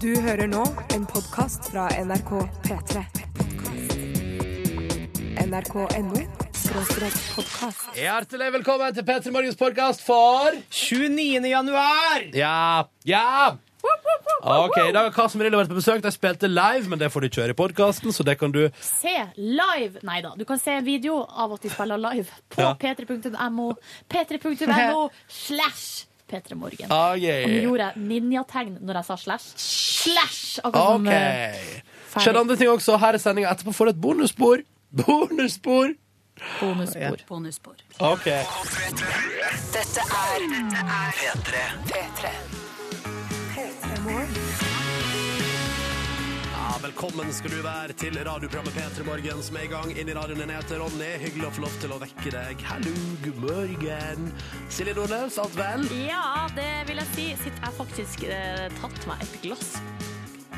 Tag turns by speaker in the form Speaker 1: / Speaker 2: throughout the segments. Speaker 1: Du hører nå en podkast fra NRK P3. NRK.no podkast.
Speaker 2: Hjertelig velkommen til P3 Morgens podkast for
Speaker 3: 29. januar!
Speaker 2: Ja, ja! OK, i dag har Karsten Marillo vært på besøk. De spilte live, men det får du kjøre i podkasten, så det kan du
Speaker 4: se live. Nei da, du kan se en video av at de spiller live på
Speaker 2: Ja.
Speaker 4: p3.no. p3.no slash p3morgen.
Speaker 2: Ah,
Speaker 4: Og nå
Speaker 2: OK.
Speaker 4: gjorde jeg ninjategn når jeg sa slash. Slash! Akkurat som,
Speaker 2: Ok.
Speaker 4: eh, ferdig.
Speaker 2: Skjedde andre ting også her i sendinga. Etterpå får du et bonusspor. Bonusspor!
Speaker 4: bonusbord.
Speaker 5: Bonusspor.
Speaker 2: OK.
Speaker 1: Dette er P3.
Speaker 2: Ja, velkommen skal du være til radioprogrammet P3 Morgen som er i gang. Inn i radioen din heter Ronny. Hyggelig å få lov til å vekke deg. Hallo, god morgen. Silje Nordnes, alt vel?
Speaker 5: Ja, det vil jeg si. Sitt, jeg har faktisk eh, tatt meg et glass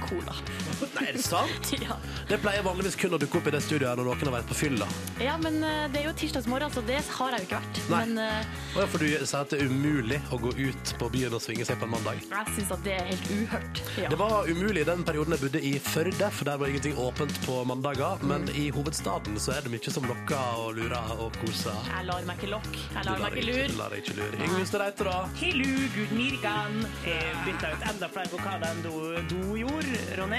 Speaker 5: cola.
Speaker 2: Nei, er det sant?
Speaker 5: Ja,
Speaker 2: Det pleier vanligvis kun å dukke opp i det studioet her når noen har vært på fylla.
Speaker 5: ja men eh, det er jo tirsdagsmorgen, så det har jeg jo ikke vært.
Speaker 2: Nei.
Speaker 5: Men eh,
Speaker 2: Og ja, for du sier at det er umulig å gå ut på byen og svinge seg på en mandag.
Speaker 5: jeg syns at det er helt uhørt. Ja.
Speaker 2: Det var umulig i den perioden jeg bodde i Førde, for der var ingenting åpent på mandager. Men i hovedstaden så er det mye som lokker og lurer og koser.
Speaker 5: Jeg lar meg ikke lokke. Jeg
Speaker 2: Du
Speaker 5: lar meg ikke lure.
Speaker 2: du lar deg ikke lure. Yngve Stereite, da?
Speaker 3: Hello, good mirgan. Eh, bytta ut enda flere vokaler enn du, du gjorde, Ronny.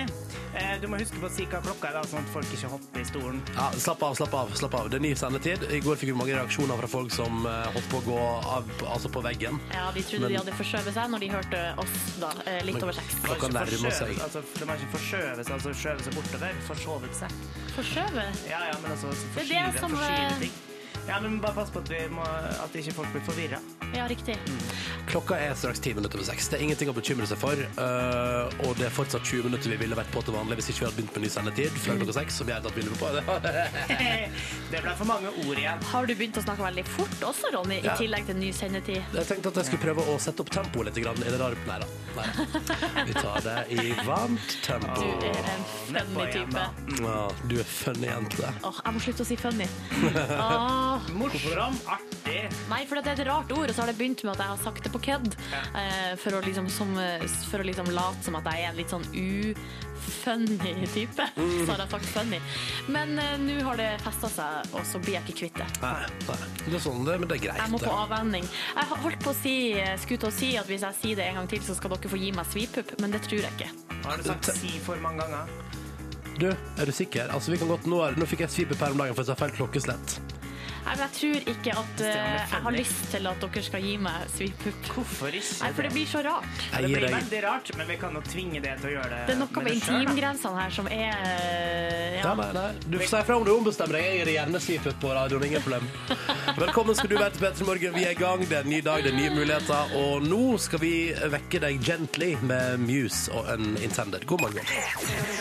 Speaker 3: Eh, du må huske på å si hva klokka er, da, sånn at folk ikke hopper i stolen.
Speaker 2: Ja, slapp av, slapp av. slapp av. Det er ny sendetid. I går fikk vi mange reaksjoner fra folk som eh, holdt på å gå av, altså på veggen.
Speaker 5: Ja, De trodde de hadde forskjøvet seg når de hørte oss da, eh, litt over seks.
Speaker 3: Du må
Speaker 2: Klokka
Speaker 3: ikke
Speaker 2: nærmer seg.
Speaker 3: forskjøves, Altså, de må ikke forskjøve seg, altså skjøve seg bortover. Forsovet seg.
Speaker 5: Forskjøvet?
Speaker 3: Ja, ja, men altså
Speaker 5: Det er
Speaker 3: forskyve,
Speaker 5: det som, eh,
Speaker 3: forskyve ting. Ja, men bare pass på at, vi må, at ikke folk blir forvirra.
Speaker 5: Ja, riktig.
Speaker 2: Mm. Klokka er straks 10 minutter over seks. Det er ingenting å bekymre seg for. øh, og det er fortsatt 20 minutter vi ville vært på til vanlig hvis ikke vi hadde begynt med ny sendetid fra klokka seks. Som vi hadde tatt begynner på.
Speaker 3: Det ble for mange ord igjen.
Speaker 5: Har du begynt å snakke veldig fort også, Ronny, i
Speaker 2: Ja.
Speaker 5: tillegg til ny sendetid?
Speaker 2: Jeg tenkte at jeg skulle prøve å sette opp tempoet litt. Grann. Er det rart? Nei da. Nei. Vi tar det i varmt
Speaker 5: Du
Speaker 2: tempo.
Speaker 5: er en funny
Speaker 3: Nedpå igjen,
Speaker 5: type.
Speaker 3: da.
Speaker 2: Ja, du er funny jente.
Speaker 5: Åh, jeg må slutte å si funny. Åh,
Speaker 3: Morsom, artig.
Speaker 5: nei, for det er et rart ord, og så har det begynt med at jeg har sagt det på kødd. eh, For å liksom, som, eh, for å liksom late som at jeg er en litt sånn ufunny type. Så har jeg sagt funny. Men eh, nå har det festa seg, og så blir jeg ikke kvitt det.
Speaker 2: Nei, nei. Det er sånn det, men det er greit.
Speaker 5: Jeg må på
Speaker 2: det.
Speaker 5: avvenning. Jeg har holdt på å si, eh, skulle til å si at hvis jeg sier det en gang til, så skal dere få gi meg svipupp, men det tror jeg ikke.
Speaker 3: Har du sagt si for mange ganger?
Speaker 2: Du, er du sikker? Altså, vi kan godt nå, nå fikk jeg svipe per om dagen for jeg sa feil klokkeslett.
Speaker 5: Nei, men jeg tror ikke at eh,
Speaker 3: Stian, det er funny.
Speaker 5: jeg har lyst til at dere skal gi meg svipupp.
Speaker 3: Hvorfor ikke?
Speaker 5: Nei, for det blir så rart.
Speaker 2: Jeg
Speaker 3: det
Speaker 2: gir
Speaker 3: blir
Speaker 2: deg
Speaker 3: veldig rart, men vi kan jo tvinge det til å gjøre det
Speaker 5: Det er noe med
Speaker 3: det selv, da.
Speaker 5: intimgrensene her som er eh, ja.
Speaker 2: Ja, nei, nei. Du får si fra om du ombestemmer deg. Jeg gir deg gjerne svipup på radioen. Ingen problem. Velkommen skal du være til P3 Morgen. Vi er i gang. Det er en ny dag, det er nye muligheter. Og nå skal vi vekke deg gently med Muse og Unintended. God morgen.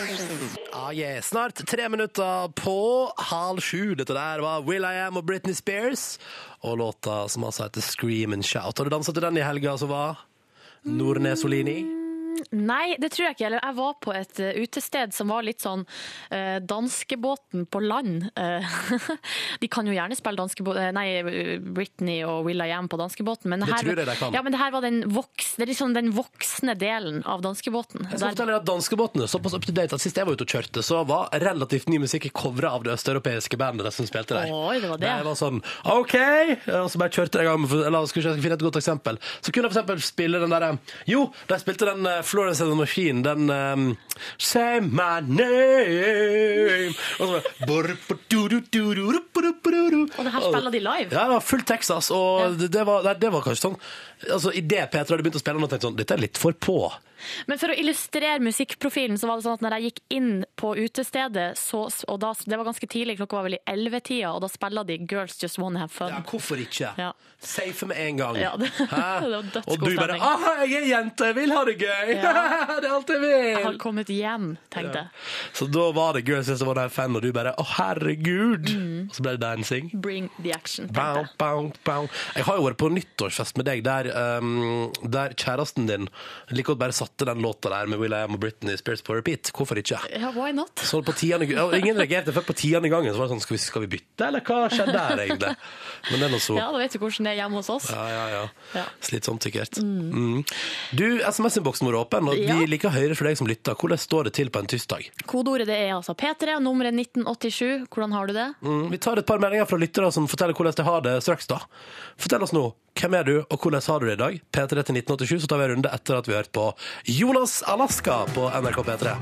Speaker 2: Ah, yeah. Snart tre minutter på halv sju. Dette der var Will I Am og Britney Spears. Og låta som altså heter Scream and Shout. Har du dansa til den i helga som var? Nordnes Olini.
Speaker 5: Nei, det tror jeg ikke. Eller jeg var på et eh, utested som var litt sånn eh, danskebåten på land. Eh, de kan jo gjerne spille danskebåten Nei, eh, Britney og Will I Am på danskebåten, men det,
Speaker 2: Det
Speaker 5: her,
Speaker 2: tror jeg de kan.
Speaker 5: Ja, men det her var den, voks, det er liksom den voksne delen av danskebåten.
Speaker 2: Jeg skal
Speaker 5: Der-
Speaker 2: fortelle deg at Danskebåten er såpass up to date at sist jeg var ute og kjørte, så var relativt ny musikk covra av det østeuropeiske bandet som spilte der.
Speaker 5: Oi, det var det.
Speaker 2: var sånn OK! Og så bare kjørte jeg i gang med Eller skal vi se, jeg skal finne et godt eksempel. Så kunne jeg for eksempel spille den derre Jo, de spilte den eh, Florence and the Machine, den ehm, Say my name Og så bare Og
Speaker 5: det her spiller de live?
Speaker 2: Ja, det var fullt Texas, og det, det, var, nei, det var kanskje sånn Altså, idet Petra hadde begynt å spille den, tenkte jeg sånn Dette er litt for på.
Speaker 5: Men for å illustrere musikkprofilen, så var det sånn at når jeg gikk inn på utestedet, så, og da, det var ganske tidlig, klokka var vel i 11-tida, og da spiller de Girls Just Wanna Have Fun.
Speaker 2: Ja, hvorfor ikke?
Speaker 5: Ja.
Speaker 2: Safe med en gang.
Speaker 5: Ja, det-
Speaker 2: Hæ?
Speaker 5: det var dødsgod
Speaker 2: og du bare
Speaker 5: stemning.
Speaker 2: 'Aha, jeg er jente, jeg vil ha det gøy!' det er alt jeg
Speaker 5: Jeg har
Speaker 2: vil!
Speaker 5: kommet hjem, tenkte jeg.
Speaker 2: Så da var det Girls Just Wanna Have Fun, og du bare 'Å, herregud!'
Speaker 5: Mm.
Speaker 2: Og så ble det dancing.
Speaker 5: Bring the action,
Speaker 2: Bow,
Speaker 5: tenkte jeg.
Speaker 2: bow, bow. Jeg har jo vært på nyttårsfest med deg der, um, der kjæresten din like godt bare satt satte den låta der med Will.i.am og Britney Spears på repeat. Hvorfor ikke?
Speaker 5: Ja, why not?
Speaker 2: Så på tiende, ja, ingen reagerte før på tiende gangen. Så var det sånn, skal vi, skal vi bytte, eller hva skjedde her egentlig? Men det er nå så.
Speaker 5: Ja, da vet du hvordan det er hjemme hos oss.
Speaker 2: Ja, ja, ja.
Speaker 5: Ja.
Speaker 2: Slitsomt sikkert. Mm. Du, SMS-innboksen vår er åpen, og
Speaker 5: Ja.
Speaker 2: vi liker å høre fra deg som lytter. Hvordan står det til på en tirsdag?
Speaker 5: Kodeordet det er altså P3, og nummeret 1987. Hvordan har du det?
Speaker 2: Mm. Vi tar et par meldinger fra lyttere som forteller hvordan de har det straks da. Fortell oss nå, hvem er du, og hvordan har du det i dag? P3 til 1987, så tar vi en runde etter at vi har hørt på Jonas Alaska på NRK P3.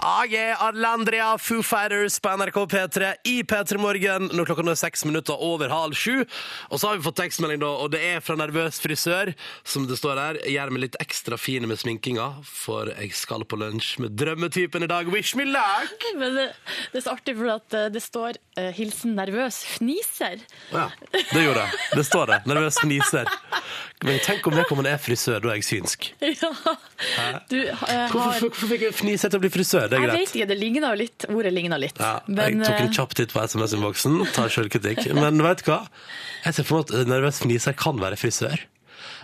Speaker 2: AG Arlandria Foo Fighters på NRK P3 i P3 Morgen når klokka nå er seks minutter over halv sju. Og så har vi fått tekstmelding, da, og det er fra nervøs frisør, som det står her. Gjør meg litt ekstra fin med sminkinga, for jeg skal på lunsj med drømmetypen i dag. Wish me luck!
Speaker 5: Men det, det er så artig, for at eh, det står eh, 'hilsen nervøs fniser'.
Speaker 2: Ja, det gjorde jeg. Det står det. Nervøs fniser. Men tenk om vedkommende er frisør, da er jeg synsk.
Speaker 5: ja. Du eh, har
Speaker 2: Hvorfor, hvorfor fikk jeg fnise til å bli frisør? Det er
Speaker 5: Jeg
Speaker 2: greit.
Speaker 5: vet ikke, det ligner jo litt. Ordet ligner litt.
Speaker 2: Ja,
Speaker 5: Men,
Speaker 2: jeg tok
Speaker 5: eh,
Speaker 2: en kjapp titt på SMS-innboksen, tar selvkritikk. Men vet du hva? Jeg ser for meg at eh, nervøs fniser kan være frisør.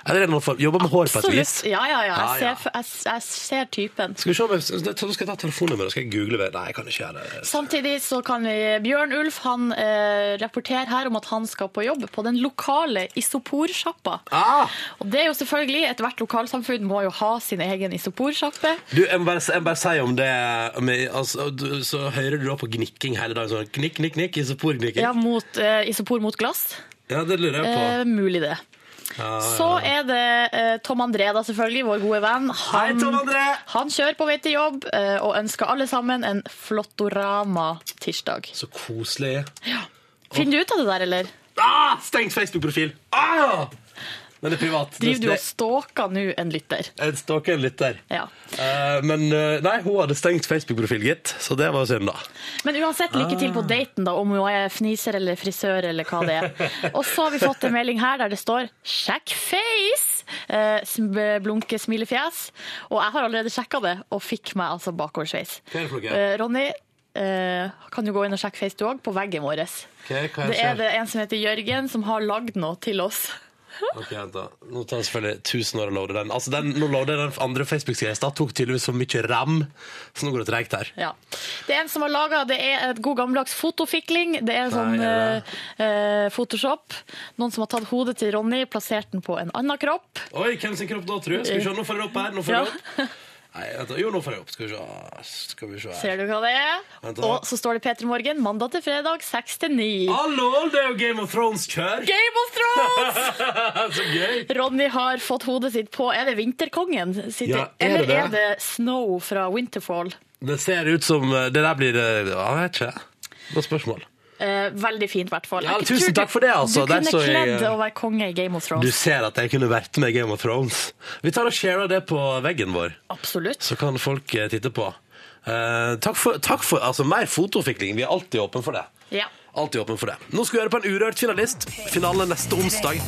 Speaker 2: Eller noen form. Jobber med hår på et
Speaker 5: absolutt.
Speaker 2: vis.
Speaker 5: Ja, ja, ja.
Speaker 2: Ja,
Speaker 5: Jeg
Speaker 2: ja.
Speaker 5: ser, jeg, jeg ser typen.
Speaker 2: Skal vi se om jeg, jeg tror jeg skal ta telefonnummeret og skal jeg google det. Nei, jeg kan ikke gjøre det.
Speaker 5: Samtidig så kan vi Bjørn Ulf han eh, rapporterer her om at han skal på jobb på den lokale isoporsjappa.
Speaker 2: Ah!
Speaker 5: Og det er jo selvfølgelig, ethvert lokalsamfunn må jo ha sin egen isoporsjappe.
Speaker 2: Du, jeg må bare, jeg må bare si om det med, altså, du, Så hører du da på gnikking hele dagen. Sånn knikk, knikk, knikk. Isoporgnikking.
Speaker 5: Ja,
Speaker 2: Ja.
Speaker 5: mot, eh, isopor mot glass.
Speaker 2: det lurer jeg på.
Speaker 5: Eh, mulig det. Så er det eh, Tom André, da selvfølgelig, vår gode venn.
Speaker 2: Hei,
Speaker 5: Han,
Speaker 2: Tom André!
Speaker 5: han kjører på vei til jobb eh, og ønsker alle sammen en Flottorama-tirsdag.
Speaker 2: Så koselig.
Speaker 5: Finner du ut av det der, eller?
Speaker 2: Ah, stengt Facebook-profil! Ah! Den er privat.
Speaker 5: Driver du og
Speaker 2: Det-
Speaker 5: stalker nå en lytter?
Speaker 2: Jeg stalker litt der.
Speaker 5: Ja.
Speaker 2: Eh, men eh, nei, hun hadde stengt Facebook-profil, gitt. Så det var synd, da.
Speaker 5: Men uansett, lykke til på daten, da, om hun er fniser eller frisør eller hva det er. Og så har vi fått en melding her der det står 'sjekk face', eh, sm- blunke smilefjes. Og jeg har allerede sjekka det, og fikk meg altså bakoversveis.
Speaker 2: Hva er det for noe?
Speaker 5: Eh, Ronny, eh, kan du gå inn og sjekke face du òg, på veggen vår? Det er det en som heter Jørgen, som har lagd noe til oss.
Speaker 2: Ok, vent da. Nå tar jeg selvfølgelig 1000 år å loade den. Altså, den, nå loader jeg den andre Facebook-sida i stad. Tok tydeligvis for mye ram, så nå går det treigt her.
Speaker 5: Ja. Det er en som har laga Det er et god gammeldags fotofikling. Det er sånn
Speaker 2: er det?
Speaker 5: eh, eh, Photoshop. Noen som har tatt hodet til Ronny, plassert den på en annen kropp.
Speaker 2: Oi, hvem sin kropp da, tru? Skal vi se, nå får jeg det opp her. Nå får
Speaker 5: Ja.
Speaker 2: jeg det opp. Nei, vent da. Jo, nå får jeg det opp. Skal vi se. Ah, Skal vi se her.
Speaker 5: Ser du hva det er?
Speaker 2: Vent da. Ah!
Speaker 5: Og så står det Peter Morgen mandag til fredag 6 til 9.
Speaker 2: Hallo, det er jo Game of Thrones-kjør!
Speaker 5: Game of Thrones!
Speaker 2: så gøy!
Speaker 5: Ronny har fått hodet sitt på Er det Vinterkongen? sitt-
Speaker 2: Ja, er det
Speaker 5: Eller
Speaker 2: det?
Speaker 5: er det Snow fra Winterfall?
Speaker 2: Det ser ut som eh, Det der blir eh, Ja, jeg vet ikke. Noe spørsmål.
Speaker 5: Eh, veldig fint, i hvert fall.
Speaker 2: Ja,
Speaker 5: Jeg
Speaker 2: tusen
Speaker 5: tror du-
Speaker 2: takk for det, altså.
Speaker 5: Du
Speaker 2: Der
Speaker 5: kunne
Speaker 2: så jeg,
Speaker 5: kledd
Speaker 2: eh,
Speaker 5: å være konge i Game of
Speaker 2: Du
Speaker 5: Thrones.
Speaker 2: ser at jeg kunne vært med i Game of Thrones. Vi tar og sharer det på veggen vår,
Speaker 5: Absolutt.
Speaker 2: så kan folk eh, titte på. Eh, takk, for, takk for altså mer fotofikling. Vi er alltid åpne for det.
Speaker 5: Ja.
Speaker 2: Alltid åpen for det. Nå skal vi høre på en urørt finalist. Finale neste onsdag.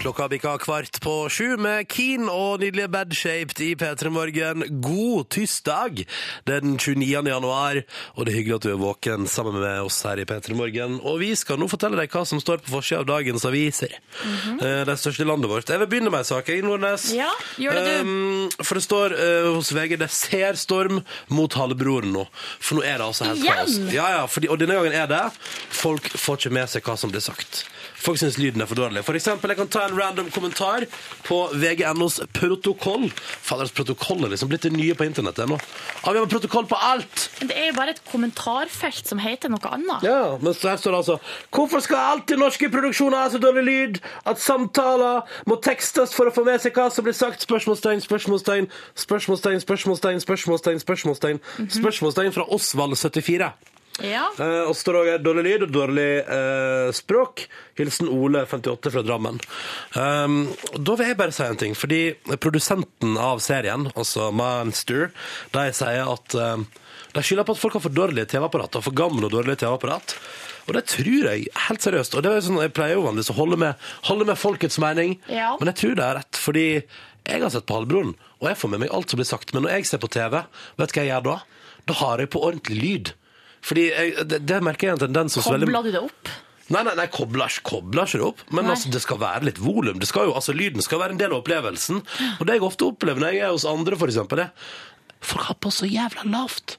Speaker 2: Klokka bikka kvart på sju med Keen og nydelige Badshaped i P3 Morgen. God tirsdag! Det er den 29. januar, og det er hyggelig at du er våken sammen med oss her i P3 Morgen. Og vi skal nå fortelle deg hva som står på forsida av dagens aviser. Eh, Det største i landet vårt. Jeg vil begynne med en sak, jeg, Nordnes.
Speaker 5: Mhm. Ja, gjør det du.
Speaker 2: Um, for det står eh, hos VG det ser storm mot halvbroren nå. For nå er det altså helt
Speaker 5: Igjen?
Speaker 2: kaos. Ja, ja, fordi, og denne gangen er det folk får ikke med seg hva som blir sagt. Folk syns lyden er for dårlig. For eksempel, jeg kan ta en random kommentar på VGNOs protokoll. Fader, protokoll er liksom blitt det nye på internettet nå. Ja, vi har protokoll på alt!
Speaker 5: Men det er jo bare et kommentarfelt som heter noe annet.
Speaker 2: Ja, men så her står det altså Hvorfor skal alltid norske produksjoner ha så dårlig lyd at samtaler må tekstes for å få med seg hva som blir sagt? Spørsmålstegn, spørsmålstegn, spørsmålstegn, spørsmålstegn, spørsmålstegn, spørsmålstegn, spørsmålstegn fra Osvald74.
Speaker 5: Ja.
Speaker 2: Eh, og så står det også dårlig lyd og dårlig eh, språk. Hilsen Ole, 58, fra Drammen. Um, og da vil jeg bare si en ting, fordi produsenten av serien, altså Monster, de sier at eh, de skylder på at folk har for dårlige TV-apparater, for gamle og dårlige TV-apparat. Og det tror jeg, helt seriøst. Og det er jo sånn, jeg pleier jo vanligvis å holde med, holde med folkets mening,
Speaker 5: Ja.
Speaker 2: men jeg tror det er rett, fordi jeg har sett på Halvbroren, og jeg får med meg alt som blir sagt. Men når jeg ser på TV, vet du hva jeg gjør da? Da har jeg på ordentlig lyd. Fordi jeg, det, det merker jeg en tendens hos veldig
Speaker 5: Kobla du det opp?
Speaker 2: Nei, nei, nei, kobler, ikke- kobler ikke det opp. Men
Speaker 5: Nei.
Speaker 2: altså, det skal være litt volum. Det skal jo, altså, lyden skal være en del av opplevelsen. Og det jeg ofte opplever når jeg er hos andre, for eksempel, er folk har på så jævla lavt.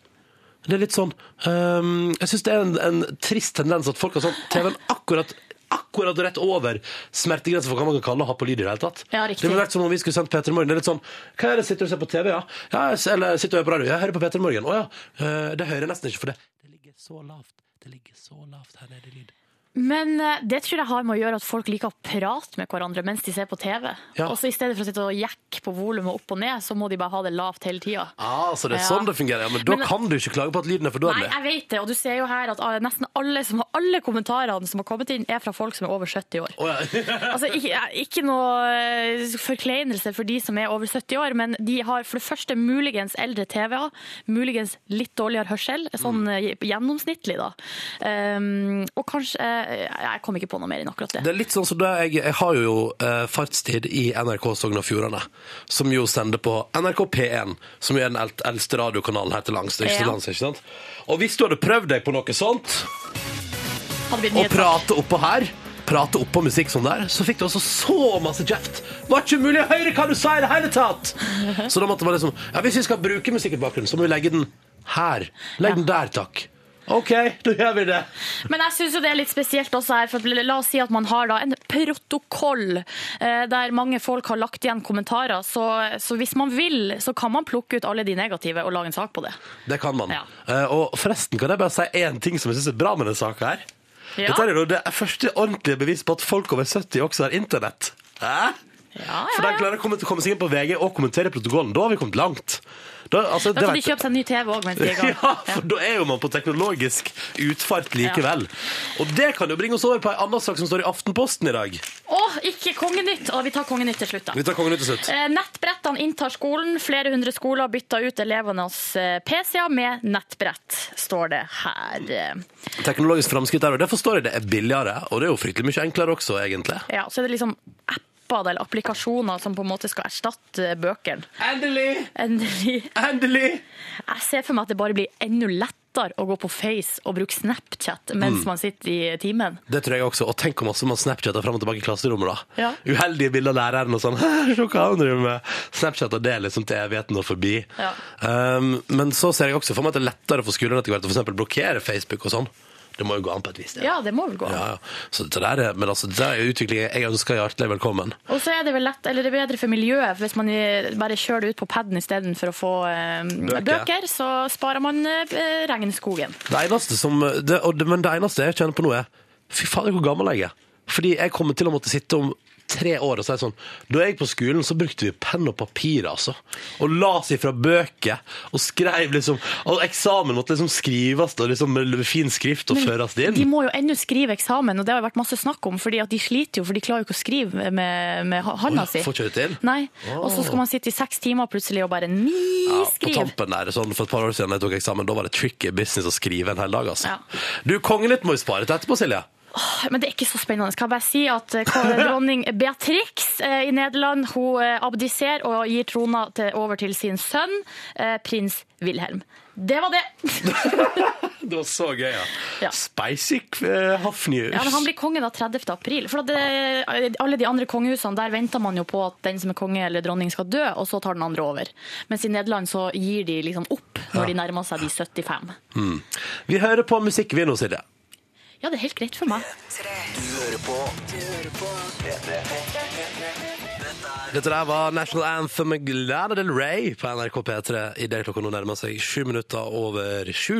Speaker 2: Det er litt sånn ehm, Jeg syns det er en, en trist tendens at folk har sånn TV-en akkurat Akkurat rett over smertegrensen for hva man kan kalle å ha på lyd i det hele tatt.
Speaker 5: Ja, riktig.
Speaker 2: det ville vært som om vi skulle sendt Peter Morgen. Det er litt sånn Hva er det sitter du og ser på TV, ja? ja jeg s- eller sitter du og hører på radio? Jeg hører på Peter Morgen. Å ja. eh, Det hører jeg nesten ikke, for det Det ligger så lavt. Det ligger så lavt her nede i lyd.
Speaker 5: Men eh, det tror jeg har med å gjøre at folk liker å prate med hverandre mens de ser på TV.
Speaker 2: Ja.
Speaker 5: Og så i stedet for å sitte og jekke på volumet opp og ned, så må de bare ha det lavt hele tida.
Speaker 2: Ah, så det er
Speaker 5: Ja.
Speaker 2: sånn det fungerer. Ja, men da
Speaker 5: Men-
Speaker 2: kan du ikke klage på at lyden er for
Speaker 5: Nei,
Speaker 2: dårlig.
Speaker 5: jeg vet det, og du ser jo her at ah, nesten alle, som, alle kommentarene som har kommet inn, er fra folk som er over 70 år.
Speaker 2: Å, ja.
Speaker 5: Altså, ikke, ja, ikke noe eh, forkleinelse for de som er over 70 år, men de har for det første muligens eldre TV-er, muligens litt dårligere hørsel, sånn
Speaker 2: Mm.
Speaker 5: eh, gjennomsnittlig da. Um, og kanskje, eh, jeg kom ikke på noe mer enn akkurat
Speaker 2: Det
Speaker 5: det.
Speaker 2: er litt sånn som da jeg, jeg har jo eh, fartstid i NRK Sogn og Fjordane, som jo sender på NRK P1, som jo er den eld- eldste radiokanalen her til langs. Det er ikke,
Speaker 5: Ja.
Speaker 2: til lands, ikke sant? Og hvis du hadde prøvd deg på noe sånt,
Speaker 5: Hadde blitt
Speaker 2: og
Speaker 5: nyheter.
Speaker 2: prate oppå her Prate oppå musikk som der, så fikk du også så masse kjeft. Var ikke mulig å høre hva du sa i det hele tatt! Så da måtte man liksom Ja, hvis vi skal bruke musikk i bakgrunnen, så må vi legge den her. Legg den der, takk. OK, da gjør vi det.
Speaker 5: Men jeg syns jo det er litt spesielt også her, for la oss si at man har da en protokoll eh, der mange folk har lagt igjen kommentarer, så, så hvis man vil, så kan man plukke ut alle de negative og lage en sak på det.
Speaker 2: Det kan man.
Speaker 5: Ja.
Speaker 2: Eh, og forresten kan jeg bare si én ting som jeg syns er bra med denne saka her.
Speaker 5: Ja.
Speaker 2: Dette er jo det første ordentlige bevis på at folk over 70 også har internett. Hæ?
Speaker 5: Ja,
Speaker 2: For
Speaker 5: ja,
Speaker 2: de
Speaker 5: ja.
Speaker 2: klarer å komme, komme seg inn på VG og kommentere protokollen. Da har vi kommet langt. Da, altså,
Speaker 5: Da
Speaker 2: det
Speaker 5: kan de
Speaker 2: vet-
Speaker 5: kjøpe seg en ny TV òg mens de er i gang.
Speaker 2: ja, for da er jo man på teknologisk utfart likevel. Og det kan jo bringe oss over på en annen sak som står i Aftenposten i dag.
Speaker 5: Å, ikke Kongenytt! Å, vi tar Kongenytt til slutt, da.
Speaker 2: Vi tar kongen ut til slutt.
Speaker 5: Eh, Nettbrettene inntar skolen. Flere hundre skoler bytter ut elevenes eh, PC-er med nettbrett, står det her. Eh,
Speaker 2: Teknologisk framskritt der, og det forstår jeg det er billigere. Og det er jo fryktelig mye enklere også, egentlig.
Speaker 5: Ja, så er det liksom apper eller applikasjoner som på en måte skal erstatte eh, bøkene.
Speaker 2: Endelig!
Speaker 5: Endelig.
Speaker 2: Endelig!
Speaker 5: Jeg ser for meg at det bare blir enda lettere å gå på Face og bruke Snapchat
Speaker 2: Mm.
Speaker 5: mens man sitter i timen.
Speaker 2: Det tror jeg også. Og tenk hvor masse man Snapchatter fram og tilbake i klasserommet, da.
Speaker 5: Ja.
Speaker 2: Uheldige bilder av læreren og sånn. «Hæ, Se hva han driver med! Snapchatter det er liksom til evigheten og forbi.
Speaker 5: Ja.
Speaker 2: Um, men så ser jeg også for meg at det er lettere for skolen etter hvert å for eksempel blokkere Facebook og sånn. Det må jo gå an på et vis. det.
Speaker 5: Ja, det må vel gå.
Speaker 2: Ja, ja. Så det der er, men altså, det der er jo utviklingen jeg ønsker hjertelig velkommen.
Speaker 5: Og så er det vel lett, eller det er bedre for miljøet, for hvis man i- bare kjører det ut på paden istedenfor å få eh,
Speaker 2: Bøker.
Speaker 5: bøker. så sparer man eh, regnskogen.
Speaker 2: Det eneste som det, og det, Men det eneste jeg kjenner på nå, er Fy fader, hvor gammel jeg er. Fordi jeg kommer til å måtte sitte om tre år og si sånn Da jeg gikk på skolen, så brukte vi penn og papir, altså. Og las ifra bøker. Og skrev liksom Og eksamen måtte liksom skrives og liksom med fin skrift og føres
Speaker 5: De
Speaker 2: inn.
Speaker 5: må jo ennå skrive eksamen, og det har jo vært masse snakk om, fordi at de sliter jo, for de klarer jo ikke å skrive med, med ha-
Speaker 2: Å
Speaker 5: handa
Speaker 2: ja,
Speaker 5: si.
Speaker 2: får ikke det til?
Speaker 5: Nei. Og så skal man sitte i seks timer plutselig og bare ni
Speaker 2: Ja, på
Speaker 5: skriv.
Speaker 2: tampen der, sånn For et par år siden jeg tok eksamen, da var det tricky business å skrive en hel dag. altså.
Speaker 5: Ja.
Speaker 2: Du, Kongelitt må vi spare til etterpå, Silje.
Speaker 5: Men det er ikke så spennende. Skal jeg bare si at eh, hva- dronning Beatrix eh, i Nederland hun eh, abdiserer og gir trona til, over til sin sønn, eh, prins Wilhelm. Det var det!
Speaker 2: Det var så gøy, ja.
Speaker 5: Ja.
Speaker 2: Spicy eh, Hafnius.
Speaker 5: Ja, men han blir konge da 30. april. For at det, alle de andre kongehusene, der venter man jo på at den som er konge eller dronning skal dø, og så tar den andre over. Mens i Nederland så gir de liksom opp når de nærmer seg de 75.
Speaker 2: Mm. Vi hører på musikk, vi nå, Silje.
Speaker 5: Ja, det er helt greit for meg.
Speaker 2: Dette der var National Anthem med Glada del Rey på NRK P3 i det klokka nå nærmer seg sju minutter over sju.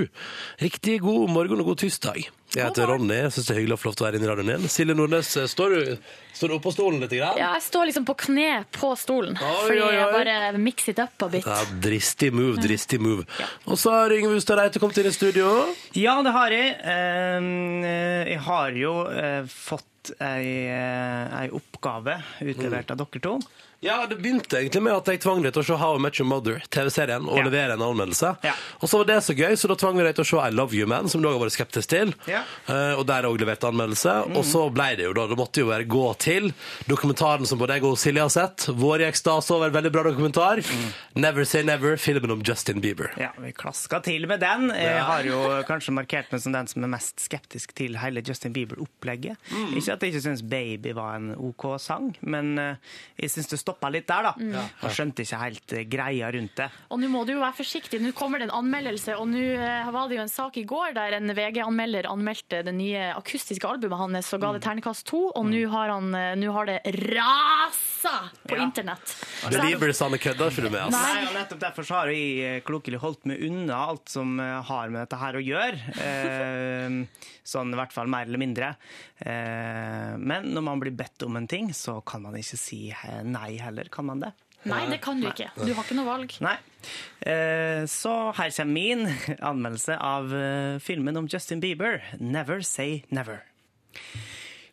Speaker 2: Riktig god morgen og god tirsdag. Jeg heter Ronny. Jeg syns det er hyggelig å få lov til å være inne i radioen din. Silje Nordnes, eh, står du, står du oppå stolen litt? Grann?
Speaker 5: Ja, jeg står liksom på kne på stolen, fordi
Speaker 2: oi,
Speaker 5: jeg
Speaker 2: oi.
Speaker 5: bare mix it up a bit.
Speaker 2: Ja, Dristig move, dristig move. Og så har Yngve Hustad Reite kommet inn i studio.
Speaker 3: Ja, det har jeg. Ehm, eh, Jeg har jo eh, fått ei, eh, ei oppgave utlevert av dere to.
Speaker 2: Ja, det begynte egentlig med at jeg tvang deg til å se How I Met Your Mother, TV-serien, og
Speaker 3: Ja.
Speaker 2: levere en anmeldelse.
Speaker 3: Ja.
Speaker 2: Og så var det så gøy, så da tvang vi deg til å se I Love You Man, som du òg har vært skeptisk til.
Speaker 3: Ja. Mm.
Speaker 2: Eh, og der òg leverte anmeldelse. Og så ble det jo da, det måtte jo være gå til dokumentaren som både jeg og Silje har sett. Vår i ekstase over en veldig bra dokumentar. Never Say Never, filmen om Justin Bieber.
Speaker 3: Mm. Ja, vi klaska til med den. Jeg
Speaker 2: Ja.
Speaker 3: har jo kanskje markert meg som den som er mest skeptisk til hele Justin Bieber-opplegget. Ikke at jeg ikke syns 'Baby' var en OK sang, men eh, jeg syns det stoppa litt der, da. Og skjønte ikke helt eh, greia rundt det.
Speaker 5: Og nå må du jo være forsiktig. Nå kommer det en anmeldelse. Og nå eh, var det jo en sak i går der en VG-anmelder anmeldte det nye akustiske albumet hans og ga det terningkast to, og nå har, han, eh, nå har det rasa på
Speaker 3: Ja.
Speaker 5: internett. Så jeg-
Speaker 2: Believers, han kødder ikke du med, altså.
Speaker 5: Nei.
Speaker 3: Nei, og nettopp Derfor så har jeg eh, klokelig holdt meg unna alt som eh, har med dette her å gjøre. Eh, sånn i hvert fall mer eller mindre. Eh, men når man blir bedt om en ting, så kan man ikke si eh, nei heller. Kan man det?
Speaker 5: Nei, det kan du ikke. Du har ikke noe valg.
Speaker 3: Nei. Eh, så her kommer min anmeldelse av eh, filmen om Justin Bieber, 'Never Say Never'.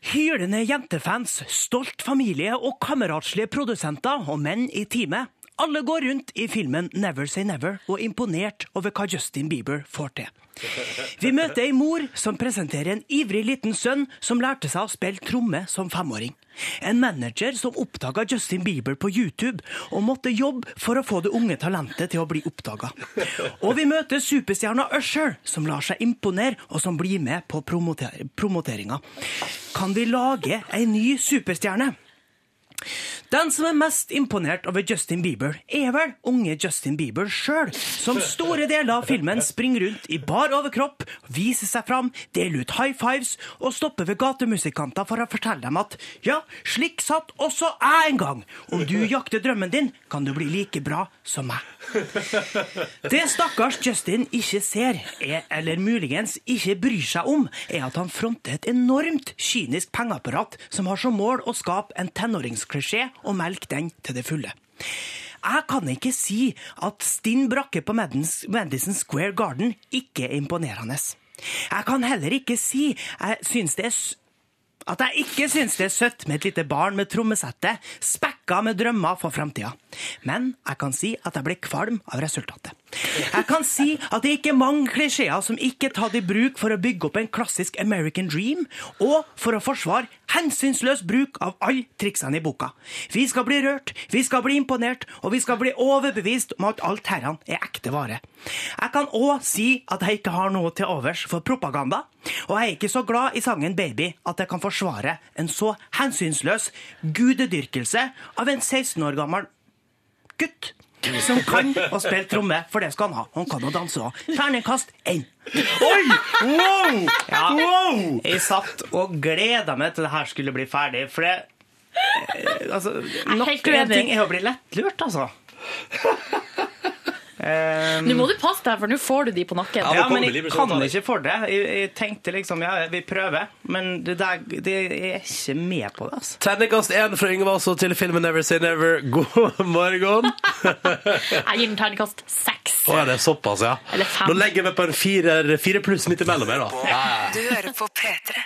Speaker 3: Hylende jentefans, stolt familie og kameratslige produsenter og menn i teamet. Alle går rundt i filmen Never Say Never og er imponert over hva Justin Bieber får til. Vi møter ei mor som presenterer en ivrig liten sønn som lærte seg å spille tromme som femåring. En manager som oppdaga Justin Bieber på YouTube og måtte jobbe for å få det unge talentet til å bli oppdaga. Og vi møter superstjerna Usher, som lar seg imponere og som blir med på promoter promoteringa. Kan vi lage ei ny superstjerne? Den som er mest imponert over Justin Bieber, er vel unge Justin Bieber sjøl, som store deler av filmen springer rundt i bar overkropp, viser seg fram, deler ut high fives og stopper ved gatemusikanter for å fortelle dem at ja, slik satt også jeg en gang. Om du jakter drømmen din, kan du bli like bra som meg. Det stakkars Justin ikke ser, er, eller muligens ikke bryr seg om, er at han fronter et enormt kynisk pengeapparat som har som mål å skape en tenåringsklisjé og melke den til det fulle. Jeg kan ikke si at stinn brakke på Madens- Madison Square Garden ikke er imponerende. Jeg kan heller ikke si jeg syns det er s- at jeg ikke syns det er søtt med et lite barn med trommesette, spekka med drømmer for framtida. Men jeg kan si at jeg ble kvalm av resultatet. Jeg kan si at det er ikke mange klisjeer som ikke er tatt i bruk for å bygge opp en klassisk American dream, og for å forsvare hensynsløs bruk av alle triksene i boka. Vi skal bli rørt, vi skal bli imponert, og vi skal bli overbevist om at alt herran er ekte vare. Jeg kan òg si at jeg ikke har noe til overs for propaganda, og jeg er ikke så glad i sangen Baby at jeg kan forsvare en så hensynsløs gudedyrkelse av en 16 år gammel gutt som kan å spille tromme, for det skal han ha. Han kan å danse òg. Terningkast én. Oi! Wow! wow! Jeg satt og gleda meg til det her skulle bli ferdig, for det eh, Altså,
Speaker 5: helt
Speaker 3: nok
Speaker 5: uenig.
Speaker 3: en ting er å bli lettlurt, altså. Um,
Speaker 5: Nå må du passe deg, for nå får du de på nakken.
Speaker 2: Ja, nå
Speaker 3: ja, men
Speaker 2: kommer
Speaker 3: jeg
Speaker 2: Libres
Speaker 3: kan
Speaker 2: avtale.
Speaker 3: ikke for det. Jeg, jeg tenkte liksom ja, vi prøver, men det der det, jeg er ikke med på det, altså.
Speaker 2: Terningkast én fra Yngve altså til filmen Never Say Never. God morgen.
Speaker 5: Jeg gir den terningkast seks.
Speaker 2: Å ja, det er såpass, ja.
Speaker 5: Eller fem.
Speaker 2: Da legger jeg meg på en firer, fire pluss midt imellom her, da. Ja, ja.
Speaker 1: Du hører på P3.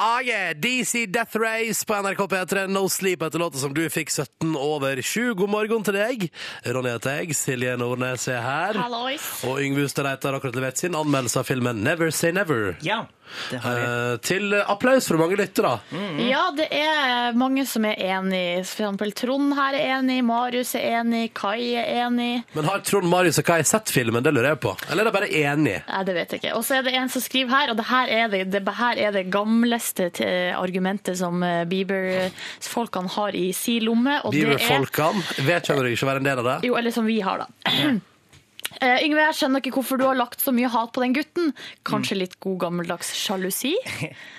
Speaker 2: Ah, yeah. DC Death Race på NRK P3. No Sleep etter låta som du fikk 17 over 7. God morgen til deg. Ronny heter jeg. Silje Nordnes er her.
Speaker 5: Hallois.
Speaker 2: Og Yngve Ustadreit har akkurat levert sin anmeldelse av filmen Never Say Never.
Speaker 3: Ja, det har jeg.
Speaker 2: Eh, til applaus fra mange lyttere.
Speaker 5: Ja, det er mange som er enig. For eksempel Trond her er enig, Marius er enig, Kai er enig.
Speaker 2: Men har Trond Marius og Kai sett filmen? Det lurer jeg på. Eller er de bare enige?
Speaker 5: Nei, det vet jeg ikke. Og så er det en som skriver her, og det her er det, det, her er det gamleste te- argumentet som eh, Bieber-folkene har i si lomme. og det er-
Speaker 2: Bieber-folkene vet kjenner du ikke å være en del av det.
Speaker 5: Jo, eller som vi har, da. Eh, Yngve, jeg skjønner ikke hvorfor du har lagt så mye hat på den gutten. Kanskje litt god gammeldags sjalusi?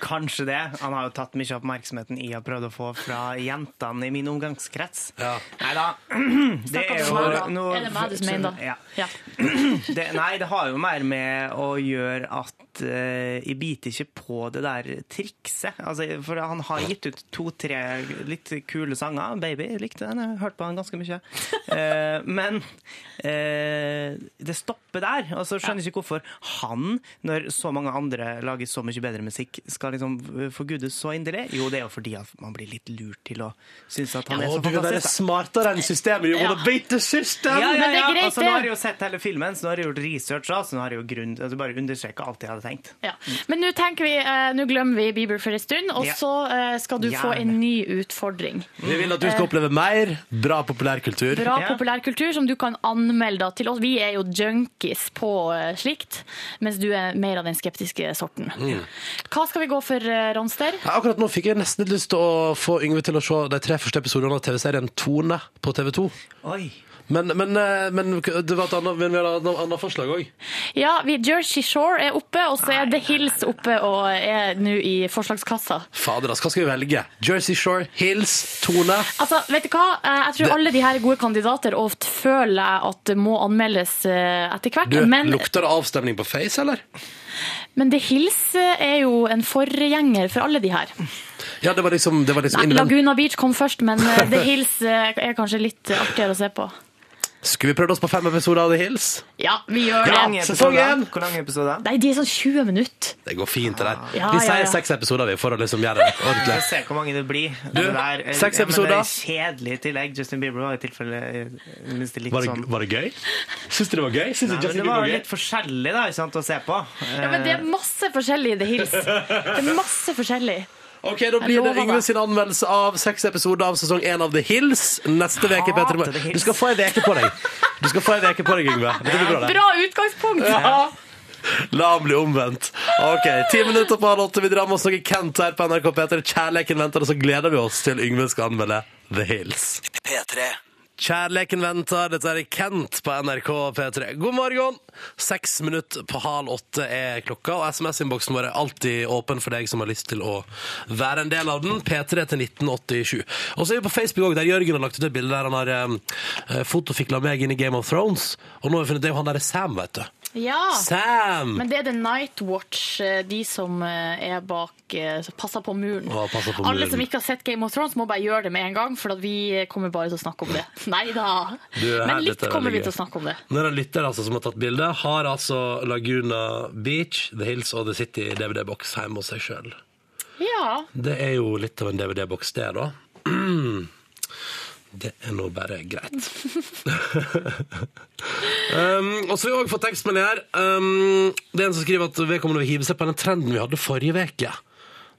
Speaker 3: Kanskje det. Han har jo tatt mye av oppmerksomheten jeg har prøvd å få fra jentene i min omgangskrets.
Speaker 2: Ja.
Speaker 3: Nei da. Det er jo
Speaker 5: Snakker du om meg, da?
Speaker 3: noe-
Speaker 5: Er det meg du som mener, da?
Speaker 3: Ja.
Speaker 5: Ja.
Speaker 3: det, nei, det har jo mer med å gjøre at eh, jeg biter ikke på det der trikset. Altså, for han har gitt ut to-tre litt kule sanger. 'Baby' jeg likte den, jeg har hørt på den ganske mye. Eh, men eh, det stopper der. Og så skjønner jeg ikke hvorfor han, når så mange andre lager så mye bedre musikk, skal liksom forgudes så inderlig. Jo, det er jo fordi at man blir litt lurt til å synes at han
Speaker 2: Å,
Speaker 3: er så
Speaker 2: du er bare
Speaker 3: fantastisk. da.
Speaker 2: smartere enn systemet. You
Speaker 6: Ja.
Speaker 2: wanna beat the system!
Speaker 3: Ja, ja,
Speaker 5: Men det er
Speaker 3: ja.
Speaker 5: greit,
Speaker 3: Altså, nå
Speaker 5: det.
Speaker 3: har jeg jo sett hele filmen, så nå har jeg gjort research, da, så nå har jeg jo grunn altså, bare understreket alt jeg hadde tenkt.
Speaker 5: Ja. Men nå tenker vi, eh, nå glemmer vi Bieber for en stund, og
Speaker 3: Ja.
Speaker 5: så eh, skal du få
Speaker 3: Gjerne.
Speaker 5: en ny utfordring.
Speaker 2: Vi vil at du skal oppleve mer bra populærkultur.
Speaker 5: Bra
Speaker 3: Ja.
Speaker 5: populærkultur som du kan anmelde da til oss. Vi er jo junkies på eh, slikt, mens du er mer av den skeptiske sorten. Hva skal vi gå for, eh, Ronster?
Speaker 2: Ja, akkurat nå fikk jeg nesten litt lyst til å få Yngve til å se de tre første episodene av TV-serien Tone på TV 2.
Speaker 3: Oi.
Speaker 2: Men, men, eh, men det var et annet, men vi har et annet- annet forslag òg.
Speaker 5: Ja, vi, Jersey Shore er oppe, og så er The Hills oppe og er nå i forslagskassa.
Speaker 2: Fader, altså, hva skal vi velge? Jersey Shore, Hills, Tone?
Speaker 5: Altså, vet du hva? Eh, Jeg tror
Speaker 2: Det-
Speaker 5: alle de her er gode kandidater, og t- føler jeg at det må anmeldes eh, etter hvert.
Speaker 2: Du,
Speaker 5: Men,
Speaker 2: Lukter det avstemning på Face, eller?
Speaker 5: men The Hills eh, er jo en forgjenger for alle de her.
Speaker 2: Mm. Ja, det var liksom, det var liksom
Speaker 5: Nei,
Speaker 2: innvendig.
Speaker 5: Laguna Beach kom først, men eh, The Hills eh, er kanskje litt eh, artigere å se på.
Speaker 2: Skulle vi prøvd oss på fem episoder av The Hills?
Speaker 5: Ja, vi gjør
Speaker 3: Hvor
Speaker 5: det.
Speaker 2: Ja.
Speaker 3: lang er
Speaker 2: sesong
Speaker 3: episoden?
Speaker 2: én.
Speaker 3: Hvor lang er episoden?
Speaker 5: Nei, de er sånn 20 minutter.
Speaker 2: Det går fint, det der.
Speaker 5: Ja,
Speaker 2: vi
Speaker 5: ja,
Speaker 2: sier
Speaker 5: ja.
Speaker 2: seks episoder, vi, for å liksom gjøre det
Speaker 3: Vi
Speaker 2: ordentlig.
Speaker 3: får se hvor mange det blir.
Speaker 2: Du,
Speaker 3: det der, eh,
Speaker 2: seks
Speaker 3: ja, men Det
Speaker 2: episoder.
Speaker 3: er kjedelig i tillegg. Justin Bieber var i tilfelle eh, minst litt
Speaker 2: Var det,
Speaker 3: sånn
Speaker 2: var det gøy? Syns du det var gøy? Syns du
Speaker 3: Nei, men
Speaker 2: Justin
Speaker 3: det
Speaker 2: Bieber
Speaker 3: var
Speaker 2: var gøy?
Speaker 3: litt forskjellig da, ikke sant, å se på.
Speaker 5: Ja, men det er masse forskjellig i The Hills. Det er masse forskjellig.
Speaker 2: Ok, Da blir det
Speaker 5: lover
Speaker 2: Yngve
Speaker 5: det.
Speaker 2: sin anmeldelse av seks episoder av sesong én av The Hills neste uke.
Speaker 3: Hater
Speaker 2: Petter Moe.
Speaker 3: The Hills.
Speaker 2: Du skal få ei uke på deg, Du skal få en veke på deg, Yngve. Det blir bra, det.
Speaker 5: Bra utgangspunkt!
Speaker 2: La han bli omvendt. Ok, Ti minutter på halv åtte. Vi drar med oss noe Kent her på NRK P3. Kjærleken venter, og så gleder vi oss til Yngve skal anmelde The Hills. Kjærleken venter, dette er Kent på NRK P3. God morgen! Seks minutter på halv åtte er klokka, og SMS-innboksen vår er alltid åpen for deg som har lyst til å være en del av den. P3 til 1987. Og så er vi på Facebook òg, der Jørgen har lagt ut et bilde der han har eh, fotofikla meg inn i Game of Thrones. Og nå har vi funnet det er jo han derre Sam, vet du.
Speaker 5: Ja.
Speaker 2: Sam!
Speaker 5: Men det er The Night Watch, eh, de som eh, er bak eh, som passer på muren.
Speaker 2: Å, passer på
Speaker 5: Alle
Speaker 2: muren.
Speaker 5: som ikke har sett Game of Thrones, må bare gjøre det med en gang, for at vi kommer bare til å snakke om det. Nei da.
Speaker 2: Du, her,
Speaker 5: Men litt
Speaker 2: dette er
Speaker 5: kommer vi
Speaker 2: veldig
Speaker 5: til å
Speaker 2: gøy.
Speaker 5: snakke om det.
Speaker 2: Når en lytter altså, som har tatt bilde, har altså Laguna Beach, The Hills og The City i DVD-boks hjemme hos seg sjøl.
Speaker 5: Ja.
Speaker 2: Det er jo litt av en DVD-boks, det, da. Det er nå bare greit. um, og så har vi òg fått tekstmelding her. Um, det er en som skriver at vedkommende vil hive seg på den trenden vi hadde forrige uke.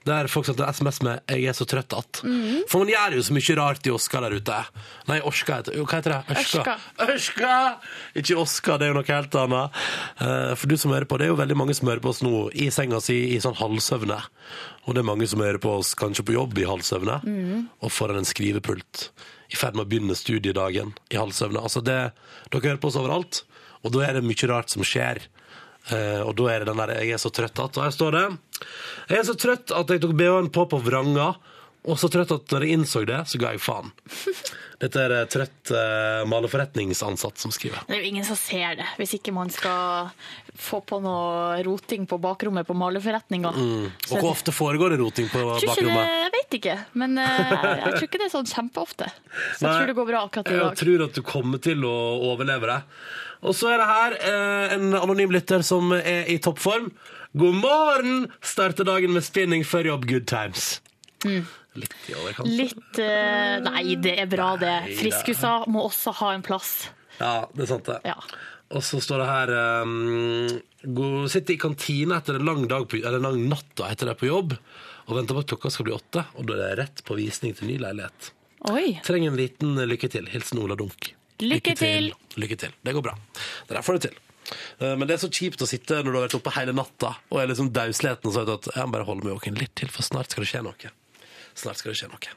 Speaker 2: Der folk sendte SMS med 'Jeg er så trøtt att'. For man gjør jo så mye rart i Oskar der ute. Nei, Orska heter jo, Hva heter det? Ørska. Ørska! Ikke Oskar, det er jo noe helt annet. Eh, for du som hører på, det er jo veldig mange som hører på oss nå i senga si i sånn halvsøvne. Og det er mange som hører på oss kanskje på jobb i halvsøvne, og foran en skrivepult. I ferd med å begynne studiedagen i halvsøvne. Altså det, dere hører på oss overalt, og da er det mye rart som skjer. Eh, og da er det den der 'jeg er så trøtt at' Og her står det 'Jeg er så trøtt at jeg tok BH-en på på vranga', og så trøtt at når jeg innså det, så ga jeg faen'. Dette er eh, trøtt eh, maleforretningsansatt som skriver.
Speaker 5: Det er jo ingen som ser det, hvis ikke man skal få på noe roting på bakrommet på malerforretninga.
Speaker 2: Mm. Og hvor ofte foregår det roting på
Speaker 5: Tror ikke det,
Speaker 2: bakrommet?
Speaker 5: jeg vet ikke, men eh, jeg, jeg tror ikke det er sånn kjempeofte. Så jeg
Speaker 2: Nei.
Speaker 5: tror det går bra akkurat i
Speaker 2: Jeg
Speaker 5: dag.
Speaker 2: tror at du kommer til å overleve det. Og så er det her eh, en anonym lytter som er i toppform. God morgen! Starter dagen med spinning før jobb. Good times. Litt i overkant.
Speaker 5: Mm. Litt eh, Nei, det er bra, det.
Speaker 2: Nei, det-
Speaker 5: Friskuser må også ha en plass.
Speaker 2: Ja, det er sant, det.
Speaker 5: Ja.
Speaker 2: Og så står det her um, gå- Sitte i kantina etter en lang, dag på, eller en lang natt da, etter det på jobb og venter på at klokka skal bli åtte, og da er det rett på visning til ny leilighet.
Speaker 5: Oi.
Speaker 2: Trenger en liten lykke til. Hilsen Ola Dunk.
Speaker 5: Lykke til.
Speaker 2: Lykke til. Det går bra. Det der får du til. Eh, Men det er så kjipt å sitte når du har vært oppe hele natta og er liksom dausleten og så vet du at jeg må bare holde meg våken litt til, for snart skal det skje noe. Snart skal det skje noe.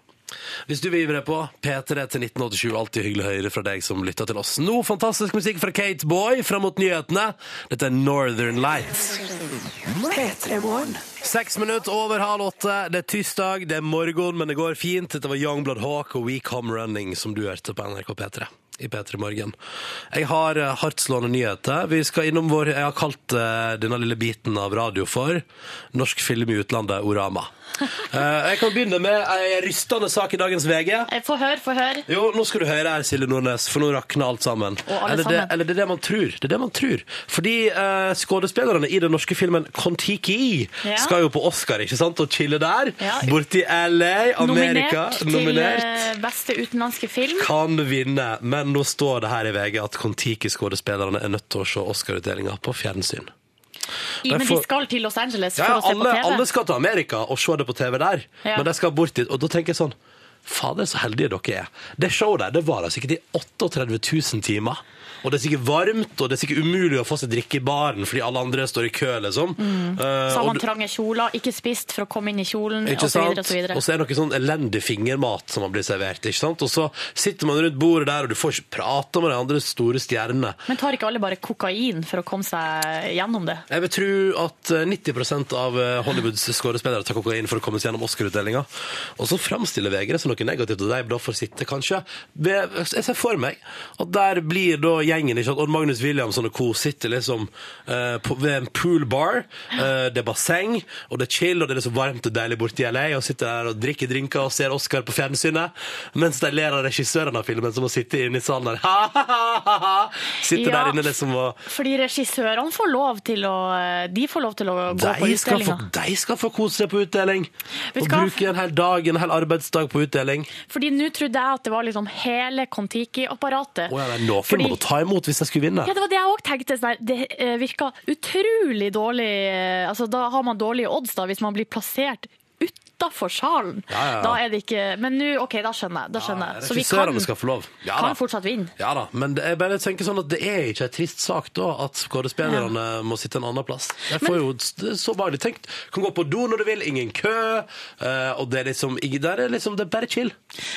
Speaker 2: Hvis du vil ivre på, P3 til 1987, alltid hyggelig å høre fra deg som lytter til oss. Nå fantastisk musikk fra Kate Boy fram mot nyhetene. Dette er Northern Lights.
Speaker 1: P3 Morgen.
Speaker 2: Seks minutter over halv åtte. Det er tirsdag, det er morgen, men det går fint. Dette var Youngblood Hawk og We Come Running, som du hørte på NRK P3. i P3 Morgen. Jeg har eh, hardtslående nyheter. Vi skal innom vår Jeg har kalt eh, denne lille biten av radio for Norsk film i utlandet, Orama. Eh, jeg kan begynne med ei rystende sak i dagens VG.
Speaker 5: Eh, Få høre, få høre.
Speaker 2: Jo, nå skal du høre her, Silje Nordnes, for nå rakner alt sammen.
Speaker 5: alle
Speaker 2: eller, Det,
Speaker 5: sammen.
Speaker 2: eller det er det man tror. Det er det man tror. Fordi eh, skuespillerne i den norske filmen Kon-Tiki
Speaker 5: Ja.
Speaker 2: skal jo på Oscar, ikke sant? Og chille der.
Speaker 5: Ja.
Speaker 2: Borti LA, Amerika.
Speaker 5: Nominert til eh, beste utenlandske film.
Speaker 2: Kan vinne, men nå står det her i VG at Kon-Tiki-skuespillerne er nødt til å se Oscar-utdelinga på fjernsyn.
Speaker 5: I, men de
Speaker 2: derfor-
Speaker 5: skal til Los Angeles
Speaker 2: Ja,
Speaker 5: for å se
Speaker 2: alle,
Speaker 5: på TV.
Speaker 2: alle skal til Amerika og se det på TV der,
Speaker 5: Ja.
Speaker 2: men de skal bort dit. Og da tenker jeg sånn Fader, så heldige dere er. Det showet der det varer sikkert i 38 000 timer. Og det er sikkert varmt, og det er sikkert umulig å få seg drikke i baren fordi alle andre står i kø, liksom. Eh,
Speaker 5: Mm. Så har
Speaker 2: og
Speaker 5: man
Speaker 2: du-
Speaker 5: trange kjoler, ikke spist for å komme inn i kjolen,
Speaker 2: ikke
Speaker 5: osv.
Speaker 2: sant? Og så er det noe sånn elendig fingermat som man blir servert. ikke sant? Og så sitter man rundt bordet der, og du får ikke prate med de andre store stjernene.
Speaker 5: Men tar ikke alle bare kokain for å komme seg gjennom det?
Speaker 2: Jeg vil tro at eh, 90 av eh, Hollywoods skuespillere tar kokain for å komme seg gjennom Oscar-utdelinga. Og så framstiller VG det som noe negativt, og de da får sitte, kanskje. Ved- Jeg ser for meg at der blir da gjengen ikke sant? Odd Magnus Williamson og co. sitter liksom eh, på, ved en pool bar. Eh, det er basseng, og det er chill, og det er så varmt og deilig borti LA, og sitter der og drikker drinker og ser Oscar på fjernsynet, mens de ler av regissøren av filmen som må sitte inne i salen der. Ha-ha-ha! Sitter
Speaker 5: Ja.
Speaker 2: der inne liksom og
Speaker 5: Fordi regissørene får lov til å De får lov til å gå på
Speaker 2: de skal, få,
Speaker 5: utdelinga.
Speaker 2: de skal få kose seg på utdeling.
Speaker 5: Vet
Speaker 2: Og
Speaker 5: du hva?
Speaker 2: bruke en hel dag, en hel arbeidsdag på utdeling.
Speaker 5: Fordi nå trodde jeg at det var liksom hele Kon-Tiki-apparatet.
Speaker 2: Å, ja, det er noen
Speaker 5: Fordi-
Speaker 2: må ta imot hvis jeg skulle vinne.
Speaker 5: Ja, det var det jeg òg tenkte. sånn her, Det eh, virka utrolig dårlig eh, Altså, da har man dårlige odds, da, hvis man blir plassert utafor salen.
Speaker 2: Ja, ja, ja.
Speaker 5: Da er det ikke Men nå, OK, da skjønner jeg. Da skjønner jeg. Så vi
Speaker 2: Regissørene
Speaker 5: kan,
Speaker 2: skal få lov. Ja, da.
Speaker 5: kan fortsatt vinne.
Speaker 2: Ja da, men det, jeg bare tenker sånn at det er ikke en trist sak da at skuespillerne må sitte en annen plass. Jeg får jo det er så bare tenkt. Kan gå på do når du vil, ingen kø. eh, og det er liksom, ingen- der er liksom, det er bare chill.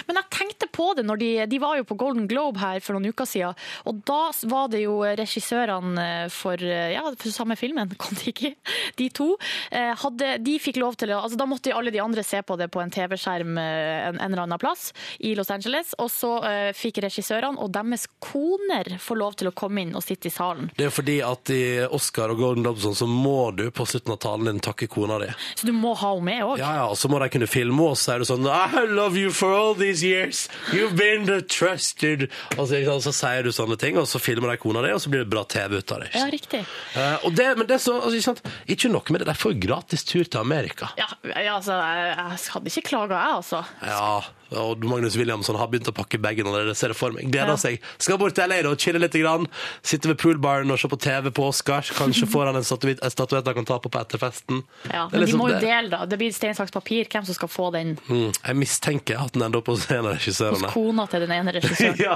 Speaker 5: Men jeg tenkte på det når de, de var jo på Golden Globe her for noen uker siden, og da var det jo regissørene eh, for, ja, for samme filmen, kom de ikke? De to. eh, Hadde, de fikk lov til å, altså da måtte jo alle de andre se på det på en TV-skjerm eh, en, en eller annen plass i Los Angeles, og så eh, fikk regissørene og deres koner få lov til å komme inn og sitte i salen.
Speaker 2: Det er jo fordi at i Oscar og Golden Globe og sånn, så må du på slutten av talen din takke kona di.
Speaker 5: Så du må ha henne med òg.
Speaker 2: Ja, ja, og så må de kunne filme oss, så er det sånn I love you for all these years, you've been the trusted Og så, ikke sant, så sier du sånne ting, og så filmer de kona di, og så blir det bra TV ut av det. ikke
Speaker 5: Ja,
Speaker 2: sant?
Speaker 5: riktig.
Speaker 2: Eh, og det, men det er så, altså, ikke, sant? ikke nok med det, de får jo gratis tur til Amerika.
Speaker 5: Ja, ja, altså, jeg, jeg hadde ikke klaga, jeg, altså.
Speaker 2: Ja, og Magnus Williamson har begynt å pakke bagen allerede, ser det for meg. Gleder seg. Skal bort til LA da, chille litt, grann. sitte ved poolbaren og se på TV på Oscars. Kanskje får han en statuett en statuett han kan ta på på etterfesten. Det er
Speaker 5: Ja, men de
Speaker 2: liksom
Speaker 5: må jo
Speaker 2: det.
Speaker 5: dele, da. Det blir stein, saks, papir hvem som skal få den
Speaker 2: Mm, jeg mistenker at den ender opp hos en av
Speaker 5: Hos
Speaker 2: regissørene.
Speaker 5: kona til den ene
Speaker 2: Sånn,
Speaker 5: regissøren.
Speaker 2: Ja,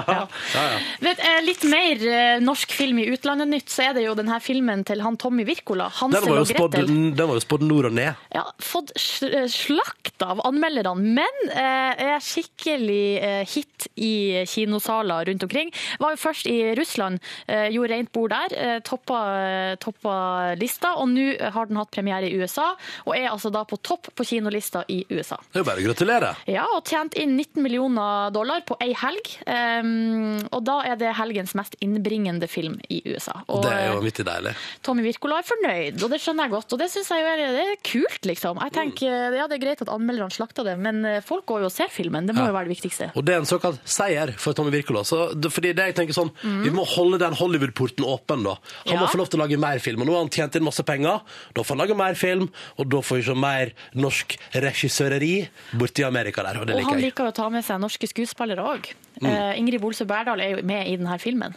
Speaker 2: ja, ja.
Speaker 5: Vet, eh, litt mer eh, norsk film i utlandet nytt, så er det jo denne filmen til han Tommy Wirkola,
Speaker 2: Den var,
Speaker 5: Hansel
Speaker 2: jo
Speaker 5: og
Speaker 2: spådd,
Speaker 5: Gretel.
Speaker 2: den var jo spådd nord og ned.
Speaker 5: Ja, fått sl- eh, slakt av anmelderne, men eh, er skikkelig eh, hit i kinosaler rundt omkring. Var jo først i Russland, eh, gjorde rent bord der, eh, toppa, eh, toppa lista, og nå har den hatt premiere i USA, og er altså da på topp på kinolista i USA.
Speaker 2: Det er jo bare å gratulere.
Speaker 5: Ja, og tjent inn 19 millioner dollar på ei helg. Ehm, og da er det helgens mest innbringende film i USA. Og
Speaker 2: Det er jo
Speaker 5: eh,
Speaker 2: vanvittig deilig.
Speaker 5: Tommy Wirkola er fornøyd, og det skjønner jeg godt. Og det syns jeg jo er, det er kult, liksom. Jeg tenker,
Speaker 2: Mm.
Speaker 5: ja, Det er greit at anmelderne slakta det, men eh, folk går jo og ser filmen. Det må jo være det viktigste.
Speaker 2: Og det er en såkalt seier for Tommy Wirkola. Så det- Fordi det jeg tenker sånn, Vi må holde den Hollywood-porten åpen. da. Han må
Speaker 5: Mm. Ja.
Speaker 2: få lov til å lage mer film. og Nå har han tjent inn masse penger. Da får han lage mer film, og da får vi se mer norsk regissøreri borti Amerika der. Og det
Speaker 5: Og han
Speaker 2: liker jeg. Mm.
Speaker 5: liker jo å ta med seg norske skuespillere òg. Ingrid Bolsø Berdal er jo med i denne filmen.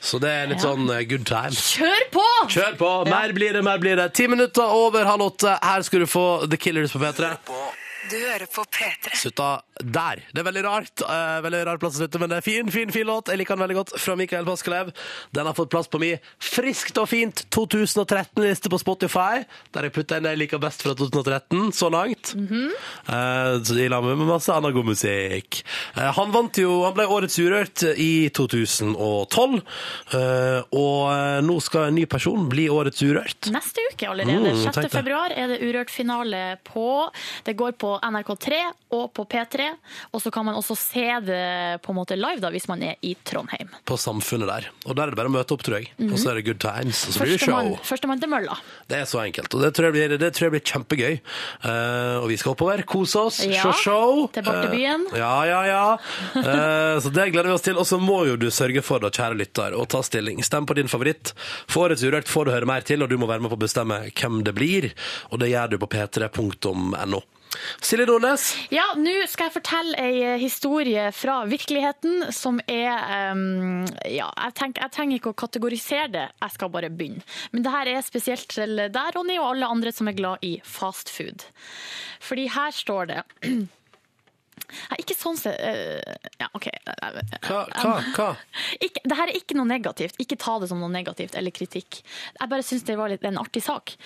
Speaker 2: Så det er litt
Speaker 5: Ja.
Speaker 2: sånn eh, good time.
Speaker 5: Kjør på!
Speaker 2: Kjør på! Mer blir det, mer blir det. Ti minutter over halv åtte. Her skal du få The Killers på P3.
Speaker 1: Du hører på P3.
Speaker 2: slutta der. Det er veldig rart. eh, veldig rar plass å slutte, men det er fin, fin, fin låt. Jeg liker den veldig godt. Fra Mikael Paskelev. Den har fått plass på mi friskt og fint 2013-liste på Spotify, der jeg putter inn det jeg liker best fra 2013 så langt. Eh, så I lag med masse annen god musikk. Eh, han vant jo Han ble Årets Urørt i 2012, eh, og eh, nå skal en ny person bli Årets Urørt.
Speaker 5: Neste uke allerede,
Speaker 2: Mm, tenk
Speaker 5: 6.
Speaker 2: det.
Speaker 5: februar, er det Urørt-finale på Det går på NRK3 og på P3, det. Og så kan man også se det på en måte live da, hvis man er i Trondheim.
Speaker 2: På Samfunnet der. Og der er det bare å møte opp, tror jeg. Og så er det good times, og så blir det show.
Speaker 5: Førstemann førstemann til mølla.
Speaker 2: Det er så enkelt. Og det tror jeg blir, det tror jeg blir kjempegøy. Eh, og vi skal oppover, kose oss,
Speaker 5: Ja,
Speaker 2: se show.
Speaker 5: tilbake til
Speaker 2: Eh,
Speaker 5: byen.
Speaker 2: ja, ja, ja. Eh, så det gleder vi oss til. Og så må jo du sørge for, da, kjære lytter, å ta stilling. Stem på din favoritt. For et urørt får du høre mer til, og du må være med på å bestemme hvem det blir. Og det gjør du på p3.no. Silje Nordnes,
Speaker 5: Ja, nå skal jeg fortelle ei eh, historie fra virkeligheten som er ehm, Ja, jeg, tenk, jeg trenger ikke å kategorisere det, jeg skal bare begynne. Men det her er spesielt til deg, Ronny, og alle andre som er glad i fast food. Fordi her står det Nei, ikke sånn se... eh, Ja, OK.
Speaker 2: hva, hva, hva?
Speaker 5: Ikke, det her er ikke noe negativt. Ikke ta det som noe negativt eller kritikk. Jeg bare syns det var litt en artig sak.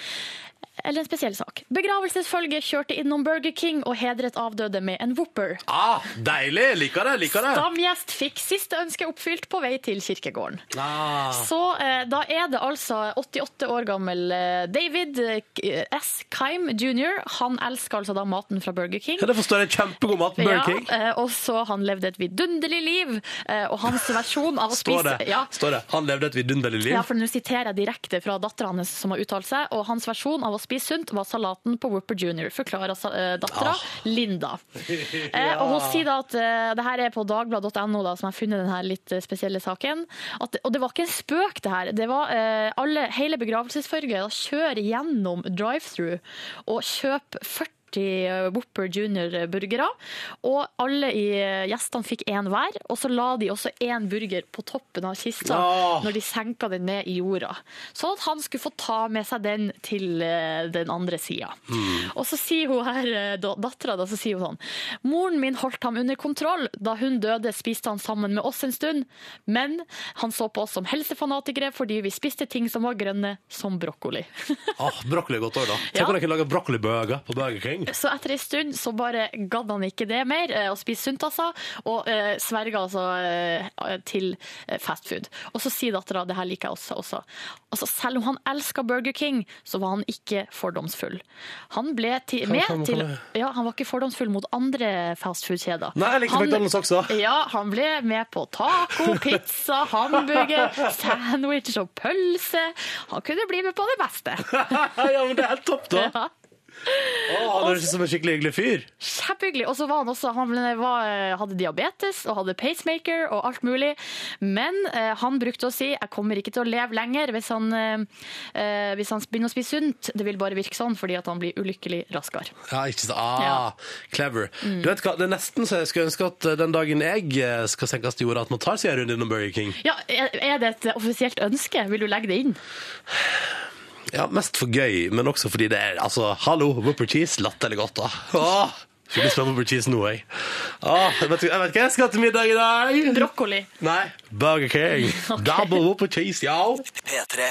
Speaker 5: Eller en spesiell sak. Begravelsesfølget kjørte innom Burger King og hedret avdøde med en Whopper.
Speaker 2: Ah, deilig! Liker det, liker det.
Speaker 5: Stamgjest fikk siste ønske oppfylt på vei til kirkegården.
Speaker 2: Ah.
Speaker 5: Så eh, da er det altså 88 år gammel eh, David eh, S. Keim jr. Han elsker altså da maten fra Burger King.
Speaker 2: Ja, det forstår jeg. Kjempegod mat på Burger King.
Speaker 5: Ja, eh, og så han levde et vidunderlig liv, eh, og hans versjon av å
Speaker 2: Står
Speaker 5: spise
Speaker 2: det.
Speaker 5: Ja.
Speaker 2: Står det. Han levde et vidunderlig liv.
Speaker 5: Ja, for nå siterer jeg direkte fra datteren hans som har uttalt seg, og hans versjon av å spise sunt var salaten på Whopper Junior, forklarer dattera Linda. Eh, og hun sier da at eh, det her er på dagblad.no da, som har funnet denne litt eh, spesielle saken. At, og det var ikke en spøk det her. Det var eh, alle, hele begravelsesfølget da kjører gjennom drive-thru og kjøper 40 eh, Whopper Junior-burgere. Og alle i eh, gjestene fikk én hver, og så la de også én burger på toppen av kista
Speaker 2: Åh.
Speaker 5: når de senka den ned i jorda. Sånn at han skulle få ta med seg den til eh, den andre sida. Og så sier hun her, eh, da- dattera, da, så sier hun sånn Moren min holdt ham under kontroll. Da hun døde, spiste han sammen med oss en stund. Men han så på oss som helsefanatikere fordi vi spiste ting som var grønne, som brokkoli.
Speaker 2: Ah, brokkoli er godt òg, da. Tenk
Speaker 5: Ja.
Speaker 2: om dere lager brokkoliburger på Burger King.
Speaker 5: Så etter en stund så bare gadd han ikke det mer, eh, og spiste sunt altså, og eh, sverga altså eh, til eh, fast food. Og så sier dattera, det her liker jeg også, også. Altså, selv om han elska Burger King, så var han ikke fordomsfull. Han ble ti
Speaker 2: Hva- hva- hva-
Speaker 5: med til
Speaker 2: hva-
Speaker 5: Ja, han var ikke fordomsfull mot andre fast food-kjeder.
Speaker 2: Nei, jeg likte
Speaker 5: Han-
Speaker 2: McDonald's også.
Speaker 5: Ja, han ble med på taco, pizza, hamburger, sandwich og pølse. Han kunne bli med på det beste.
Speaker 2: ja, men det er helt topp, da!
Speaker 5: Ja.
Speaker 2: Å, han høres ut er som en skikkelig hyggelig fyr.
Speaker 5: Kjempehyggelig. Og så var han også Han var, eh, hadde diabetes og hadde pacemaker og alt mulig. Men eh, han brukte å si 'jeg kommer ikke til å leve lenger hvis han, eh, eh, hvis han begynner å spise sunt'. Det vil bare virke sånn fordi at han blir ulykkelig raskere.
Speaker 2: Ja, Mm. ikke så, ah,
Speaker 5: Ja.
Speaker 2: Clever. Du vet hva, Det er nesten så jeg skulle ønske at eh, den dagen jeg eh, skal senkes til jorda, at man tar seg en runde innom Burger King.
Speaker 5: Ja, er er det et offisielt ønske? Vil du legge det inn?
Speaker 2: Ja, Mest for gøy, men også fordi det er altså, Hallo, Whopper cheese, latterlig godt, da. Åh, Skulle lyst på Whopper cheese nå, jeg. Åh, jeg, vet, jeg vet ikke hva jeg skal til middag i dag.
Speaker 5: Brokkoli.
Speaker 2: Nei, Burger King. Double Whopper cheese, ja.
Speaker 7: P3.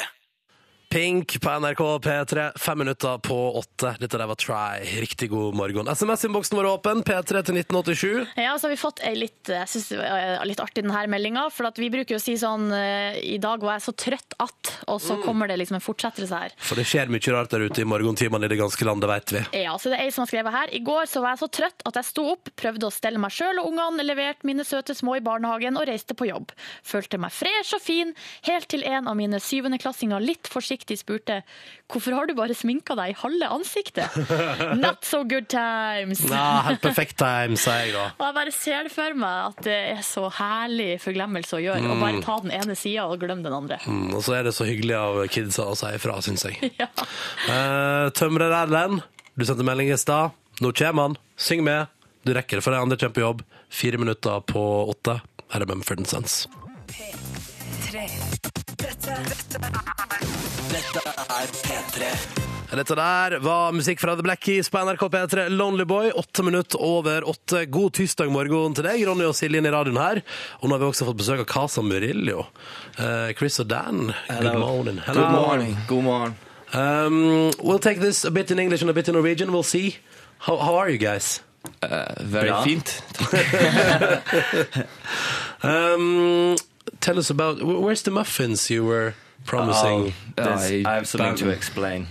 Speaker 2: Pink på NRK P3, fem minutter på åtte. Dette der var Try. Riktig god morgen. SMS-innboksen vår er åpen. P3 til 1987.
Speaker 5: Ja, så har vi fått ei litt, jeg synes det var eh, litt artig denne meldinga. For at vi bruker jo å si sånn eh, I dag var jeg så trøtt at Og så kommer det liksom en fortsettelse her.
Speaker 2: For det skjer mye rart der ute i morgentimene i det ganske land, det vet vi.
Speaker 5: Ja, så det er ei som har skrevet her. I går så var jeg så trøtt at jeg sto opp, prøvde å stelle meg sjøl og ungene, leverte mine søte små i barnehagen og reiste på jobb. Følte meg fresh og fin, helt til en av mine syvendeklassinger litt forsiktig spurte hvorfor har du bare sminka deg i halve ansiktet? Not so good times!
Speaker 2: Ja, helt perfekt time, sier jeg da.
Speaker 5: Og jeg bare ser det for meg at det er så herlig forglemmelse å gjøre. Å bare ta den ene sida og glemme den andre.
Speaker 2: Mm, og så er det så hyggelig av kidsa å si ifra, syns jeg.
Speaker 5: Ja.
Speaker 2: Eh, Tømrer Erlend, du sendte melding i stad. Nå kommer han. Syng med. Du rekker det, for de andre kommer på jobb. Fire minutter på åtte. Her er Mumford Sons. Dette der var musikk fra The Black Keys på NRK P3. Lonely Boy, åtte minutter over åtte. God tirsdag morgen til deg, Ronny og Silje i radioen her. Og nå har vi også fått besøk av Casa Murillo. Eh, Chris og Dan, good morning. Hello.
Speaker 3: God morgen. God morgen.
Speaker 2: Um, we'll take this a bit in English and a bit in Norwegian. We'll see. How, how are you guys?
Speaker 3: Uh, Very fint.
Speaker 2: Um, tell us about wh- where's the muffins you were promising?
Speaker 6: er
Speaker 3: Oh, I
Speaker 6: I have something to
Speaker 3: banned-
Speaker 6: explain.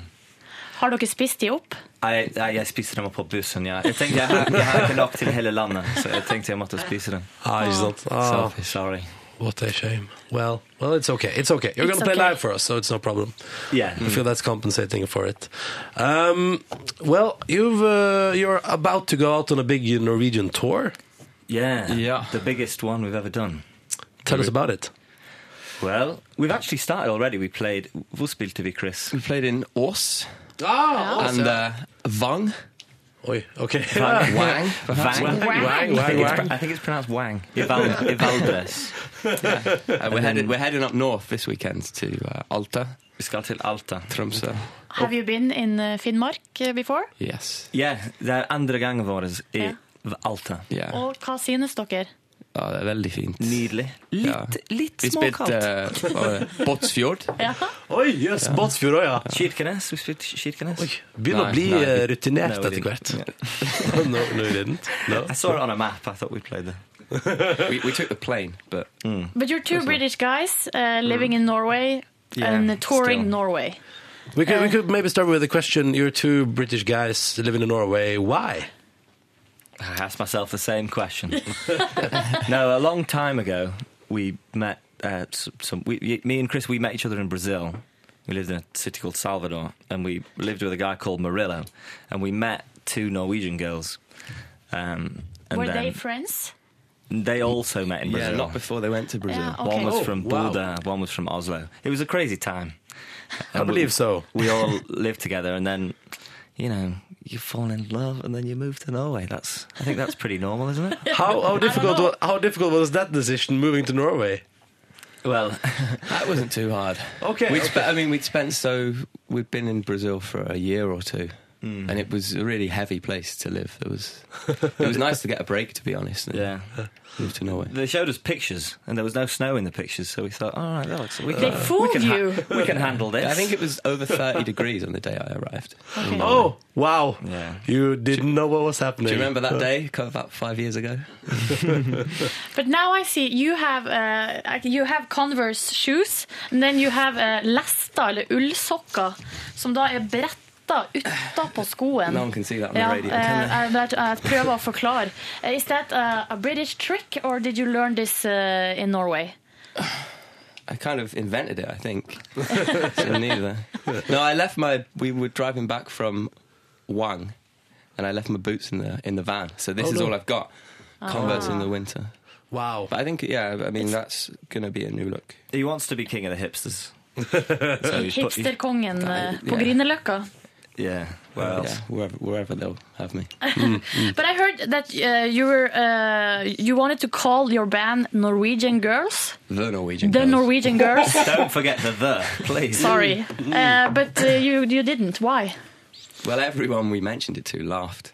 Speaker 4: Har dere spist de opp?
Speaker 6: Jeg, jeg, jeg spiser dem opp på bussen. Ja. Jeg tenkte jeg, har- jeg har ikke lagt til hele landet, så jeg tenkte jeg måtte spise dem.
Speaker 2: Ah, ikke sant?
Speaker 3: Oh.
Speaker 6: Så,
Speaker 2: Ah,
Speaker 6: sorry.
Speaker 2: what a shame. Well, well, it's okay. It's okay. You're
Speaker 4: It's
Speaker 2: gonna play
Speaker 4: okay.
Speaker 2: live for us, so it's no problem.
Speaker 6: Yeah.
Speaker 2: I feel that's compensating for it. Um, well, you've uh, you're about to go out on a big Norwegian tour.
Speaker 6: Yeah.
Speaker 8: Yeah.
Speaker 6: The biggest one we've ever done.
Speaker 2: Tell us about it.
Speaker 6: Well, we've actually started already. We played. Hvor spilte vi, Chris?
Speaker 8: We played in Ås
Speaker 6: Oh,
Speaker 2: Ah,
Speaker 8: and uh, Vang.
Speaker 2: Oi, okay.
Speaker 8: Wang.
Speaker 6: Wang.
Speaker 2: Wang,
Speaker 6: I
Speaker 2: wang,
Speaker 6: think, it's,
Speaker 2: wang.
Speaker 6: pro- I think it's pronounced Wang. Eval- Evaldres.
Speaker 8: Uh, we're, headed, we're heading up north this weekend to uh, Alta,
Speaker 6: Vi skal til Alta.
Speaker 8: Tromsø.
Speaker 4: Have you been in eh, Finnmark eh, before?
Speaker 8: Yes.
Speaker 6: Yeah, det er andre gangen vår i
Speaker 4: Ja.
Speaker 6: Alta.
Speaker 8: Yeah.
Speaker 4: Og hva synes dere?
Speaker 8: Ja, det er veldig fint.
Speaker 6: Nydelig. Oh. Litt,
Speaker 8: Ja.
Speaker 6: litt
Speaker 8: Vi
Speaker 6: småkaldt.
Speaker 8: spilte uh, Båtsfjord.
Speaker 2: Oi, jøss, yes, Båtsfjord òg, ja.
Speaker 6: Kirkenes. Vi spilte Kirkenes.
Speaker 2: Begynner å
Speaker 8: Nei,
Speaker 2: bli
Speaker 8: nei.
Speaker 2: eh, rutinert
Speaker 6: No, we
Speaker 2: etter hvert.
Speaker 6: didn't.
Speaker 2: no, no, you didn't. No.
Speaker 6: I saw it on a map. I thought we played it.
Speaker 8: We, we took the plane, but
Speaker 6: Hmm.
Speaker 4: But you're two British guys eh, living in Norway
Speaker 6: Mm-hmm. Yeah,
Speaker 4: and touring
Speaker 6: still.
Speaker 4: Norway.
Speaker 2: We could, we could maybe start with a question. You're two British guys living in Norway. Why?
Speaker 6: I asked myself the same question. no, a long time ago, we met. Uh, s- some, we, me and Chris, we met each other in Brazil. We lived in a city called Salvador, and we lived with a guy called Murillo, and we met two Norwegian girls. Um, and
Speaker 4: Were
Speaker 6: then
Speaker 4: they friends?
Speaker 6: they also met in
Speaker 8: yeah,
Speaker 6: Brazil.
Speaker 8: not before they went to Brazil.
Speaker 4: Yeah,
Speaker 6: One
Speaker 4: Uh, Okay.
Speaker 6: was
Speaker 2: Oh,
Speaker 6: from
Speaker 2: wow.
Speaker 6: Buda, one was from Oslo. It was a crazy time.
Speaker 2: I
Speaker 6: And we-
Speaker 2: believe so.
Speaker 6: We all lived together, and then you know you fall in love, and then you move to Norway. That's I think that's pretty normal, isn't it?
Speaker 2: How, how difficult? Was, how difficult was that decision moving to Norway?
Speaker 6: Well,
Speaker 8: That wasn't too hard.
Speaker 2: Okay,
Speaker 8: We'd
Speaker 2: okay.
Speaker 8: Spe- I mean, we'd spent so we'd been in Brazil for a year or two,
Speaker 6: Hmm.
Speaker 8: and it was a really heavy place to live. It was it was nice to get a break, to be honest. And
Speaker 6: yeah.
Speaker 8: move to Norway.
Speaker 6: They showed us pictures, and there was no snow in the pictures, so we thought, all right, that looks. We
Speaker 4: They
Speaker 6: can,
Speaker 3: Uh,
Speaker 6: we
Speaker 4: fooled
Speaker 6: can,
Speaker 4: you.
Speaker 6: ha- we can handle this.
Speaker 8: I think it was over thirty degrees on the day I arrived.
Speaker 4: Okay.
Speaker 2: Oh, wow.
Speaker 6: Yeah.
Speaker 2: You didn't know what was happening.
Speaker 8: Do you remember that day? Kind of About five years ago.
Speaker 4: But now I see you have uh, like, you have Converse shoes, and then you have uh, lester eller ullsokker, som da er bretta utapå skoen.
Speaker 8: No one can see that on
Speaker 4: Ja,
Speaker 8: the
Speaker 4: eh,
Speaker 8: radio.
Speaker 4: jeg, vet- jeg prøver å forklare. Eh, Is that a, a British trick, or did you learn this uh, in Norway?
Speaker 8: I kind of invented it, I think. so neither. No, I left my. We were driving back from Wang, and I left my boots in the in the van. So this
Speaker 2: Oh,
Speaker 8: is
Speaker 2: no.
Speaker 8: all I've got. Converse in the winter.
Speaker 2: Wow.
Speaker 8: But I think, yeah, I mean, that's going to be a new look.
Speaker 6: he wants to be king of the hipsters. so he's put- he-
Speaker 4: Hipsterkongen eh, på
Speaker 8: yeah.
Speaker 4: Grünerløkka.
Speaker 6: yeah. Where
Speaker 8: Well,
Speaker 6: else?
Speaker 8: yeah, wherever, wherever they'll have me.
Speaker 4: But I heard that uh, you were uh, you wanted to call your band Norwegian Girls,
Speaker 8: The Norwegian.
Speaker 4: the
Speaker 8: girls.
Speaker 4: Norwegian Girls.
Speaker 6: Don't forget the the, please.
Speaker 4: Sorry, uh, but uh, you you didn't. Why?
Speaker 8: Well, everyone we mentioned it to laughed.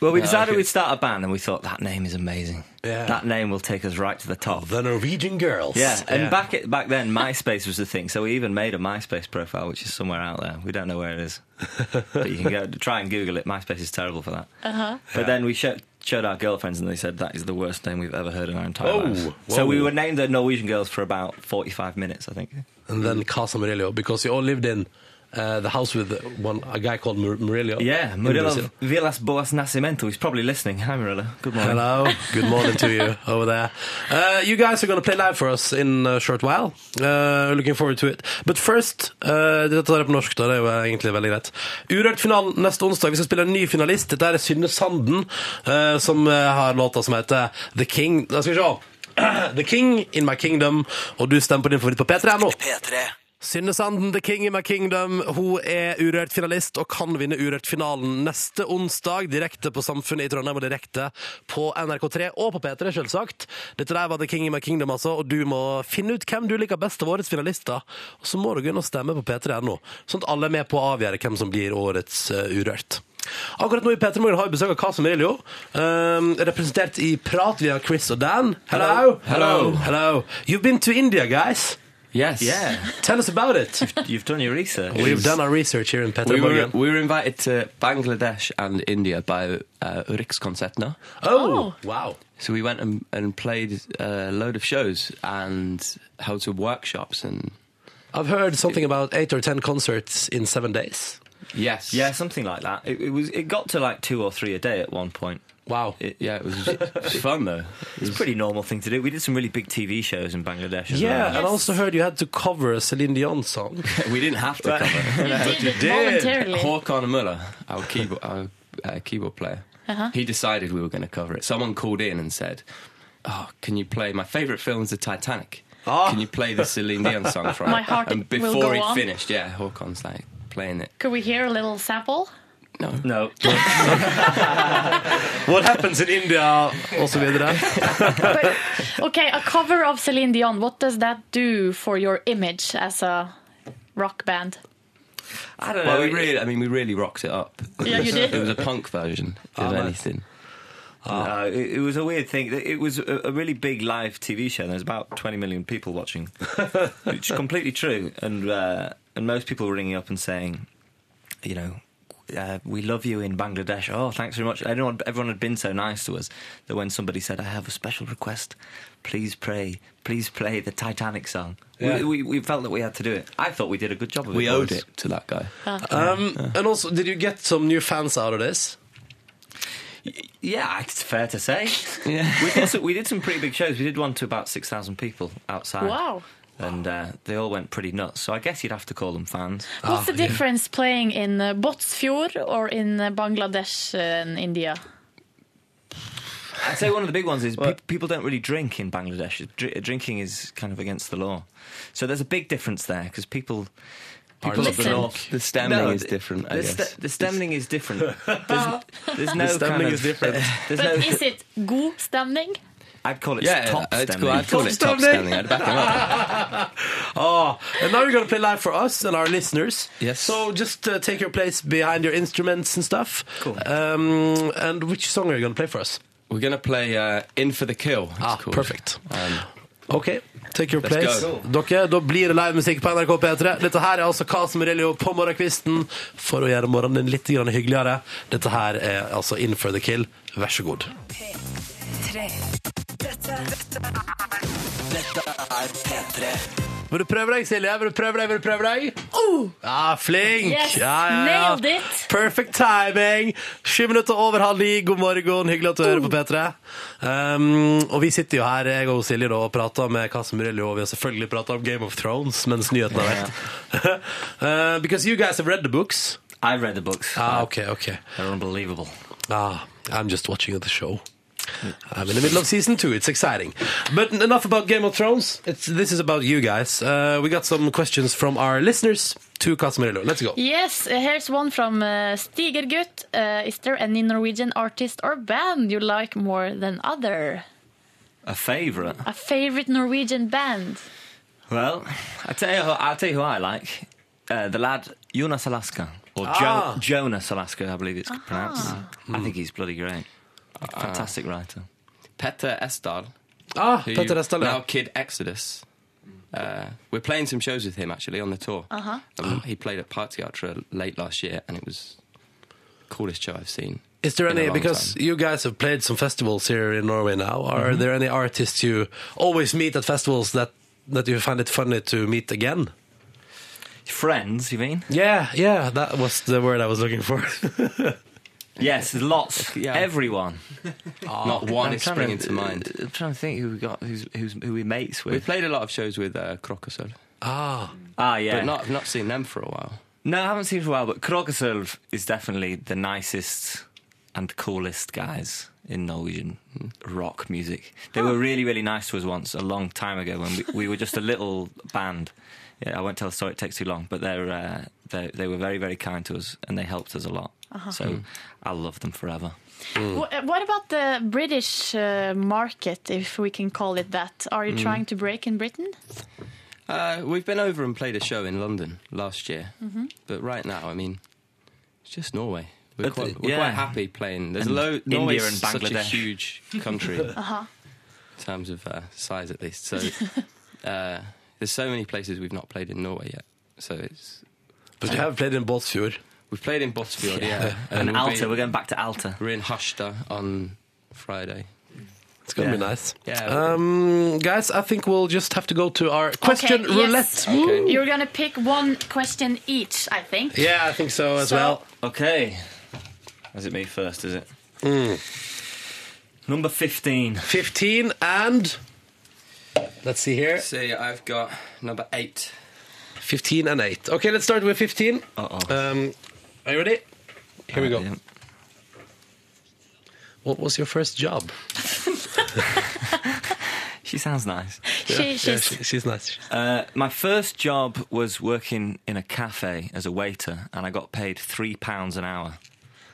Speaker 6: Well, we decided
Speaker 8: okay.
Speaker 6: we'd start a band, and we thought that name is amazing.
Speaker 2: Yeah.
Speaker 6: That name will take us right to the top.
Speaker 2: The Norwegian girls.
Speaker 6: Yeah, and back it, back then, MySpace was the thing. So we even made a MySpace profile, which is somewhere out there. We don't know where it is, but you can go try and Google it. MySpace is terrible for that. But then we showed, showed our girlfriends, and they said that is the worst name we've ever heard in our entire
Speaker 2: Oh,
Speaker 6: lives.
Speaker 2: whoa.
Speaker 6: So we were named the Norwegian girls for about forty-five minutes, I think.
Speaker 2: And then Casa Murillo, because you all lived in uh, the house with one a guy called Mur- Murillo.
Speaker 6: Yeah,
Speaker 2: in
Speaker 6: Murillo
Speaker 2: Brazil.
Speaker 6: Vilas Boas Nascimento. He's probably listening. Hi, Murillo. Good morning.
Speaker 2: Hello. Good morning to you over there. Uh, you guys are going to play live for us in a short while. Uh, looking forward to it. But first uh, Dette er på norsk, da. Det er jo egentlig veldig greit. Urørt-finalen neste onsdag. Vi skal spille en ny finalist. Dette er Synne Sanden, uh, som uh, har låta som heter The King. Da skal vi se. The King in my kingdom. Og du stemmer på din favoritt på P3 nå. Synne Sanden, The King in My Kingdom. Hun er urørt finalist og kan vinne Urørt-finalen neste onsdag direkte på Samfunnet i Trondheim og direkte på NRK3 og på P3, selvsagt. Dette der var The King in My Kingdom, altså, og du må finne ut hvem du liker best av årets finalister. Og så må du gå inn og stemme på p3.no, sånn at alle er med på å avgjøre hvem som blir årets eh, Urørt. Akkurat nå i P3 Morgen har vi besøk av Kasim Riljo, um, representert i prat via Chris og Dan. Hello.
Speaker 8: Hello.
Speaker 2: Hello. You've been to India, guys.
Speaker 8: Yes.
Speaker 6: Yeah,
Speaker 2: Tell us about it.
Speaker 6: you've done your research.
Speaker 2: We've done our research here in Petter
Speaker 8: We were,
Speaker 2: Morgan.
Speaker 8: we were invited to Bangladesh and India by uh, Rikskonsertna.
Speaker 2: Oh, wow.
Speaker 8: So we went and, and played a load of shows and held some workshops and
Speaker 2: I've heard something about eight or ten concerts in seven days.
Speaker 8: Yes.
Speaker 6: Yeah, something like that. It, it was. It got to like two or three a day at one point.
Speaker 2: Wow.
Speaker 6: It,
Speaker 8: Yeah, it was, it was fun though.
Speaker 6: it's a pretty normal thing to do. We did some really big TV shows in Bangladesh. as
Speaker 2: Yeah,
Speaker 6: well.
Speaker 2: and I also heard you had to cover a Celine Dion song.
Speaker 8: We didn't have to cover.
Speaker 5: You did it
Speaker 8: Did
Speaker 5: voluntarily.
Speaker 8: Håkan Muller, our keyboard, our, uh, keyboard player,
Speaker 5: Uh-huh.
Speaker 8: he decided we were going to cover it. Someone called in and said, "Oh, can you play my favourite film is The Titanic? Can you play the Celine Dion song from
Speaker 5: My
Speaker 8: it?"
Speaker 5: heart
Speaker 8: And
Speaker 5: will
Speaker 8: before
Speaker 5: go
Speaker 8: he
Speaker 5: on.
Speaker 8: finished, yeah, Håkan's like playing it.
Speaker 5: Could we hear a little sample?
Speaker 8: No,
Speaker 6: No,
Speaker 2: What happens in India? Og så videre.
Speaker 5: But, okay, a cover of Celine Dion. What does that do for your image as a rock band?
Speaker 6: I don't know.
Speaker 8: well, we really, I mean, we really rocked it up.
Speaker 5: Yeah, you
Speaker 8: It
Speaker 5: did.
Speaker 8: was a punk version of
Speaker 2: nice.
Speaker 8: anything.
Speaker 6: No, it, it was a weird thing. It was a, a really big live TV show. and There was about 20 million people watching, which is completely true. And uh, and most people were ringing up and saying, you know, uh, we love you in Bangladesh. Oh, thanks very much. Everyone, everyone had been so nice to us that when somebody said, I have a special request, please pray, please play the Titanic song.
Speaker 2: Yeah.
Speaker 6: We, we, we felt that we had to do it. I thought we did a good job of it.
Speaker 8: We owed
Speaker 6: boys.
Speaker 8: it to that guy.
Speaker 2: Um, and also, did you get some new fans out of this?
Speaker 6: Yeah, it's fair to say.
Speaker 8: Yeah.
Speaker 6: we, did some, we did some pretty big shows. We did one to about 6,000 people outside.
Speaker 5: Wow.
Speaker 6: And uh, they all went pretty nuts. So I guess you'd have to call them fans.
Speaker 5: What's the difference playing in uh, Botsfjord or in uh, Bangladesh and India?
Speaker 6: I'd say one of the big ones is pe- people don't really drink in Bangladesh. Dr- drinking is kind of against the law. So there's a big difference there because people. People of the
Speaker 5: Listen.
Speaker 6: north.
Speaker 8: The stemming
Speaker 6: No,
Speaker 8: is
Speaker 6: the-
Speaker 8: different, I
Speaker 6: the,
Speaker 8: guess.
Speaker 6: ste- the stemming is different. There's, there's no
Speaker 2: The stemming
Speaker 6: kind of,
Speaker 2: is different.
Speaker 6: There's
Speaker 5: But
Speaker 6: no,
Speaker 5: is it god stemning?
Speaker 6: I'd call it
Speaker 8: Yeah,
Speaker 6: top
Speaker 8: I'd
Speaker 6: stemming.
Speaker 8: call, I'd call it
Speaker 2: Top
Speaker 8: top
Speaker 2: stemming.
Speaker 8: standing. I'd back him up.
Speaker 2: Oh, and now you're going to play live for us and our listeners.
Speaker 8: Yes.
Speaker 2: So just uh, take your place behind your instruments and stuff.
Speaker 6: Cool.
Speaker 2: Um, and which song are you going to play for us?
Speaker 8: We're going to play uh, In for the Kill. it's
Speaker 2: Ah,
Speaker 8: called.
Speaker 2: perfekt.
Speaker 8: Um,
Speaker 2: OK. Take your
Speaker 8: Let's
Speaker 2: place.
Speaker 8: go.
Speaker 2: Dere, da blir det live musikk på NRK P3. Dette her er altså Cas Morello på morgenkvisten for å gjøre morgenen din litt grann hyggeligere. Dette her er altså In for the kill. Vær så god. Vil du prøve deg, Silje? Vil du prøve deg? Vil du prøve deg? Ja, flink!
Speaker 5: Oh! Yes,
Speaker 2: Ja, ja, ja.
Speaker 5: nailed it.
Speaker 2: Perfect timing! Sju minutter over halv ni. God morgen, hyggelig at du hører på P3. Um, og vi sitter jo her, jeg og Silje, da, og prater med Kasim Murillo, og vi har selvfølgelig pratet om Game of Thrones mens nyhetene har vært. uh, because you guys have read the books.
Speaker 6: I read the books.
Speaker 2: Ah, ok, ok.
Speaker 6: They're unbelievable.
Speaker 2: Ah, I'm just watching the show. I'm in the middle of season two. It's exciting. But enough about Game of Thrones. It's, this is about you guys. Uh, we got some questions from our listeners to Casimirillo. Let's go.
Speaker 5: Yes, uh, here's one from uh, Stigergut. Uh, is there any Norwegian artist or band you like more than other?
Speaker 6: A favourite.
Speaker 5: A favorite Norwegian band?
Speaker 6: Well, I tell you, who, I'll tell you who I like. Uh, the lad Jonas Alaska or jo-
Speaker 2: Ah.
Speaker 6: Jonas Alaska, I believe it's pronounced.
Speaker 8: Hmm.
Speaker 6: I think he's bloody great.
Speaker 8: Uh,
Speaker 6: Fantastic writer.
Speaker 8: Petter Estal.
Speaker 2: Ah,
Speaker 8: who
Speaker 2: Petter Estelle.
Speaker 8: Now Kid Exodus. Uh, we're playing some shows with him actually on the tour. Uh-huh. Um, he played at Party Ultra late last year, and it was the coolest show I've seen.
Speaker 2: Is there
Speaker 8: in a
Speaker 2: any
Speaker 8: long
Speaker 2: because
Speaker 8: time.
Speaker 2: you guys have played some festivals here in Norway now? Are there any artists you always meet at festivals that that you find it funny to meet again?
Speaker 6: Friends, you mean?
Speaker 2: Yeah, yeah, that was the word I was looking for.
Speaker 6: Yes, there's lots.
Speaker 8: Yeah.
Speaker 6: Everyone.
Speaker 8: not one
Speaker 6: I'm
Speaker 8: is
Speaker 6: trying
Speaker 8: springing
Speaker 6: to,
Speaker 8: to uh, mind?
Speaker 6: I'm trying to think who we got, who's, who's, who we mates
Speaker 8: We
Speaker 6: with.
Speaker 8: played a lot of shows with uh, Crocosol,
Speaker 2: ah,
Speaker 6: ah, yeah.
Speaker 8: but not not seen them for a while.
Speaker 6: no, I haven't seen for a while, but Krokoselv is definitely the nicest and coolest guys in Norwegian rock music. They were really, really nice to us once a long time ago when we, we were just a little band. Yeah, I won't tell the story; it takes too long. But they're, uh, they they were very, very kind to us, and they helped us a lot.
Speaker 2: Uh-huh. Hmm.
Speaker 6: So I'll love them forever.
Speaker 5: Wh- uh, What about the British uh, market, if we can call it that? Are
Speaker 2: Hmm.
Speaker 5: you trying to break in Britain?
Speaker 8: Uh, we've been over and played a show in London last year, but right now, I mean, it's just Norway. We're,
Speaker 6: But, uh,
Speaker 8: quite, we're
Speaker 6: yeah.
Speaker 8: quite happy playing. There's
Speaker 6: And
Speaker 8: a lo-
Speaker 6: India
Speaker 8: Norway's
Speaker 6: and
Speaker 8: such a
Speaker 6: Bangladesh. Uh-huh.
Speaker 8: huge country in terms of uh, size, at least. So uh, there's so many places we've not played in Norway yet. So it's
Speaker 2: but you have played in Båtsfjord.
Speaker 8: we've played in Bottsfjord, yeah,
Speaker 6: and
Speaker 8: we'll be-
Speaker 6: Alta. We're going back to Alta.
Speaker 8: we're in Hashta on Friday.
Speaker 2: It's gonna be nice.
Speaker 8: Yeah.
Speaker 2: Um, guys, I think we'll just have to go to our question
Speaker 5: yes.
Speaker 2: roulette.
Speaker 5: You're gonna pick one question each, I think.
Speaker 2: Yeah, I think so as
Speaker 5: So-
Speaker 2: well.
Speaker 6: Okay. Is it me first, is it?
Speaker 2: Hmm.
Speaker 6: Number 15.
Speaker 2: 15 and. Let's see here.
Speaker 8: See, I've got number eight.
Speaker 2: 15 and 8. Okay, let's start with 15.
Speaker 6: Uh-oh.
Speaker 2: Um, are you ready? Here we go.
Speaker 6: Yeah.
Speaker 2: What was your first job?
Speaker 6: She sounds nice.
Speaker 5: She,
Speaker 2: Yeah,
Speaker 5: she's,
Speaker 2: she, she's nice.
Speaker 6: Uh, my first job was working in a cafe as a waiter, and I got paid three pounds an hour.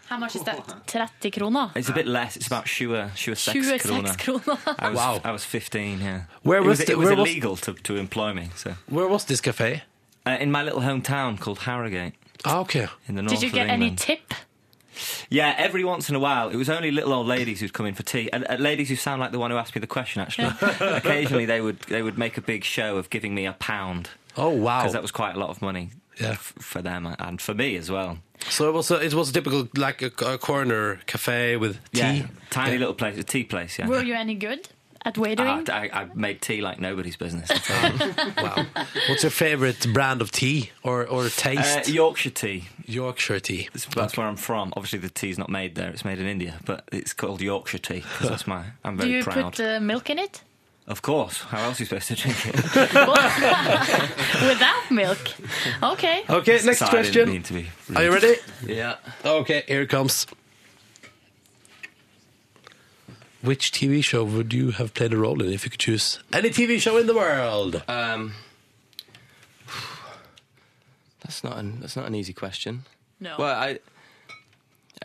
Speaker 5: How much is that? 30 kroner?
Speaker 6: It's a bit less. It's about sure, sure sex
Speaker 5: 26 kroner.
Speaker 6: I was,
Speaker 2: Wow.
Speaker 6: I was 15, yeah.
Speaker 2: Where
Speaker 6: it
Speaker 2: was
Speaker 6: was,
Speaker 2: the-
Speaker 6: it was
Speaker 2: where was-
Speaker 6: illegal to, to employ me, so.
Speaker 2: Where was this cafe?
Speaker 6: Uh, in my little hometown called Harrogate
Speaker 2: Ah, okay.
Speaker 6: in the north
Speaker 5: Did you
Speaker 6: of
Speaker 5: get any
Speaker 6: England.
Speaker 5: tip?
Speaker 6: yeah, every once in a while, it was only little old ladies who'd come in for tea, and uh, ladies who sound like the one who asked me the question. Actually, occasionally they would they would make a big show of giving me a pound
Speaker 2: Oh, wow.
Speaker 6: because that was quite a lot of money
Speaker 2: Yeah.
Speaker 6: f- for them and for me as well.
Speaker 2: so it was a, it was a typical like a, a corner cafe with tea.
Speaker 6: Yeah, tiny little place, a tea place. Yeah,
Speaker 5: Were you any good at
Speaker 6: Ah,
Speaker 5: waitering?
Speaker 6: I, I made tea like nobody's business.
Speaker 2: Wow. What's your favorite brand of tea or, or
Speaker 6: Uh,
Speaker 2: taste?
Speaker 6: Yorkshire tea.
Speaker 2: Yorkshire tea.
Speaker 6: That's, that's where I'm from. Obviously, the tea's not made there; it's made in India, but it's called Yorkshire tea 'cause that's my. I'm
Speaker 5: Do
Speaker 6: very
Speaker 5: you
Speaker 6: proud.
Speaker 5: put uh, milk in it?
Speaker 6: Of course. How else are you supposed to drink it?
Speaker 5: Without milk? Okay.
Speaker 2: Okay, next
Speaker 6: Sorry, I didn't
Speaker 2: question.
Speaker 6: mean to be rude.
Speaker 2: Are you ready?
Speaker 8: Yeah.
Speaker 2: Okay, here it comes. Which TV show would you have played a role in if you could choose any TV show in the world? Uh,
Speaker 8: Um, that's not an, that's not an easy question.
Speaker 5: No.
Speaker 8: Well, I. I-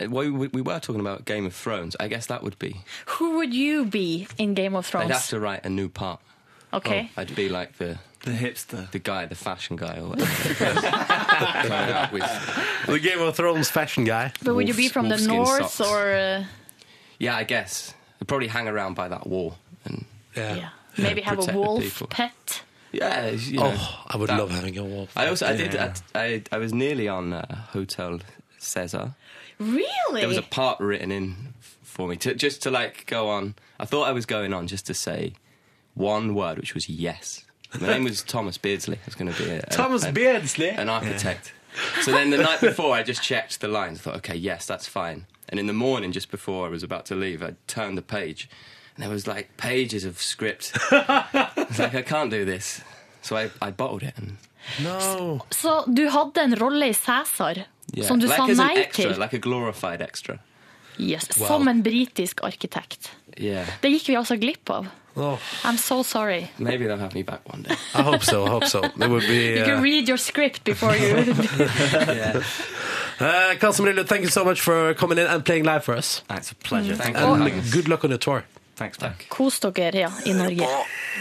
Speaker 8: well, We, we were talking about Game of Thrones. I guess that would be.
Speaker 5: Who would you be in Game of
Speaker 8: I'd have
Speaker 5: Thrones?
Speaker 8: to write a new part. Oh,
Speaker 5: Okay.
Speaker 8: I'd be like the
Speaker 6: The hipster.
Speaker 8: the guy, the fashion guy, or whatever. Going out with-
Speaker 2: The Game of Thrones fashion guy.
Speaker 5: But would you be
Speaker 8: wolf's-
Speaker 5: from the
Speaker 8: wolfskin
Speaker 5: north
Speaker 8: socks.
Speaker 5: or uh,
Speaker 8: yeah, I guess. I'd probably hang around by that wall and
Speaker 2: Yeah.
Speaker 5: yeah. maybe have
Speaker 8: protect
Speaker 5: a
Speaker 8: the
Speaker 5: wolf
Speaker 8: people.
Speaker 5: pet?
Speaker 8: yeah, you know.
Speaker 2: Oh, I would
Speaker 8: that-
Speaker 2: love having a wolf.
Speaker 8: I also I did
Speaker 6: Yeah.
Speaker 8: I, I I was nearly on uh, Hotel Cesar.
Speaker 5: Really?
Speaker 8: There was a part written in f- for me to just to like go on. I thought I was going on just to say one word, which was yes. My name was Thomas Beardsley. I was going to be a,
Speaker 2: Thomas
Speaker 8: a-
Speaker 2: Beardsley.
Speaker 8: an architect. So then the night before, I just checked the lines. I thought, okay, yes, that's fine. And in the morning, just before I was about to leave, I turned the page, and there was like pages of script. I was like, I can't do this. So I, I bottled it. And,
Speaker 2: No.
Speaker 5: Så du hadde en rolle i Cæsar
Speaker 8: yeah.
Speaker 5: som du
Speaker 8: like
Speaker 5: sa
Speaker 8: as an
Speaker 5: nei
Speaker 8: extra,
Speaker 5: til?
Speaker 8: like a glorified extra.
Speaker 5: Yes,
Speaker 2: Wow.
Speaker 5: Som en britisk arkitekt.
Speaker 8: Yeah,
Speaker 5: Det gikk vi altså glipp av.
Speaker 2: Oh,
Speaker 5: I'm so sorry.
Speaker 8: maybe they'll have me back one day.
Speaker 2: I hope so. I hope so. It would be.
Speaker 5: You can
Speaker 2: Uh,
Speaker 5: read your script before you
Speaker 8: yeah.
Speaker 2: uh, Carson Murillo, thank you so much for coming in and playing live for us.
Speaker 6: That's a pleasure.
Speaker 8: Thank
Speaker 6: Thanks,
Speaker 8: you.
Speaker 2: And
Speaker 8: Oh, Thanks.
Speaker 2: good luck on your tour.
Speaker 6: Thanks, Doug.
Speaker 5: Kos dere ja, i Norge.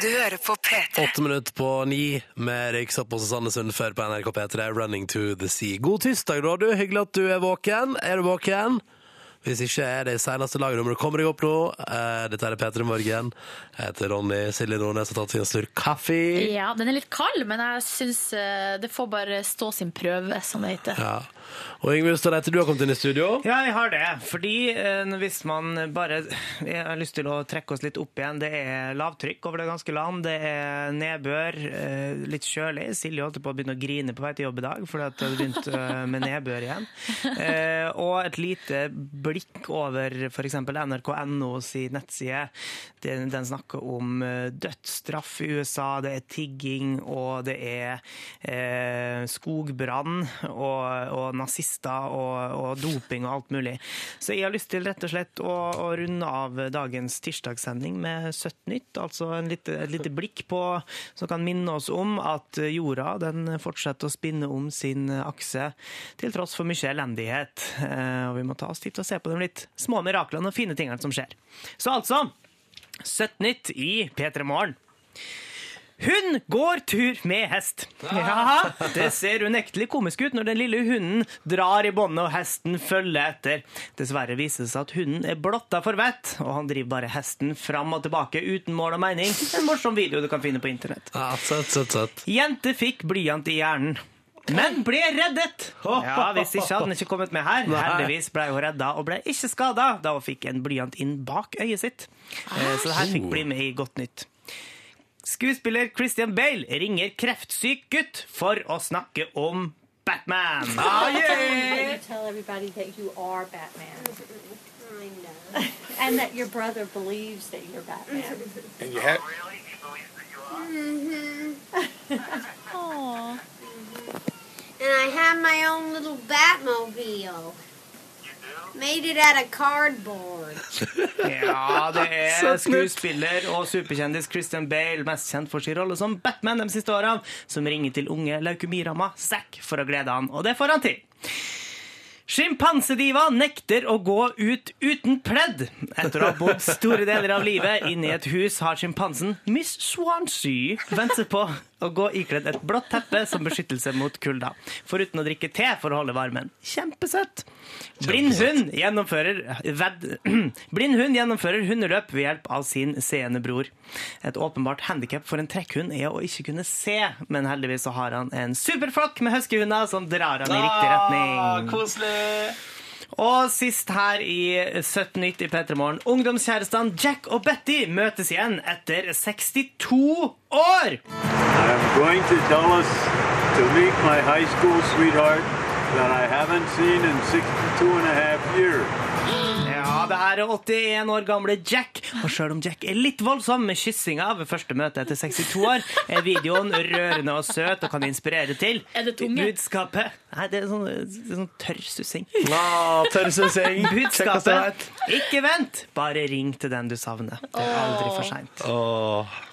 Speaker 1: Du hører på P3.
Speaker 2: Åtte minutter på ni med Riksopp og Susanne Sundfør på NRK P3, Running to the Sea. God tirsdag, da, du. Hyggelig at du er våken. Er du våken? Hvis ikke er det i seneste lagnummeret. Kommer deg opp nå. Eh, Dette er P3 Morgen. Jeg heter Ronny. Silje Nordnes har tatt seg en slurk kaffe.
Speaker 5: Ja, Den er litt kald, men jeg syns eh, det får bare stå sin prøve, som det heter.
Speaker 2: Ja. Og Yngve Ustad Reite, du har kommet inn i studio.
Speaker 3: Ja, jeg har det. Fordi eh, hvis man bare Jeg har lyst til å trekke oss litt opp igjen. Det er lavtrykk over det ganske land. Det er nedbør, eh, litt kjølig. Silje holdt på å begynne å grine på vei til jobb i dag fordi at det hadde begynt eh, med nedbør igjen. Eh, og et lite blikk over f.eks. nrk.no sin nettside. Den, den snakker om eh, dødsstraff i USA, det er tigging, og det er eh, skogbrann og, og nazister og, og doping og alt mulig. Så jeg har lyst til rett og slett å, å runde av dagens tirsdagssending med Søtt nytt, altså en lite, et lite blikk på som kan minne oss om at jorda den fortsetter å spinne om sin akse til tross for mye elendighet. Eh, Og vi må ta oss tid til å se på de litt små miraklene og fine tingene som skjer. Så altså, Søtt nytt i P3 Morgen. Hun går tur med hest. Ja, det ser unektelig komisk ut når den lille hunden drar i båndet og hesten følger etter. Dessverre viser det seg at hunden er blotta for vett, og han driver bare hesten fram og tilbake uten mål og mening. En morsom video du kan finne på internett.
Speaker 2: Ja, søtt, søtt, søtt.
Speaker 3: Jente fikk blyant i hjernen. men ble reddet! Ja, Hvis ikke hadde han ikke kommet med her. Heldigvis ble hun redda og ble ikke skada da hun fikk en blyant inn bak øyet sitt. Eh, Så det her fikk bli med i Godt nytt. Skuespiller Christian Bale ringer kreftsyk gutt for å snakke om Batman.
Speaker 9: tell everybody that you are Batman. and that your brother believes that you're Batman.
Speaker 10: And you
Speaker 9: Oh,
Speaker 10: have
Speaker 9: Mm-hmm. Mm-hmm. And I have my own little Batmobile. Made it out of cardboard.
Speaker 3: Ja, det er skuespiller og superkjendis Christian Bale, mest kjent for sin rolle som Batman de siste årene, som ringer til unge leukemiramma Zack for å glede han, og det får han til. Sjimpansediva nekter å gå ut uten pledd. Etter å ha bodd store deler av livet inne i et hus, har sjimpansen Miss Swansea vent seg på å gå ikledd et blått teppe som beskyttelse mot kulda. Foruten å drikke te for å holde varmen. Kjempesøtt! Blind hund gjennomfører, ved, blind hund gjennomfører hundeløp ved hjelp av sin seende bror. Et åpenbart handikap for en trekkhund er å ikke kunne se, men heldigvis så har han en superflokk med huskyhunder som drar han i riktig retning. Og sist her i 17 nytt i Petremorgen. Ungdomskjærestene Jack og Betty møtes igjen etter 62 år!
Speaker 8: I'm going to Dallas to meet my high school sweetheart that I haven't seen in 62 and a half years.
Speaker 3: Ja, det her er 81 år gamle Jack. Og sjøl om Jack er litt voldsom med kyssinga ved første møte etter 62 år, er videoen rørende og søt og kan inspirere til
Speaker 4: Er det tunge?
Speaker 3: budskapet Nei, det er sånn, det er sånn tørr sussing.
Speaker 2: Ah, Tørrsusing.
Speaker 3: Budskapet Ikke vent, bare ring til den du savner. Det er aldri for seint.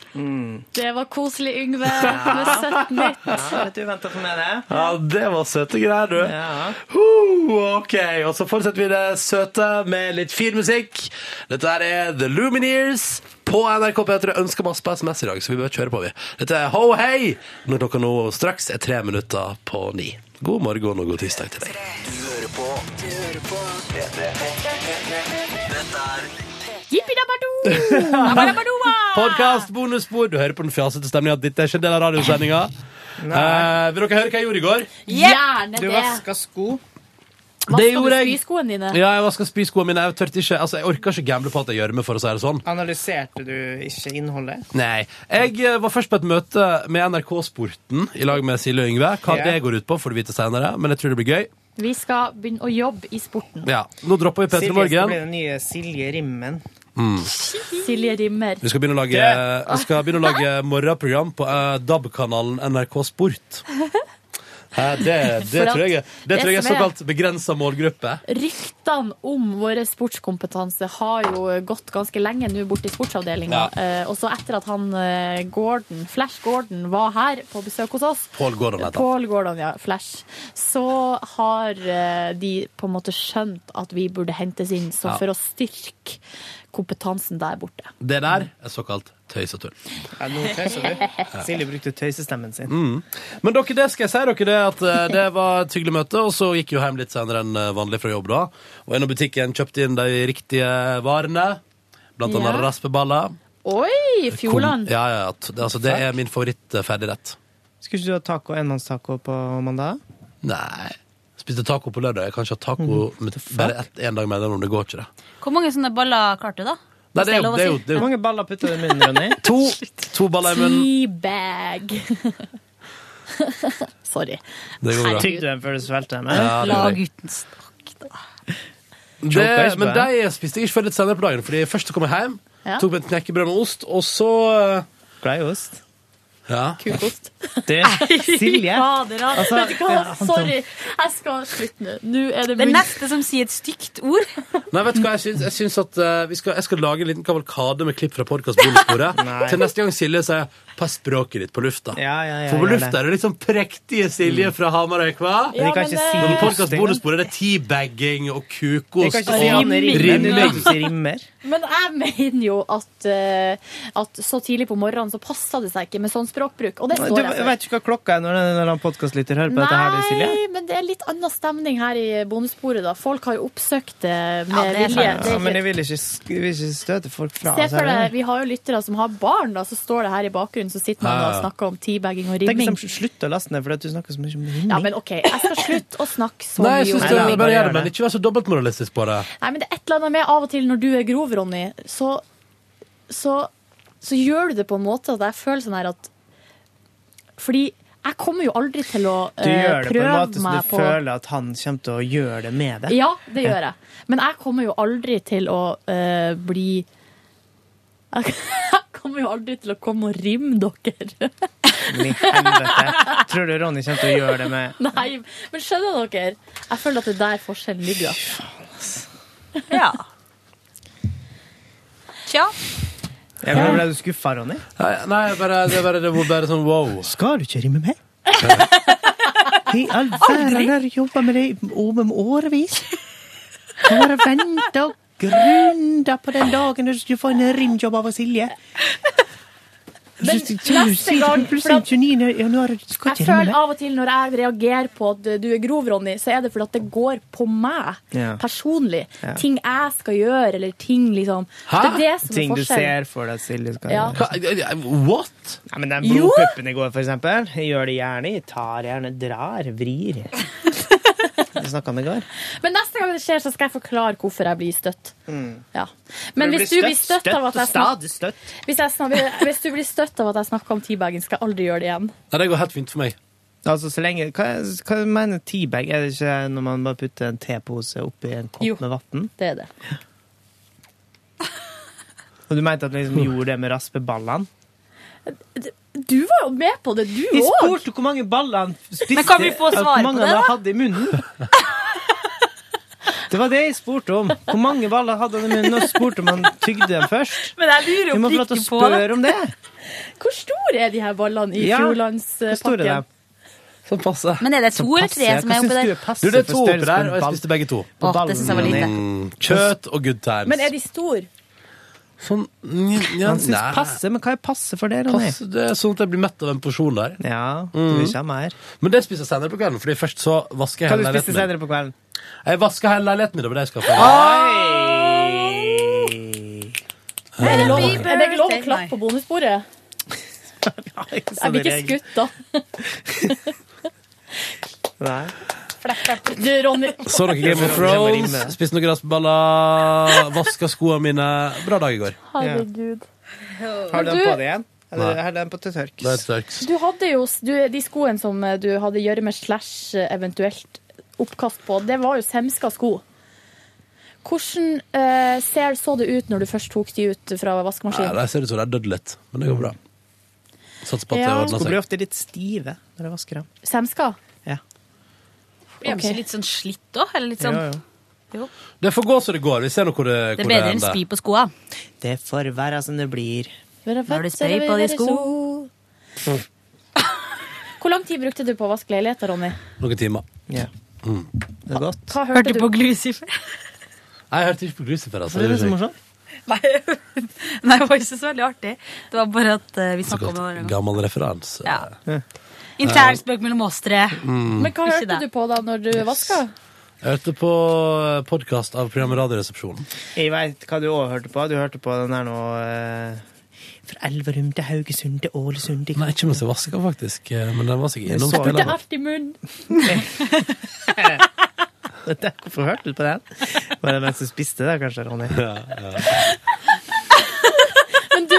Speaker 4: Det var koselig, Yngve. Med 17 nytt.
Speaker 3: Du venter for meg det?
Speaker 2: Ja, det var søte greier, du.
Speaker 3: Ja.
Speaker 2: Ho, ok, og så fortsetter vi det søte med litt fin musikk. Dette her er The Lumineers på NRK P3. Ønsker masse på SMS i dag, så vi bør kjøre på, vi. Dette er Ho Hei når klokka nå straks er tre minutter på ni. God morgen og god tirsdag til deg.
Speaker 4: Jippi-dabba-do! Dabba-dabba-doa!
Speaker 2: Podkast, bonusbord. Du hører på den fjasete stemninga at dette er ikke en del av radiosendinga. Eh, vil dere høre hva jeg gjorde i går?
Speaker 4: Gjerne det.
Speaker 3: sko.
Speaker 2: Det
Speaker 4: Vasker
Speaker 2: gjorde
Speaker 4: du
Speaker 2: jeg.
Speaker 4: spyskoene dine?
Speaker 2: Ja, jeg vaska spyskoene mine. Jeg, tørte ikke, altså, jeg orka ikke gamble på at jeg gjør meg, for å si det sånn.
Speaker 3: Analyserte du ikke innholdet?
Speaker 2: Nei. Jeg eh, var først på et møte med NRK Sporten i lag med Silje og Yngve. Hva
Speaker 3: Ja.
Speaker 2: det går ut på, får du vite senere, men jeg tror det blir gøy.
Speaker 11: Vi skal begynne å jobbe i sporten.
Speaker 2: Ja. Nå dropper vi Petter Morgen.
Speaker 3: den nye Silje Rimmen.
Speaker 11: Silje Rimmer.
Speaker 2: Vi skal begynne å lage, eh, vi skal begynne å lage morgenprogram på eh, DAB-kanalen NRK Sport. Eh, det det
Speaker 4: For at
Speaker 2: tror jeg er- det
Speaker 4: det
Speaker 2: tror jeg er
Speaker 4: som er-
Speaker 2: såkalt begrensa målgruppe.
Speaker 4: Ryktene om vår sportskompetanse har jo gått ganske lenge nå borti sportsavdelinga.
Speaker 2: Ja.
Speaker 4: Eh, og så etter at han eh, Gordon, Flash Gordon var her på besøk hos oss
Speaker 2: Pål Gordon heter han.
Speaker 4: Paul Gordon, ja, Flash. Så har eh, de på en måte skjønt at vi burde hentes inn så
Speaker 2: Ja.
Speaker 4: for å styrke kompetansen der borte.
Speaker 2: Det der er såkalt tøys og tull.
Speaker 3: Ja, nå tøyser du. Silje brukte tøysestemmen sin.
Speaker 2: Men dere, det skal jeg si dere det at eh, det var et hyggelig møte, og så gikk jeg jo hjem litt senere enn eh, vanlig fra jobb da. Og innom butikken kjøpte inn de riktige varene, blant annet
Speaker 4: Ja.
Speaker 2: raspeballer.
Speaker 4: Oi,
Speaker 2: Kom-
Speaker 4: Fjordland!
Speaker 2: Ja, ja, t- det, altså, det er min favorittferdigrett.
Speaker 3: Skulle ikke du ha taco, enmannstaco på mandag?
Speaker 2: Nei. Spiste taco på lørdag. Jeg kan ikke ha taco
Speaker 5: Mhm.
Speaker 2: med bare ett, en dag mellom, det går ikke det.
Speaker 5: Hvor mange sånne baller klarte du, da?
Speaker 2: Nei, det er jo,
Speaker 5: lov å
Speaker 2: det er jo,
Speaker 5: si.
Speaker 2: det er
Speaker 3: Hvor
Speaker 2: jo
Speaker 3: mange baller putta du i munnen, Ronny?
Speaker 2: to, to baller i munnen.
Speaker 4: Teabag! Sorry.
Speaker 2: Det går bra.
Speaker 3: Tygde du dem før du svelgte dem? eller?
Speaker 2: Ja, det
Speaker 5: La
Speaker 2: gjorde jeg.
Speaker 5: gutten snakke, da.
Speaker 2: det,
Speaker 3: Chokers,
Speaker 2: men
Speaker 3: bare.
Speaker 2: de spiste jeg ikke før litt senere på dagen, fordi først kom jeg hjem,
Speaker 4: Ja.
Speaker 2: tok meg et knekkebrød med ost, og så eh,
Speaker 3: Glad i ost.
Speaker 2: ja.
Speaker 4: Kukost.
Speaker 3: Du, Silje.
Speaker 4: Fader, ja.
Speaker 3: Altså,
Speaker 4: Vet du hva?
Speaker 3: ja, han-
Speaker 4: Sorry, jeg skal slutte nå. Nå er det
Speaker 5: Den
Speaker 4: munn.
Speaker 5: neste som sier et stygt ord.
Speaker 2: Nei, vet du hva, jeg syns, jeg syns at eh, vi skal, Jeg skal lage en liten kavalkade med klipp fra podkast-bonusbordet.
Speaker 3: Nei.
Speaker 2: til neste gang Silje sier 'pass språket ditt på lufta'.
Speaker 3: Ja, ja, ja,
Speaker 2: For på
Speaker 3: gjør
Speaker 2: lufta er det litt sånn prektige Silje fra Hamarøy, hva?
Speaker 3: Men vi
Speaker 4: Ja,
Speaker 3: kan ikke
Speaker 4: men, eh,
Speaker 3: si
Speaker 2: Men på
Speaker 3: osting.
Speaker 2: podkast-bonusbordet er det teabagging og
Speaker 3: Vi kan
Speaker 2: kukost
Speaker 3: ikke si
Speaker 2: og
Speaker 3: han er rimmer.
Speaker 2: Rimming.
Speaker 3: men vi kan si rimmer.
Speaker 4: Men jeg mener jo at, eh, at så tidlig på morgenen så passer det seg ikke med sånn språkbruk. Og det
Speaker 3: Du
Speaker 4: står jeg for.
Speaker 3: vet ikke hva klokka er når en eller annen podcastlytter hører på dette her, du, Silje?
Speaker 4: Nei, men det er litt annen stemning her i bonussporet, da. Folk har jo oppsøkt det med
Speaker 5: Ja, det er
Speaker 4: vilje.
Speaker 5: sant.
Speaker 4: Det
Speaker 3: Ja,
Speaker 4: er
Speaker 3: men
Speaker 4: ikke-
Speaker 3: jeg vil ikke, sk- jeg vil ikke støte folk fra altså,
Speaker 4: Se
Speaker 3: oss
Speaker 4: for
Speaker 3: her.
Speaker 4: deg, Vi har jo lyttere som har barn, da, så står det her i bakgrunnen stund så sitter man
Speaker 2: Ja, ja.
Speaker 4: og snakker om teabagging og
Speaker 3: Tenk hvis
Speaker 4: rimming.
Speaker 3: de slutter å laste ned fordi at du snakker så mye om rimming.
Speaker 4: Ja, men OK, jeg skal slutte å snakke så
Speaker 2: Nei,
Speaker 4: mye
Speaker 2: jeg synes
Speaker 4: om
Speaker 12: Nei,
Speaker 2: det
Speaker 12: nei,
Speaker 2: bare
Speaker 12: bare
Speaker 2: gjør
Speaker 12: gjør
Speaker 2: det, men
Speaker 12: det.
Speaker 2: ikke vær så dobbeltmoralistisk på det.
Speaker 4: Nei, men det er et eller annet med av og til når du er grov, Ronny, så, så, så gjør du det på en måte at jeg føler sånn her at Fordi jeg kommer jo aldri til å
Speaker 3: Du
Speaker 4: eh,
Speaker 3: gjør det på en
Speaker 4: prøve
Speaker 3: måte som
Speaker 4: meg
Speaker 3: du føler at han kommer til å gjøre det med deg.
Speaker 4: Ja, det gjør jeg. Men jeg kommer jo aldri til å eh, bli Jeg kommer jo aldri til å komme og rimme dere.
Speaker 3: Men i helvete. Tror du Ronny kommer til å gjøre det med
Speaker 4: Nei, men skjønner dere? Jeg føler at det er der forskjellen ligger. da.
Speaker 9: Ja. Tja.
Speaker 3: Ja, men Ble du skuffa, Ronny?
Speaker 2: Nei, nei bare, det, bare, det var bare sånn wow.
Speaker 3: Skal du ikke rime med? I all verden, jeg har jobba med det i over årevis. Jeg bare venta og grunda på den dagen du skulle få en rimjobb av Silje. Men
Speaker 4: neste gang, for at-
Speaker 3: 29. januar skal
Speaker 4: Jeg
Speaker 3: ikke rime
Speaker 4: føler
Speaker 3: med.
Speaker 4: av og til når jeg reagerer på at du er grov, Ronny, så er det fordi at det går på meg
Speaker 3: Ja.
Speaker 4: personlig. Ting jeg skal gjøre, eller ting liksom
Speaker 2: Hæ?
Speaker 4: Det er det som
Speaker 3: Ting
Speaker 4: er
Speaker 3: du
Speaker 4: forskjellen.
Speaker 3: ser for deg, Silje. Skal
Speaker 4: Ja.
Speaker 3: gjøre.
Speaker 2: Hva, eh, what?
Speaker 3: Nei, men den
Speaker 4: Jo!
Speaker 3: blodpuppen i går, for eksempel. Jeg gjør det gjerne. Jeg tar gjerne, drar, vrir. Vi snakka om det i går.
Speaker 4: Men neste gang det skjer, så skal jeg forklare hvorfor jeg blir støtt.
Speaker 3: Mm.
Speaker 4: Ja. Men hvis du blir støtt av at jeg snakker
Speaker 3: Stadig støtt.
Speaker 4: hvis, jeg snakker, hvis du blir støtt av at jeg snakker om teabagen, skal jeg aldri gjøre det igjen.
Speaker 2: Nei, det går helt fint for meg.
Speaker 3: Altså, så lenge, hva, hva mener teabag? Er det ikke når man bare putter en tepose oppi en kopp
Speaker 4: Jo.
Speaker 3: med vann?
Speaker 4: Det er det.
Speaker 3: Og du mente at vi liksom gjorde det med raspeballene?
Speaker 4: Du var jo med på det, du
Speaker 3: Jeg
Speaker 4: òg!
Speaker 3: spurte hvor mange baller han spiste.
Speaker 9: Men kan vi få svar
Speaker 3: hvor mange
Speaker 9: på det,
Speaker 3: han
Speaker 9: da?
Speaker 3: hadde i munnen. Det var det jeg spurte om. Hvor mange baller hadde han i munnen? Og så spurte om han tygde den først.
Speaker 9: Men jeg lurer
Speaker 3: Vi
Speaker 9: jo
Speaker 3: må få lov til
Speaker 9: oppriktig
Speaker 3: å
Speaker 9: på det.
Speaker 3: spørre om det.
Speaker 4: Hvor store er de her ballene i
Speaker 3: Ja, Hvor store er
Speaker 4: Fjordlandspakken?
Speaker 3: de?
Speaker 2: Sånn passe.
Speaker 9: Men er det to eller
Speaker 3: Passe.
Speaker 9: tre som
Speaker 3: Hva
Speaker 9: er oppi
Speaker 3: syns du
Speaker 9: der?
Speaker 3: er passe
Speaker 2: Du, det er
Speaker 3: for
Speaker 2: to oppi
Speaker 3: størrelsen
Speaker 2: der, og jeg
Speaker 3: ball-
Speaker 2: spiste begge to.
Speaker 3: på
Speaker 9: Åh, det
Speaker 3: ballen,
Speaker 9: synes jeg var lite.
Speaker 2: Mm, kjøtt og good times.
Speaker 4: Men er de store?
Speaker 2: Sånn nj- nja,
Speaker 3: Han syns
Speaker 2: nei.
Speaker 3: passe, men hva er passe for det, Ronny?
Speaker 2: Pass, det er sånn at jeg blir mett av en porsjon der.
Speaker 3: Ja, du vil ikke ha mer.
Speaker 2: Men det spiser jeg senere på kvelden, Fordi først så vasker jeg
Speaker 3: Hva du
Speaker 2: hele
Speaker 3: spiste
Speaker 2: leiligheten min.
Speaker 3: senere på kvelden?
Speaker 2: Jeg vasker hele leiligheten min, det var det jeg skal få.
Speaker 4: Er det lov, er det ikke lov å klappe på bonusbordet? Jeg blir ikke skutt, da.
Speaker 3: Nei.
Speaker 4: Du, Ronny.
Speaker 2: Så dere Game of Thrones, spiste noen raspeballer, vaska skoene mine. Bra dag i går.
Speaker 4: Herregud.
Speaker 3: Har du
Speaker 4: du-
Speaker 3: den på deg igjen?
Speaker 2: Nei.
Speaker 3: Eller har du den på til tørk?
Speaker 2: Det er tørks.
Speaker 4: Du hadde jo du, de skoene som eh, du hadde gjørme slash eh, eventuelt oppkast på, det var jo semska sko. Hvordan eh, ser, så det ut når du først tok de ut fra
Speaker 2: Nei,
Speaker 4: vaskemaskinen?
Speaker 2: det ser ut som det er dødd litt, men det går bra. Satser på at det
Speaker 4: Ja.
Speaker 2: ordner
Speaker 3: Hun blir
Speaker 2: seg.
Speaker 3: ofte litt stive når jeg vasker dem.
Speaker 4: Semska?
Speaker 3: Ja.
Speaker 9: Blir de
Speaker 4: Ok.
Speaker 9: ikke litt sånn slitt òg? Eller litt sånn
Speaker 2: Det får gå som det går. Vi ser nå hvor det,
Speaker 9: Det
Speaker 2: hvor
Speaker 9: er bedre enn
Speaker 2: ender.
Speaker 9: spy på skoa.
Speaker 3: Det får være som det blir.
Speaker 9: Når du spør på de sko.
Speaker 4: Hvor lang tid brukte du på å vaske leiligheter, Ronny?
Speaker 2: Noen timer.
Speaker 3: Ja. Det er godt.
Speaker 4: Hva hørte du?
Speaker 9: Glucifer?
Speaker 2: Nei, jeg hørte ikke på Lucifer, altså.
Speaker 3: Det er det som er morsomt.
Speaker 9: Nei, Nei, det var ikke så veldig artig. Det var bare at eh, vi snakka om det. hver gang.
Speaker 2: Gammel referanse.
Speaker 9: Ja. Intern spøk mellom oss tre.
Speaker 2: Mm.
Speaker 4: Men hva
Speaker 9: Ikke
Speaker 4: hørte
Speaker 9: det.
Speaker 4: du på da når du vaska?
Speaker 2: Jeg hørte på podkast av programmet Radioresepsjonen.
Speaker 3: Jeg veit hva du òg hørte på. Du hørte på den der nå eh, Fra Elverum til Haugesund til Ålesund
Speaker 2: Nei, ikke mens jeg vaska, faktisk. eh, Men den var sikkert
Speaker 3: Jeg
Speaker 2: innom
Speaker 4: Det
Speaker 3: så
Speaker 2: spilleren.
Speaker 4: er alt i munnen.
Speaker 3: Dette- Hvorfor hørte du på den? Var det mens du spiste, da, kanskje, Ronny?
Speaker 4: Men du,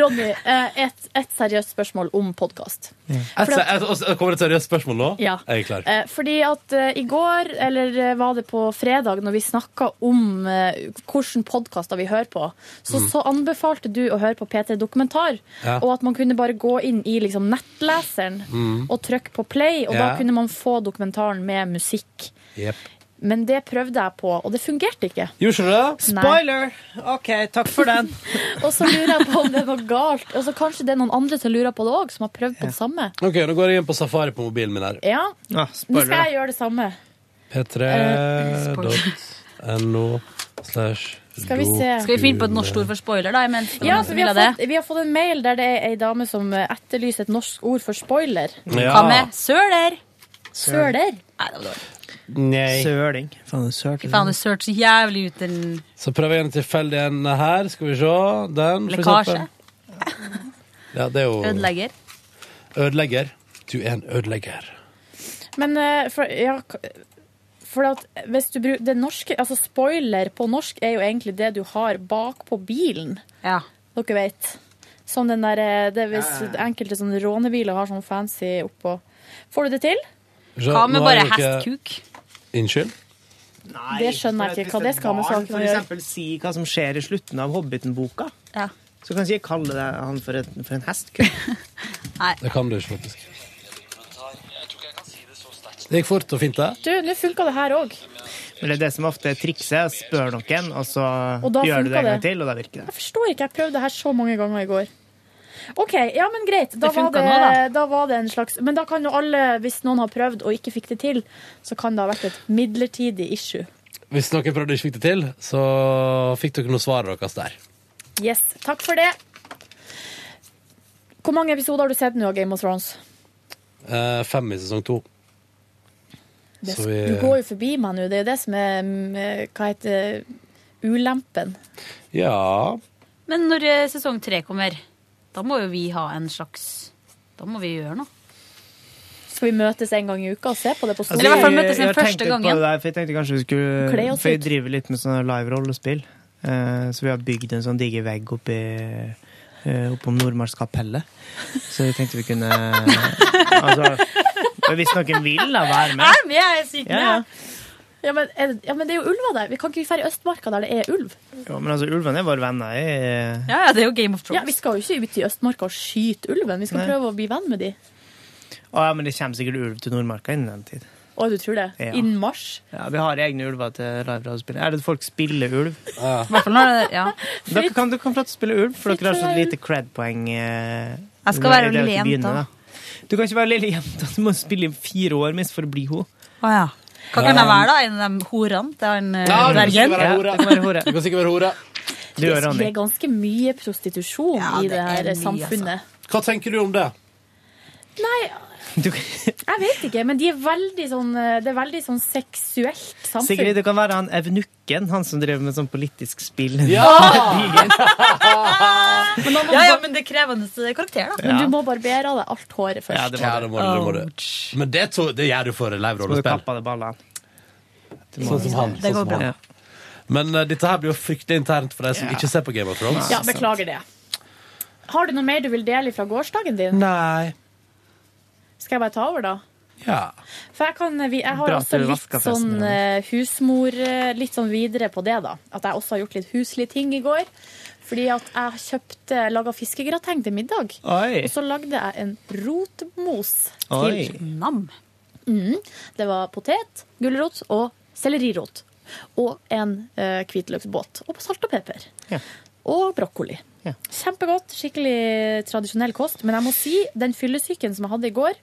Speaker 4: Ronny, eh, et, et seriøst spørsmål om podkast.
Speaker 2: Et se- et- og så altså, Kommer det et seriøst spørsmål nå?
Speaker 4: Ja.
Speaker 2: Er jeg klar?
Speaker 4: Eh, fordi at eh, i går, eller eh, var det på fredag, når vi snakka om eh, hvilke podkaster vi hører på, så, så anbefalte du å høre på P3 Dokumentar,
Speaker 2: Mm. Ja.
Speaker 4: og at man kunne bare gå inn i liksom, nettleseren og trykke på play, og da
Speaker 2: Mm. Ja.
Speaker 4: kunne man få dokumentaren med musikk.
Speaker 2: Jep.
Speaker 4: Men det prøvde jeg på, og det fungerte ikke.
Speaker 2: Gjorde ikke det?
Speaker 4: Nei.
Speaker 3: Spoiler! OK, takk for den.
Speaker 4: Og så lurer jeg på om det er noe galt. Og så kanskje det er noen andre som lurer på det òg, som har prøvd på det samme.
Speaker 2: Ok, Nå går jeg inn på safari på mobilen min her.
Speaker 4: Ja, Nå
Speaker 3: Ah, spoiler.
Speaker 4: skal
Speaker 3: da.
Speaker 4: jeg gjøre det samme.
Speaker 2: p3.no slash
Speaker 4: Skal vi se.
Speaker 9: Skal vi finne på et norsk ord for spoiler, da? Imens,
Speaker 4: Ja, for vi har,
Speaker 9: Vil jeg det?
Speaker 4: fått, vi har fått en mail der det er ei dame som eh, etterlyser et norsk ord for spoiler.
Speaker 9: Hva med søler?
Speaker 4: Søler.
Speaker 9: Nei, det var dårlig.
Speaker 2: Nei.
Speaker 3: Søling. Faen, du sølte.
Speaker 9: Fy faen, du sølte så jævlig ut den
Speaker 2: Så prøver jeg en tilfeldig en her. Skal vi se. Den. for
Speaker 9: lekkasje.
Speaker 2: eksempel. Ja, det er jo
Speaker 9: Ødelegger.
Speaker 2: Ødelegger. Du er en ødelegger.
Speaker 4: Men eh, for, ja, k- for at hvis du bruker det norske Altså spoiler på norsk er jo egentlig det du har bak på bilen. Dere vet. Som den der eh, det er Hvis enkelte sånne rånebiler har sånn fancy oppå. Får du det til?
Speaker 2: Så Hva med nå er bare det ikke- Unnskyld?
Speaker 3: Nei,
Speaker 4: Det skjønner jeg
Speaker 3: for at
Speaker 4: ikke hva
Speaker 3: hvis
Speaker 4: det
Speaker 3: et
Speaker 4: skal med
Speaker 3: barn
Speaker 4: saken å
Speaker 3: For
Speaker 4: gjøre.
Speaker 3: eksempel si hva som skjer i slutten av Hobbiten-boka. Så kan ikke jeg kalle det han for, et, for en hest.
Speaker 2: Det kan du ikke, faktisk. Det gikk fort og fint, det.
Speaker 4: Du, nå funka det her òg.
Speaker 3: Men det er det som ofte er trikset. Spør noen, og så
Speaker 4: Og da
Speaker 3: gjør du det
Speaker 4: funker
Speaker 3: en
Speaker 4: det.
Speaker 3: gang til, og da virker det.
Speaker 4: Jeg forstår ikke, jeg prøvde det her så mange ganger i går. OK, ja, men greit. Da,
Speaker 9: Det
Speaker 4: var,
Speaker 9: funket
Speaker 4: det,
Speaker 9: nå,
Speaker 4: da. var det en slags Men da kan jo alle, hvis noen har prøvd og ikke fikk det til, så kan det ha vært et midlertidig issue.
Speaker 2: Hvis noen prøvde og ikke fikk det til, så fikk dere noe svar deres der.
Speaker 4: Yes, takk for det. Hvor mange episoder har du sett nå av Game of Thrones?
Speaker 2: Eh, fem i sesong to.
Speaker 4: Det,
Speaker 2: Så vi-
Speaker 4: Du går jo forbi meg nå. Det er jo det som er mm, Hva heter ulempen?
Speaker 2: Ja
Speaker 9: Men når eh, sesong tre kommer, da må jo vi ha en slags Da må vi gjøre noe.
Speaker 4: Skal vi møtes en gang i uka og se på det på
Speaker 9: Eller i hvert fall
Speaker 3: jeg
Speaker 9: møtes den
Speaker 3: har tenkt
Speaker 9: første
Speaker 3: litt på
Speaker 9: gangen.
Speaker 3: det der, for jeg tenkte kanskje vi skulle
Speaker 4: Kle oss
Speaker 3: For jeg
Speaker 4: ut.
Speaker 3: driver litt med sånne live-rollespill. Eh, Så vi har bygd en sånn diger vegg oppi eh, oppom Nordmarks kapelle. Så jeg tenkte vi kunne Altså, hvis noen vil da være med
Speaker 9: Nei, men jeg er sykt
Speaker 3: Ja, ja.
Speaker 9: med.
Speaker 4: Ja, men, er det- ja, men det er jo ulver der. Vi kan ikke vi dra i Østmarka der det er ulv?
Speaker 3: Jo, men altså, ulvene er våre venner. Jeg,
Speaker 9: Ja, ja, det er jo Game of
Speaker 4: Ja, vi skal jo ikke ut i Østmarka og skyte ulven. Vi skal
Speaker 3: Nei.
Speaker 4: prøve å bli venn med de.
Speaker 3: Å, ja, men det kommer sikkert ulv til Nordmarka innen den tid.
Speaker 4: Å, du tror det?
Speaker 3: Ja.
Speaker 4: Innen mars?
Speaker 3: Ja, Vi har egne ulver til live-radiospillet. Er det at folk spiller ulv?
Speaker 9: I hvert fall når det Ja.
Speaker 3: Dere kan, dere kan få lov til å spille ulv, for dere har så
Speaker 9: Fritt fra ulv.
Speaker 3: lite eh, cred-poeng. Jeg
Speaker 9: Jeg skal være lille jenta.
Speaker 3: Du kan ikke være lille jenta. Du må spille i fire år minst for å bli henne.
Speaker 9: Å ja. Hva kan jeg være, da? En av de horene til han eh,
Speaker 3: Ja, du kan
Speaker 9: dvergen?
Speaker 3: sikkert være hore. Du kan være hore.
Speaker 2: Du kan sikkert være hore.
Speaker 3: Du og
Speaker 4: Det
Speaker 3: Ronny.
Speaker 4: er ganske mye prostitusjon
Speaker 9: Ja,
Speaker 4: i
Speaker 9: det
Speaker 4: det her
Speaker 9: er mye, altså.
Speaker 4: samfunnet.
Speaker 2: Hva tenker du om det?
Speaker 3: Du kan-
Speaker 4: Jeg vet ikke, men de er veldig sånn, det er veldig sånn seksuelt samfunn.
Speaker 3: Sigrid, du kan være han evnukken, han som drev med sånn politisk spill.
Speaker 9: Ja, ja, men det er krevende karakter, da.
Speaker 4: Men
Speaker 3: Ja.
Speaker 4: du må barbere av deg alt håret først.
Speaker 3: Ja, det
Speaker 2: Ja,
Speaker 3: var
Speaker 2: det må du, det må du. Men det, to, det gjør du for
Speaker 3: Må du
Speaker 2: live-rollespill.
Speaker 3: kappe av deg ballene. Du må-
Speaker 2: Sånn som han.
Speaker 9: Det
Speaker 2: Sånn
Speaker 9: går
Speaker 2: som
Speaker 9: bra.
Speaker 2: han. Men eh, dette her blir jo fryktelig internt for de som
Speaker 3: Ja.
Speaker 2: ikke ser på Game of Thrones.
Speaker 4: Ja, beklager det. Har du noe mer du vil dele fra gårsdagen din?
Speaker 2: Nei.
Speaker 4: Skal jeg bare ta over, da?
Speaker 2: Ja.
Speaker 4: For jeg, kan, vi- jeg har
Speaker 3: Bra at
Speaker 4: også
Speaker 3: du
Speaker 4: litt
Speaker 3: vasket festen
Speaker 4: sånn
Speaker 3: i
Speaker 4: eh, husmor eh, Litt sånn videre på det, da. At jeg også har gjort litt huslige ting i går. Fordi at jeg kjøpte laga fiskegrateng til middag.
Speaker 3: Oi.
Speaker 4: Og så lagde jeg en rotmos til.
Speaker 3: Oi.
Speaker 9: Nam.
Speaker 4: Det var potet, gulrot og sellerirot. Og en eh, hvitløksbåt. Og salt og pepper.
Speaker 3: Ja.
Speaker 4: Og brokkoli.
Speaker 3: Ja.
Speaker 4: Kjempegodt. Skikkelig tradisjonell kost. Men jeg må si, den fyllesyken som jeg hadde i går,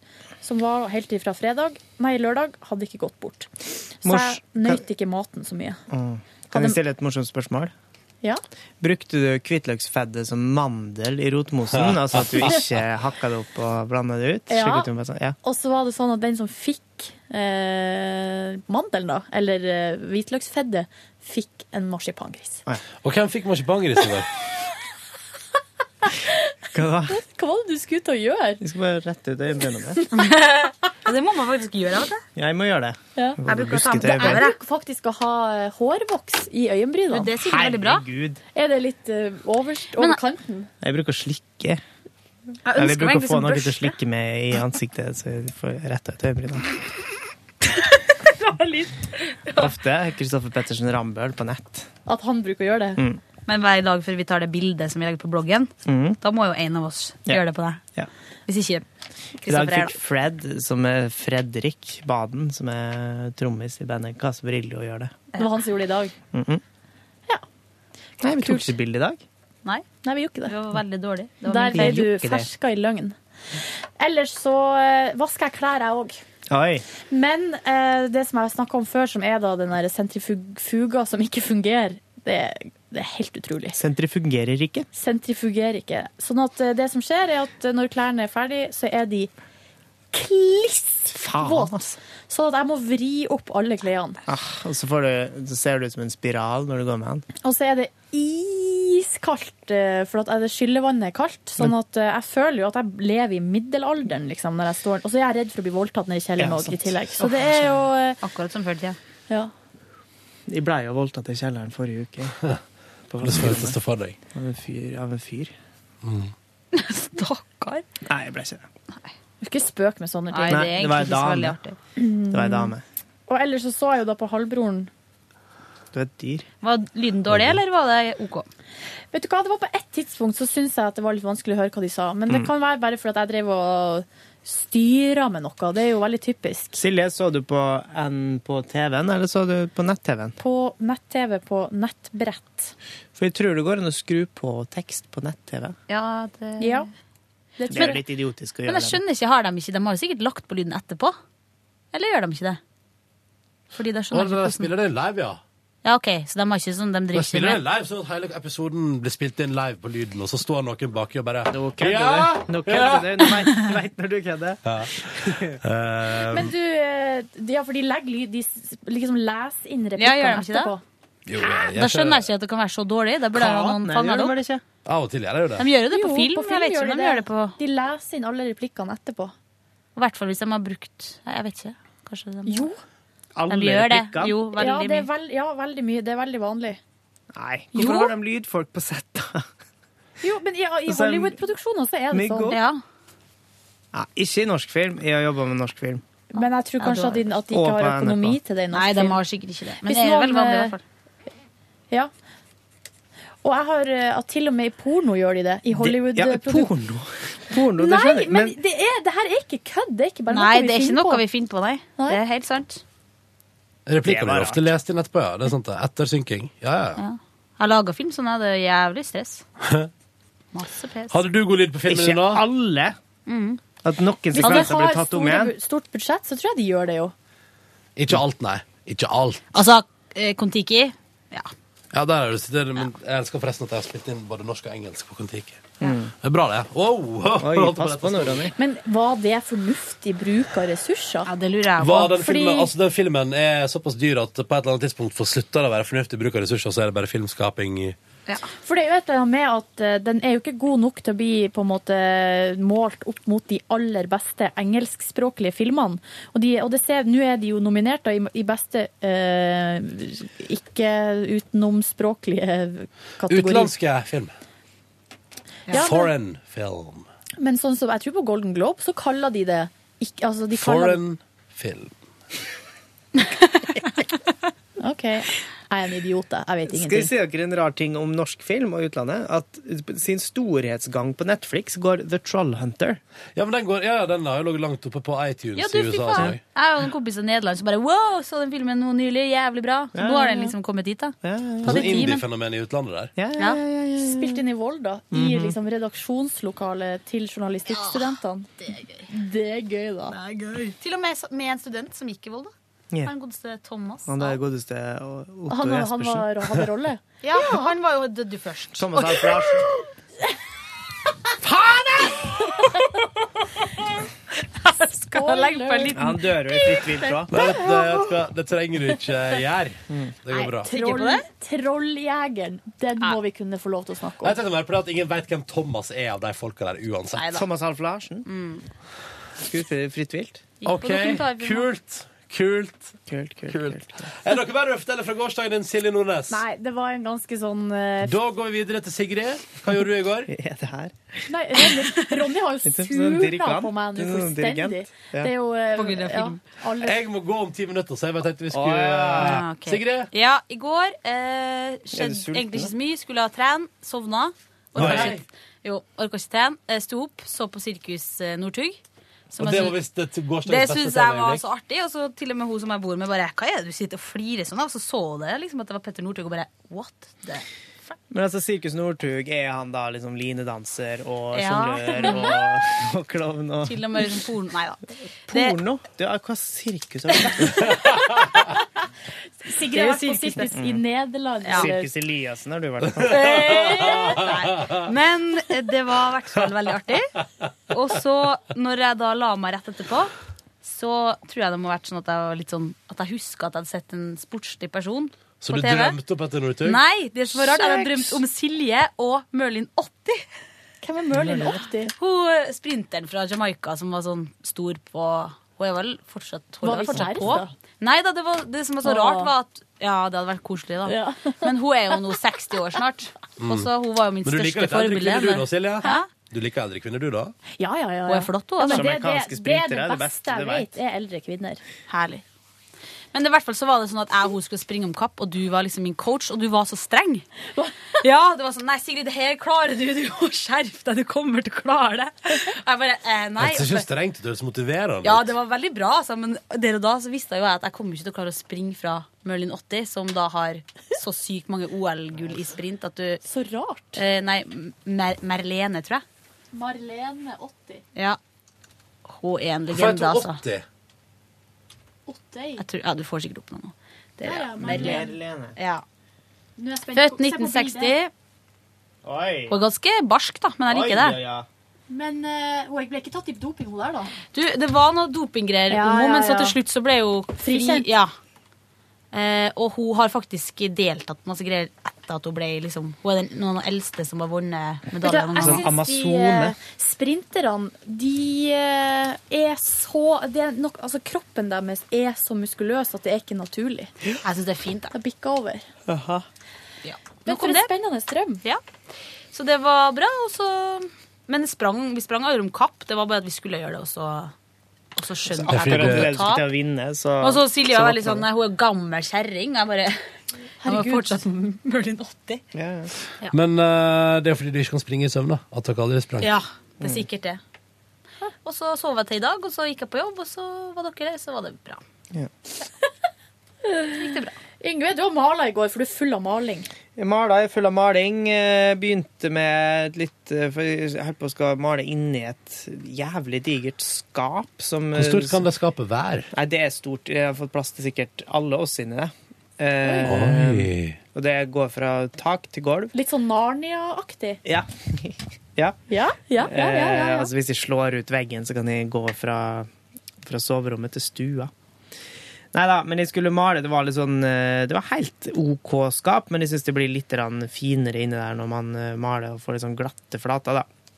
Speaker 4: som var helt ifra fredag, nei, lørdag, hadde ikke gått bort. Så
Speaker 3: Mors, Mm.
Speaker 4: jeg nøt ikke maten så mye.
Speaker 3: Kan
Speaker 4: Hadde-
Speaker 3: jeg stille et morsomt spørsmål?
Speaker 4: Ja.
Speaker 3: Brukte du hvitløksfedde som mandel i rotmosen? Altså at du ikke hakka det opp og blanda det ut?
Speaker 4: Ja.
Speaker 3: Slik at du bare sånn, ja.
Speaker 4: Og så var det sånn at den som fikk eh, mandelen, da, eller eh, hvitløksfedde, fikk en marsipangris.
Speaker 2: Og hvem fikk marsipangris i går?
Speaker 3: Hva da?
Speaker 4: Hva var det du skulle til å gjøre?
Speaker 3: Jeg skal bare rette ut øyebrynene mine.
Speaker 9: Ja, det må man faktisk gjøre. Vet du.
Speaker 3: Ja, jeg må gjøre det.
Speaker 4: Ja.
Speaker 9: Jeg bruker å ta
Speaker 3: Buskete
Speaker 9: med det
Speaker 4: Jeg
Speaker 3: øyebryn.
Speaker 9: her.
Speaker 4: bruker faktisk å ha eh, hårvoks i øyenbrynene.
Speaker 9: Det er sikkert veldig bra.
Speaker 3: Herregud.
Speaker 4: Er det litt eh, overst
Speaker 9: Men-
Speaker 4: over kanten?
Speaker 3: Jeg bruker å slikke.
Speaker 9: Jeg
Speaker 3: Eller jeg
Speaker 9: ønsker meg
Speaker 3: bruker å
Speaker 9: egentlig
Speaker 3: få
Speaker 9: som
Speaker 3: noe til å
Speaker 9: børste.
Speaker 3: slikke med i ansiktet, så jeg får retta ut øyebrynene. Ofte Kristoffer Pettersen Rambøll på nett.
Speaker 4: At han bruker å gjøre det?
Speaker 9: Men hver dag før vi tar det bildet som vi legger på bloggen, da må jo en av oss
Speaker 3: Ja.
Speaker 9: gjøre det på deg.
Speaker 3: Ja.
Speaker 9: Hvis
Speaker 3: I
Speaker 9: ikke
Speaker 3: dag
Speaker 9: Kristoffer er
Speaker 3: fikk
Speaker 9: da.
Speaker 3: Fred, som er Fredrik Baden, som er trommis i bandet Casa Brillo, gjøre det.
Speaker 4: Det var han som gjorde det i dag.
Speaker 3: Nei, vi tok
Speaker 4: Kult.
Speaker 3: ikke bilde i dag.
Speaker 9: Nei,
Speaker 4: Nei, vi gjorde ikke
Speaker 9: det
Speaker 4: det.
Speaker 9: var veldig dårlig. Det var
Speaker 4: Der
Speaker 9: min
Speaker 4: ble
Speaker 3: Jeg
Speaker 4: du
Speaker 3: gjorde ikke det.
Speaker 4: ferska i løgn. Ellers så eh, vasker jeg klær, jeg òg.
Speaker 3: Oi.
Speaker 4: Men eh, det som jeg har snakka om før, som er da den der sentrifuga som ikke fungerer, det, det er helt utrolig.
Speaker 3: Sentrifugerer ikke.
Speaker 4: Sentrifugerer ikke. Sånn at eh, det som skjer, er at eh, når klærne er ferdig, så er de klissvåte.
Speaker 3: altså.
Speaker 4: Sånn at jeg må vri opp alle klærne.
Speaker 3: Ah, og så, får du, så ser du ut som en spiral når du går med den.
Speaker 4: Og så er det is iskaldt, eh, for at eh, det skyllevannet er kaldt. Sånn at eh, jeg føler jo at jeg lever i middelalderen, liksom, når jeg står Og så er jeg redd for å bli voldtatt nede i kjelleren
Speaker 13: Ja,
Speaker 4: også, i
Speaker 13: sant.
Speaker 4: tillegg. Så
Speaker 13: Åh,
Speaker 4: det er jo eh,
Speaker 9: Akkurat som før i tida.
Speaker 4: Ja.
Speaker 3: Jeg ble jo voldtatt i kjelleren forrige uke.
Speaker 2: Hvordan føltes det for deg?
Speaker 3: Av en fyr. Av en fyr.
Speaker 4: Stakkar.
Speaker 3: Nei, jeg ble ikke det.
Speaker 4: Du skal ikke spøke med sånne ting.
Speaker 3: Nei, det er Nei, det var egentlig en ikke så veldig dame. artig. Det var ei dame.
Speaker 4: Og ellers så så jeg jo da på halvbroren
Speaker 3: Du er et dyr.
Speaker 9: Var lyden dårlig, eller var det OK?
Speaker 4: Vet du hva, det var på ett tidspunkt så syntes jeg at det var litt vanskelig å høre hva de sa. Men det
Speaker 3: Mm.
Speaker 4: kan være bare fordi jeg drev og styra med noe. Det er jo veldig typisk.
Speaker 3: Silje, så du på N på TV-en, eller så du på nett-TV-en?
Speaker 4: På nett-TV, på nettbrett.
Speaker 3: For jeg tror det går an å skru på tekst på nett-TV.
Speaker 9: Ja, det,
Speaker 3: Det er jo litt idiotisk å
Speaker 9: Men
Speaker 3: gjøre det.
Speaker 9: jeg skjønner ikke, har de ikke De har jo sikkert lagt på lyden etterpå. Eller gjør de ikke det? Fordi Sånn det
Speaker 2: Å,
Speaker 9: skjønner jeg
Speaker 2: de
Speaker 9: ikke hvordan
Speaker 2: spiller det live, ja.
Speaker 9: Ja, OK, så de har ikke sånn De
Speaker 2: De
Speaker 9: driver ikke
Speaker 2: spiller det
Speaker 9: med
Speaker 2: live, så at hele episoden blir spilt inn live på lyden, og så står noen baki og bare
Speaker 3: kødder du. Nå kødder du. Nå vet- jeg vet når du kødder.
Speaker 2: Ja. Eh,
Speaker 4: Men du, eh, ja, for de legger lyd De s- liksom leser inn
Speaker 9: Ja, gjør de
Speaker 4: replikkene
Speaker 9: ikke det?
Speaker 4: etterpå.
Speaker 2: jo,
Speaker 9: Da skjønner jeg ikke at det kan være så dårlig. Da burde jeg ha noen fanget det opp.
Speaker 2: Av og til gjør jeg jo det.
Speaker 9: De gjør jo det på
Speaker 4: Jo,
Speaker 9: film.
Speaker 4: på
Speaker 9: Jeg vet
Speaker 4: gjør
Speaker 9: ikke om de gjør det på
Speaker 4: De leser inn alle replikkene etterpå.
Speaker 9: I hvert fall hvis de har brukt Nei, jeg vet ikke. Kanskje de
Speaker 4: Jo.
Speaker 9: De gjør det.
Speaker 3: replikkene?
Speaker 9: Jo,
Speaker 4: ja,
Speaker 9: veldig
Speaker 4: det er
Speaker 9: mye.
Speaker 4: veld, ja, veldig mye. Det er veldig vanlig.
Speaker 3: Nei.
Speaker 4: Jo.
Speaker 3: Hvorfor har de lydfolk på sett, da?
Speaker 4: Jo, men ja, i
Speaker 3: Og så er-
Speaker 4: Hollywood-produksjoner så er det
Speaker 3: Myggo?
Speaker 4: sånn.
Speaker 3: Ja. Nei, ikke i norsk film. Jeg har jobba med norsk film.
Speaker 4: Men jeg tror
Speaker 9: Ja,
Speaker 4: kanskje
Speaker 9: du
Speaker 4: at de, at de
Speaker 3: Og
Speaker 4: ikke
Speaker 3: på
Speaker 4: har økonomi
Speaker 3: NRK.
Speaker 4: til det i norsk
Speaker 9: Nei, de
Speaker 4: film.
Speaker 9: har sikkert ikke det. Men
Speaker 4: Hvis
Speaker 9: det er
Speaker 4: noen,
Speaker 9: veldig vanlig, i
Speaker 4: eh,
Speaker 9: hvert fall.
Speaker 4: Ja. Og jeg har eh, at til og med i porno gjør de det. I
Speaker 3: Det- ja,
Speaker 4: Hollywood-produksjoner.
Speaker 3: porno. porno det
Speaker 4: Nei,
Speaker 3: skjønner jeg.
Speaker 4: men, det, er, det her er ikke kødd. Det er ikke bare
Speaker 9: Nei,
Speaker 4: noe vi
Speaker 9: det er ikke
Speaker 4: finner
Speaker 9: noe
Speaker 4: på.
Speaker 9: vi finner på, nei. Det er helt sant.
Speaker 2: Replikkene
Speaker 3: Det var
Speaker 2: blir ofte lest inn etterpå, ja. Det er sant, det. Ettersynking. Ja, ja.
Speaker 9: Ja. Jeg laga film, sånn er det jævlig stress. Masse pes.
Speaker 2: Hadde du god lyd på filmen din
Speaker 3: Ikke
Speaker 2: nå?
Speaker 3: alle.
Speaker 9: Mm.
Speaker 3: At noen
Speaker 4: Hvis de
Speaker 3: sekvenser blir
Speaker 4: Altså, har
Speaker 3: tatt om
Speaker 4: store,
Speaker 3: igjen.
Speaker 4: bu- stort budsjett, så tror jeg de gjør det jo.
Speaker 2: Ikke alt, nei. Ikke alt.
Speaker 9: Altså, eh, Kon-Tiki ja.
Speaker 2: Ja, der er du sitter, men Jeg elsker forresten at jeg har spilt inn både norsk og engelsk på Kon-Tiki. Det er bra, det. Wow!
Speaker 3: Oi, pass på nå, Ronny.
Speaker 4: Men var det fornuftig bruk av ressurser?
Speaker 9: ja, det lurer jeg på.
Speaker 2: Var den,
Speaker 4: Fordi-
Speaker 2: filmen, altså den filmen er såpass dyr at på et eller annet tidspunkt får slutta det å være fornuftig bruk av ressurser, så er det bare filmskaping i
Speaker 4: For det er jo et eller annet med at eh, den er jo ikke god nok til å bli på en måte målt opp mot de aller beste engelskspråklige filmene. Og, de, og det ser, nå er de jo nominert da, i, i beste eh, ikke-utenomspråklige kategori.
Speaker 2: utenlandske film.
Speaker 4: Ja, men-
Speaker 2: Foreign film.
Speaker 4: Men sånn som jeg tror på Golden Globe, så kaller de det ikke, altså de kaller,
Speaker 2: Foreign film.
Speaker 4: OK, jeg er en idiot, jeg. Jeg vet
Speaker 3: Skal jeg
Speaker 4: ingenting.
Speaker 3: si dere en rar ting om norsk film og utlandet? At sin storhetsgang på Netflix går The Trollhunter.
Speaker 2: Ja, men den, går, ja, den har jo ligget langt oppe på iTunes
Speaker 9: Ja, du,
Speaker 2: i
Speaker 9: fy
Speaker 2: USA.
Speaker 9: faen.
Speaker 2: Altså.
Speaker 9: Jeg og en kompis fra Nederland som bare wow, så den filmen nå nylig, jævlig bra. Så nå har den liksom kommet dit, da.
Speaker 3: Ja, ja,
Speaker 9: Ta
Speaker 2: Sånn
Speaker 9: det i timen.
Speaker 2: indie-fenomen i utlandet der.
Speaker 3: ja.
Speaker 9: Ja.
Speaker 4: Spilt inn i Volda, i liksom redaksjonslokalet til journalistikkstudentene.
Speaker 9: Det er gøy.
Speaker 4: Det er gøy, da.
Speaker 9: Det er gøy. Til og med så- med en student som gikk i Volda.
Speaker 3: Ja.
Speaker 9: Han godeste Thomas.
Speaker 3: Han der godeste eh, Otto
Speaker 4: Han, han
Speaker 3: Jespersen.
Speaker 4: var, hadde rolle.
Speaker 9: Ja, han var jo dødd først.
Speaker 3: Thomas Alf Larsen.
Speaker 9: Skal jeg legge på en liten
Speaker 3: Han dør jo i fritt vilt fra.
Speaker 2: Nei, det, det, det, det trenger du ikke gjøre.
Speaker 3: Mm.
Speaker 2: Det går bra.
Speaker 9: Trykker på
Speaker 4: Troll,
Speaker 9: det?
Speaker 4: trolljegeren. Den må vi kunne få lov til å snakke
Speaker 2: Jeg
Speaker 4: om.
Speaker 2: tenkte mer på det at ingen vet hvem Thomas er av de folka der uansett.
Speaker 9: Neida.
Speaker 3: Thomas Alf Larsen.
Speaker 4: Mm.
Speaker 3: Skuespiller i fritt vilt.
Speaker 9: Gikk på
Speaker 2: OK,
Speaker 9: dokumentarfilm.
Speaker 2: kult. Kult.
Speaker 3: Kult,
Speaker 2: Kult.
Speaker 3: kult, kult.
Speaker 2: Er dere bare røfte eller fra gårsdagen din, Silje Nordnes?
Speaker 4: Nei, det var en ganske sånn eh,
Speaker 2: Da går vi videre til Sigrid. Hva gjorde du i går?
Speaker 3: Er det her?
Speaker 4: Nei, Ronny, Ronny har jo
Speaker 3: Litt som sånn
Speaker 4: sula
Speaker 3: dirigent.
Speaker 4: på meg nå
Speaker 3: Litt sånn dirigent.
Speaker 4: fullstendig.
Speaker 3: Ja.
Speaker 4: Det er jo eh,
Speaker 9: På grunn av
Speaker 4: ja,
Speaker 9: film.
Speaker 4: alle,
Speaker 2: Jeg må gå om ti minutter, så jeg bare tenkte vi
Speaker 3: Å,
Speaker 2: skulle
Speaker 3: ja.
Speaker 9: Ah, ok.
Speaker 2: Sigrid?
Speaker 9: Ja, i går eh,
Speaker 3: Er du
Speaker 9: skjedde
Speaker 3: sulten,
Speaker 9: egentlig ikke så mye. Skulle ha tren, sovna. Orka
Speaker 2: Nei.
Speaker 9: ikke, jo, orka ikke tren. Eh, Sto opp, så på Sirkus eh, Northug. som
Speaker 2: Og
Speaker 9: jeg
Speaker 2: det
Speaker 9: syns-
Speaker 2: var visst det til
Speaker 9: det
Speaker 2: gårsdagens beste
Speaker 9: syns jeg var
Speaker 2: sending.
Speaker 9: så artig. Og så til og med hun som jeg bor med, bare Hva er det du sitter og flirer sånn av? Så så dere liksom at det var Petter Northug, og bare What the
Speaker 3: Men altså, Sirkus Northug, er han da liksom linedanser og
Speaker 9: Ja.
Speaker 3: sjonglør og, og klovn og
Speaker 9: Til og med liksom porno Nei da. Det-
Speaker 3: Porno? Du, hva sirkus har du vært i?
Speaker 4: Sigrid har vært på sirkus i Nederland. Eh,
Speaker 9: Ja.
Speaker 4: eller-
Speaker 3: Sirkus Eliassen har du vært på.
Speaker 9: Nei. Men eh, det var i hvert fall veldig artig. Og så, når jeg da la meg rett etterpå, så tror jeg det må ha vært sånn at jeg, var litt sånn, at jeg husker at jeg hadde sett en sportslig person
Speaker 2: Så du
Speaker 9: på TV.
Speaker 2: drømte opp etter Northug?
Speaker 9: Nei, det som var rart, jeg hadde
Speaker 2: Sex.
Speaker 9: drømt om Silje og Merlin 80.
Speaker 4: Hvem er Merlin 80?
Speaker 9: Hun eh, sprinteren fra Jamaica som var sånn stor på Hun er vel fortsatt, hun
Speaker 14: Var
Speaker 9: er vel
Speaker 14: vi
Speaker 9: fortsatt
Speaker 14: kjæreste?
Speaker 9: på? Nei da, det, var, det som var så
Speaker 14: Åh.
Speaker 9: rart, var at Ja, det hadde vært koselig, da. Men hun er jo nå 60 år snart.
Speaker 2: Mm.
Speaker 9: Og så hun var jo min
Speaker 2: Men du liker
Speaker 9: største
Speaker 2: litt eldre
Speaker 9: forbilde.
Speaker 2: kvinner, du da, Silje?
Speaker 9: Hæ?
Speaker 2: Du liker eldre kvinner, du, da?
Speaker 14: Ja, ja, ja.
Speaker 9: Hun er flott, hun,
Speaker 14: Ja,
Speaker 9: altså.
Speaker 14: men det,
Speaker 2: Amerikanske
Speaker 14: det, det
Speaker 2: sprintere
Speaker 14: er det beste jeg vet, er eldre kvinner.
Speaker 9: Herlig. Men i hvert fall så var det sånn at jeg og hun skulle springe om kapp, og du var liksom min coach, og du var så streng. Ja, det var sånn Nei, Sigrid, det her klarer du. Du må skjerpe deg. Du kommer til å klare det. Og jeg bare eh, Nei.
Speaker 2: Det ser ikke strengt ut, det høres motiverende ut.
Speaker 9: Ja, det var veldig bra, altså, men der og da så visste jeg jo jeg at jeg kommer ikke til å klare å springe fra Merlin 80, som da har så sykt mange OL-gull i sprint at du
Speaker 14: Så rart.
Speaker 9: Eh, nei, Mer Merlene, tror jeg.
Speaker 14: Marlene 80.
Speaker 9: Ja. Hun er en
Speaker 2: Hvorfor
Speaker 9: legende,
Speaker 2: heter hun
Speaker 9: altså.
Speaker 2: 80?
Speaker 9: Jeg tror, ja, du får sikkert opp noe nå. Det
Speaker 14: Der,
Speaker 9: er,
Speaker 14: ja,
Speaker 9: Merlene.
Speaker 14: Merlene.
Speaker 9: Ja.
Speaker 14: Nå er jeg spent. Se
Speaker 9: Født
Speaker 14: på bildet.
Speaker 9: 1960.
Speaker 14: Oi.
Speaker 9: Hun er ganske barsk, da, men jeg liker det.
Speaker 14: Men eh, hun ble ikke tatt i doping, hun der, da.
Speaker 9: Du, det var noe dopinggreier
Speaker 14: Ja,
Speaker 9: om henne,
Speaker 14: ja,
Speaker 9: men så
Speaker 14: ja.
Speaker 9: til slutt så ble hun fri.
Speaker 14: Frikjent.
Speaker 9: Ja. Eh, og hun har faktisk deltatt på masse greier etter at hun ble liksom Hun er den, noen av de eldste som har vunnet
Speaker 4: Vet du,
Speaker 9: medaljer.
Speaker 4: jeg syns de eh, sprinterne, de eh, er så det er nok, altså Kroppen deres er så muskuløs at det er ikke naturlig.
Speaker 9: Jeg syns det er fint.
Speaker 4: Det bikker over.
Speaker 9: Men
Speaker 4: Men
Speaker 9: for
Speaker 4: for en spennende drøm.
Speaker 9: Ja. Så det var bra, og så Men sprang, vi sprang aldri om kapp. Det var bare at vi skulle gjøre det, og så, og så skjønte jeg at jeg
Speaker 15: Akkurat
Speaker 9: kom
Speaker 15: det
Speaker 9: til å
Speaker 15: skulle til
Speaker 9: tape.
Speaker 15: å vinne, så
Speaker 9: Og så Silje var
Speaker 15: våkna
Speaker 9: veldig sånn Nei, hun er gammel kjerring. Jeg bare Hun er
Speaker 15: Herregud.
Speaker 9: fortsatt mulig 80. Ja.
Speaker 2: Men eh, det er fordi du ikke kan springe i søvn, da. At dere aldri sprang.
Speaker 9: Ja, det er
Speaker 2: Mm.
Speaker 9: sikkert det. Og så sov jeg til i dag, og så gikk jeg på jobb, og så var dere der, så var det bra.
Speaker 4: Yngve, du har mala i går, for du er full av maling.
Speaker 3: Jeg Mala jeg er full av maling. eh, Begynte med et litt eh, For jeg holdt på å skal male inni et jævlig digert skap som eh,
Speaker 2: Hvor stort kan det skapet være?
Speaker 3: Nei, det er stort. Jeg har fått plass til sikkert alle oss inni det. Eh,
Speaker 2: Oi.
Speaker 3: Og det går fra tak til gulv.
Speaker 4: Litt sånn Narnia-aktig.
Speaker 3: Ja. Ja.
Speaker 4: Ja, ja, ja, ja, ja,
Speaker 3: Eh,
Speaker 4: ja.
Speaker 3: altså hvis jeg slår ut veggen, så kan jeg gå fra, fra soverommet til stua. Nei da, men jeg skulle male. Det var litt sånn eh, Det var helt OK skap, men jeg syns det blir litt grann finere inni der når man eh, maler og får litt sånn glatte flater, da.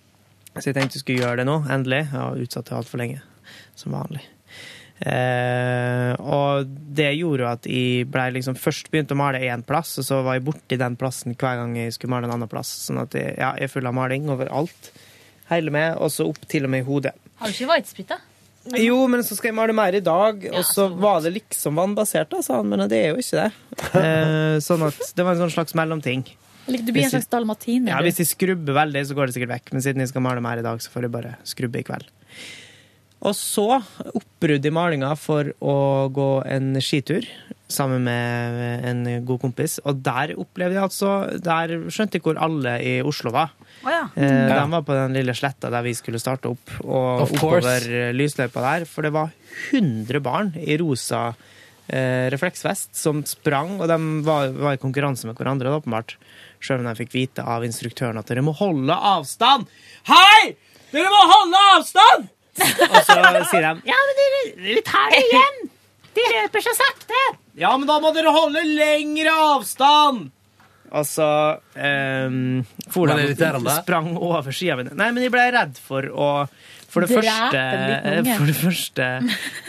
Speaker 3: Så jeg tenkte jeg skulle gjøre det nå, endelig. Jeg har utsatt det altfor lenge, som vanlig. Eh, og det gjorde jo at jeg ble liksom først begynte å male én plass, og så var jeg borti den plassen hver gang jeg skulle male en annen plass. Sånn at jeg, ja, jeg er full av maling overalt. Hele med, og så opp til og med i hodet.
Speaker 9: Har du ikke whitesprit, da?
Speaker 3: Jo, men så skal jeg male mer i dag, og så var det liksom vannbasert, da, sa han, men det er jo ikke det. Eh, sånn at det var en sånn slags mellomting.
Speaker 4: Eller Du blir en slags dalmatiner.
Speaker 3: Ja,
Speaker 4: du.
Speaker 3: hvis jeg skrubber veldig, så går det sikkert vekk, men siden jeg skal male mer i dag, så får jeg bare skrubbe i kveld. Og så oppbrudd i malinga for å gå en skitur sammen med en god kompis, og der opplevde jeg altså Der skjønte jeg hvor alle i Oslo var.
Speaker 9: Å ja.
Speaker 3: Eh, De var på den lille sletta der vi skulle starte opp, og
Speaker 2: Of course.
Speaker 3: oppover eh, lysløypa der. For det var 100 barn i rosa eh, refleksvest som sprang, og de var, var i konkurranse med hverandre, da, åpenbart. Sjøl om de fikk vite av instruktøren at dere må holde avstand. Hei! Dere må holde avstand! Og så sier de ja, men dere det er litt her igjen. De løper så sakte. Ja, men da må dere holde lengre avstand. Og så ehm,
Speaker 2: Var
Speaker 3: for
Speaker 2: det
Speaker 3: de
Speaker 2: irriterende?
Speaker 3: sprang over sida mi. Nei, men jeg ble redd for å For det
Speaker 2: Drepe
Speaker 3: første,
Speaker 2: en liten unge.
Speaker 3: for det første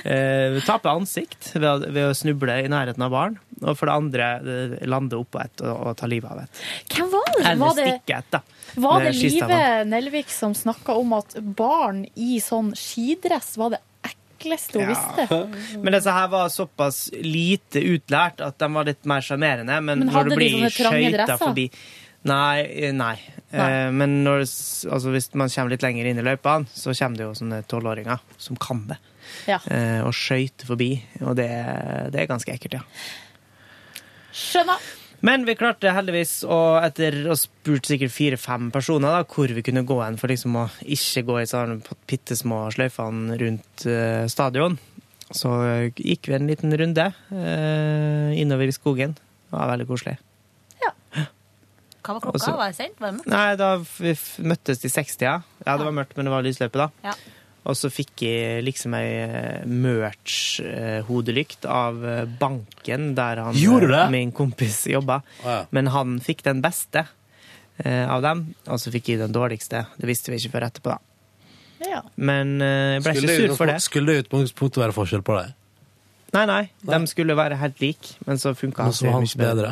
Speaker 3: eh, tape ansikt ved, å- ved å snuble i nærheten av barn. Og for det andre eh, lande oppå et og, og ta livet av et.
Speaker 4: Hvem var det?
Speaker 3: Eller
Speaker 4: Var det,
Speaker 3: stikke et, da.
Speaker 4: var det
Speaker 3: med skistaven.
Speaker 4: Live Nelvik som snakka om at barn i sånn skidress var det ekleste hun visste?
Speaker 3: Men disse her var såpass lite utlært at de var litt mer sjarmerende. Men,
Speaker 4: Men
Speaker 3: når
Speaker 4: hadde
Speaker 3: du
Speaker 4: de
Speaker 3: blir
Speaker 4: sånne trange
Speaker 3: skøyta
Speaker 4: dresser?
Speaker 3: forbi Nei. eh, nei. Eh, men når, altså, hvis man kommer litt lenger inn i løypene, så kommer det jo sånne tolvåringer som kan det.
Speaker 4: Ja.
Speaker 3: Eh, og skøyter forbi. Og det, det er ganske ekkelt, ja.
Speaker 4: Skjønner.
Speaker 3: Men vi klarte heldigvis å, etter å spurt sikkert fire-fem personer da, hvor vi kunne gå hen for liksom å ikke gå i sånne bitte små sløyfene rundt eh, stadion. Så eh, gikk vi en liten runde eh, innover i skogen. Det var veldig koselig.
Speaker 9: Hva var
Speaker 3: Og så-
Speaker 9: klokka?
Speaker 2: Altså-
Speaker 9: Var jeg sent? Var jeg mørk?
Speaker 3: Nei, da vi f- møttes de 60, ja. Ja, det var mørkt, men det var lysløype, da.
Speaker 9: Ja.
Speaker 3: Og så fikk jeg liksom ei merch-hodelykt av eh, banken der han,
Speaker 2: Gjorde du
Speaker 3: eh,
Speaker 2: det?
Speaker 3: min kompis jobba. Men han fikk den beste eh, av dem, og så fikk jeg den dårligste. Det visste vi ikke før etterpå, da.
Speaker 4: Ja.
Speaker 3: Men eh, jeg ble
Speaker 2: Skulle i
Speaker 3: ikke sur for det.
Speaker 2: utgangspunktet- Skulle det i utgangspunktet være forskjell på deg?
Speaker 3: Nei, nei, de skulle være helt like, men så funka
Speaker 2: Men så var hans bedre.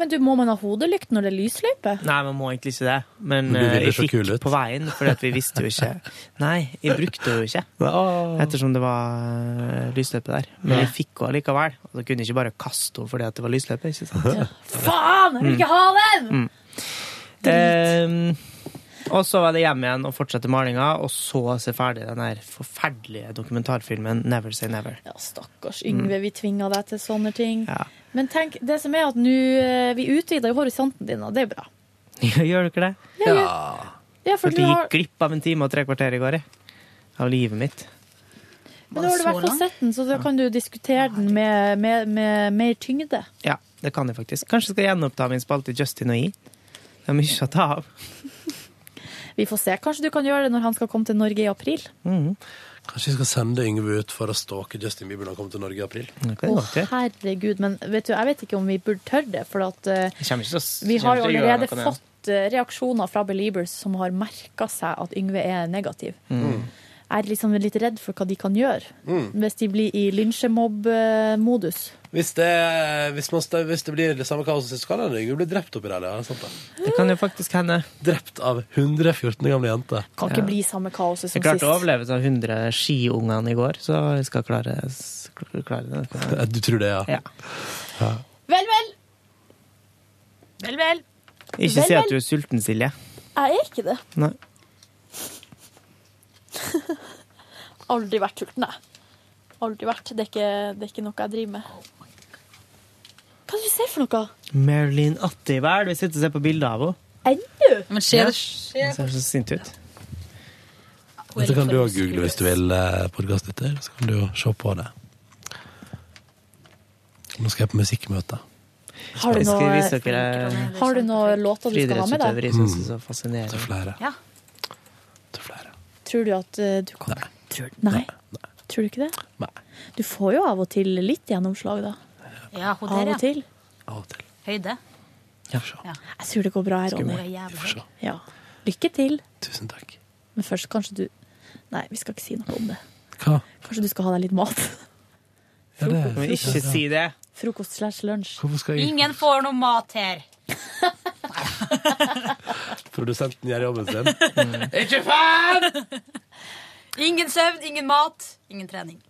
Speaker 4: Men du, må man ha hodelykt når det er lysløype?
Speaker 3: Nei, man må egentlig ikke det, men,
Speaker 2: Men du ville
Speaker 3: eh, jeg
Speaker 2: se kul
Speaker 3: fikk på veien, for vi visste jo ikke Nei, jeg brukte jo ikke,
Speaker 2: ah.
Speaker 3: ettersom det var eh, lysløype der. Men jeg fikk henne likevel, og da kunne jeg ikke bare kaste henne fordi at det var lysløype. ikke sant?
Speaker 16: Faen, jeg vil ikke ha den!
Speaker 3: Mm. Ehm, og så var det hjem igjen og fortsette malinga, og så se ferdig den her forferdelige dokumentarfilmen 'Never Say Never'.
Speaker 4: Ja, stakkars
Speaker 3: Mm.
Speaker 4: Yngve, vi tvinger deg til sånne ting. Men tenk, det som er at nå eh, Vi utvider jo horisonten din, og det er bra.
Speaker 3: Gjør du ikke det?
Speaker 4: Ja. Ja,
Speaker 3: For
Speaker 4: for
Speaker 3: du
Speaker 4: nå har,
Speaker 3: gikk glipp av en time og tre kvarter i går, jeg. Av livet mitt.
Speaker 4: men nå har du i hvert fall sett den, så da kan du diskutere den med, med, med mer tyngde.
Speaker 3: Ja, det kan jeg faktisk. Kanskje skal jeg gjenoppta min spalte Justin og I. Det er mye å ta av.
Speaker 4: Vi får se. Kanskje du kan gjøre det når han skal komme til Norge i april.
Speaker 2: Kanskje vi skal sende Yngve ut for å stalke Justin Bieber når han kommer til Norge i april?
Speaker 4: Å, herregud. Men vet du, jeg vet ikke om vi burde tørre det, for at eh,
Speaker 2: Jeg kommer ikke til å-
Speaker 4: vi har jo
Speaker 2: kommer ikke til å gjøre
Speaker 4: allerede
Speaker 2: noe med det.
Speaker 4: fått eh, reaksjoner fra Beliebers som har merka seg at Yngve er negativ.
Speaker 2: Mm.
Speaker 4: Jeg er liksom litt redd for hva de kan gjøre,
Speaker 2: Mm.
Speaker 4: hvis de blir i lynsjemobb-modus.
Speaker 2: Hvis det, hvis, man, sta- hvis det blir det samme kaoset sist, kan hende Yngve blir drept oppi der. ja, sant det?
Speaker 3: Det kan jo faktisk hende.
Speaker 2: Drept av 114 gamle jenter.
Speaker 4: Kan ikke bli samme kaoset som
Speaker 3: Jeg klarte
Speaker 4: sist.
Speaker 3: å overleve de 100 skiungene i går, så jeg skal klare, skal klare det.
Speaker 2: Du tror det, ja?
Speaker 4: Vel, vel!
Speaker 9: Vel, vel.
Speaker 3: Ikke si at du er sulten, Silje.
Speaker 4: Jeg er ikke det.
Speaker 3: Nei.
Speaker 16: Aldri vært sulten, jeg. Aldri vært. Det er, ikke, det er ikke noe jeg driver med.
Speaker 4: Hva er det du ser for noe?
Speaker 3: Marilyn Attivær, vi sitter og ser på bilder av henne.
Speaker 4: Ennå?
Speaker 9: Men
Speaker 3: Ja.
Speaker 9: skjer det?
Speaker 3: Hun ser så sint ut.
Speaker 2: Dette kan du òg google hvis du vil, eh, podcastlytter. Så kan du jo se på det. Nå skal jeg på musikkmøte.
Speaker 4: Har du
Speaker 3: Jeg skal vise
Speaker 4: noe,
Speaker 3: dere
Speaker 4: har du noe låter du skal ha med
Speaker 3: friidrettsutøvere
Speaker 4: deg?
Speaker 3: jeg syns er så fascinerende.
Speaker 4: Ja. Tror du at eh, du kan Nei. Tror, nei. Tror du ikke det? Du får jo av og til litt gjennomslag, da.
Speaker 9: Ja, hun
Speaker 4: Av
Speaker 9: der,
Speaker 4: og til.
Speaker 9: ja. Høyde.
Speaker 4: Jeg tror det går bra her,
Speaker 9: Hun er
Speaker 4: Ronny.
Speaker 9: jævlig høy.
Speaker 4: Ja. Lykke til.
Speaker 2: Tusen takk.
Speaker 4: Men først kanskje du Nei, vi skal ikke si noe om det.
Speaker 2: Hva?
Speaker 4: Kanskje du skal ha deg litt mat?
Speaker 2: Ja, det
Speaker 3: Men ikke si det.
Speaker 4: Frokost slash lunsj.
Speaker 2: Hvorfor skal jeg
Speaker 9: Ingen får noe mat her.
Speaker 2: Produsenten gjør jobben sin.
Speaker 9: Ikke faen! Ingen søvn, ingen mat, ingen trening.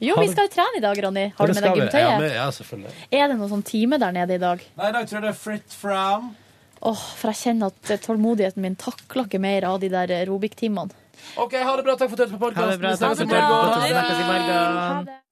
Speaker 4: Jo, vi skal jo trene i dag, Ronny. Har du med deg
Speaker 2: Ja,
Speaker 4: gymtøyet?
Speaker 2: med, ja, selvfølgelig.
Speaker 4: Er det noen sånn time der nede i dag?
Speaker 2: Nei, i dag tror jeg det er fritt fram.
Speaker 4: Åh, For jeg kjenner at eh, tålmodigheten min takler ikke mer av de der eh, Robik-timene.
Speaker 2: OK, ha det bra. Takk for at du hørte på podkasten.
Speaker 4: Ha det bra, takk for at du hørte på. Snakkes i morgen. Ha det.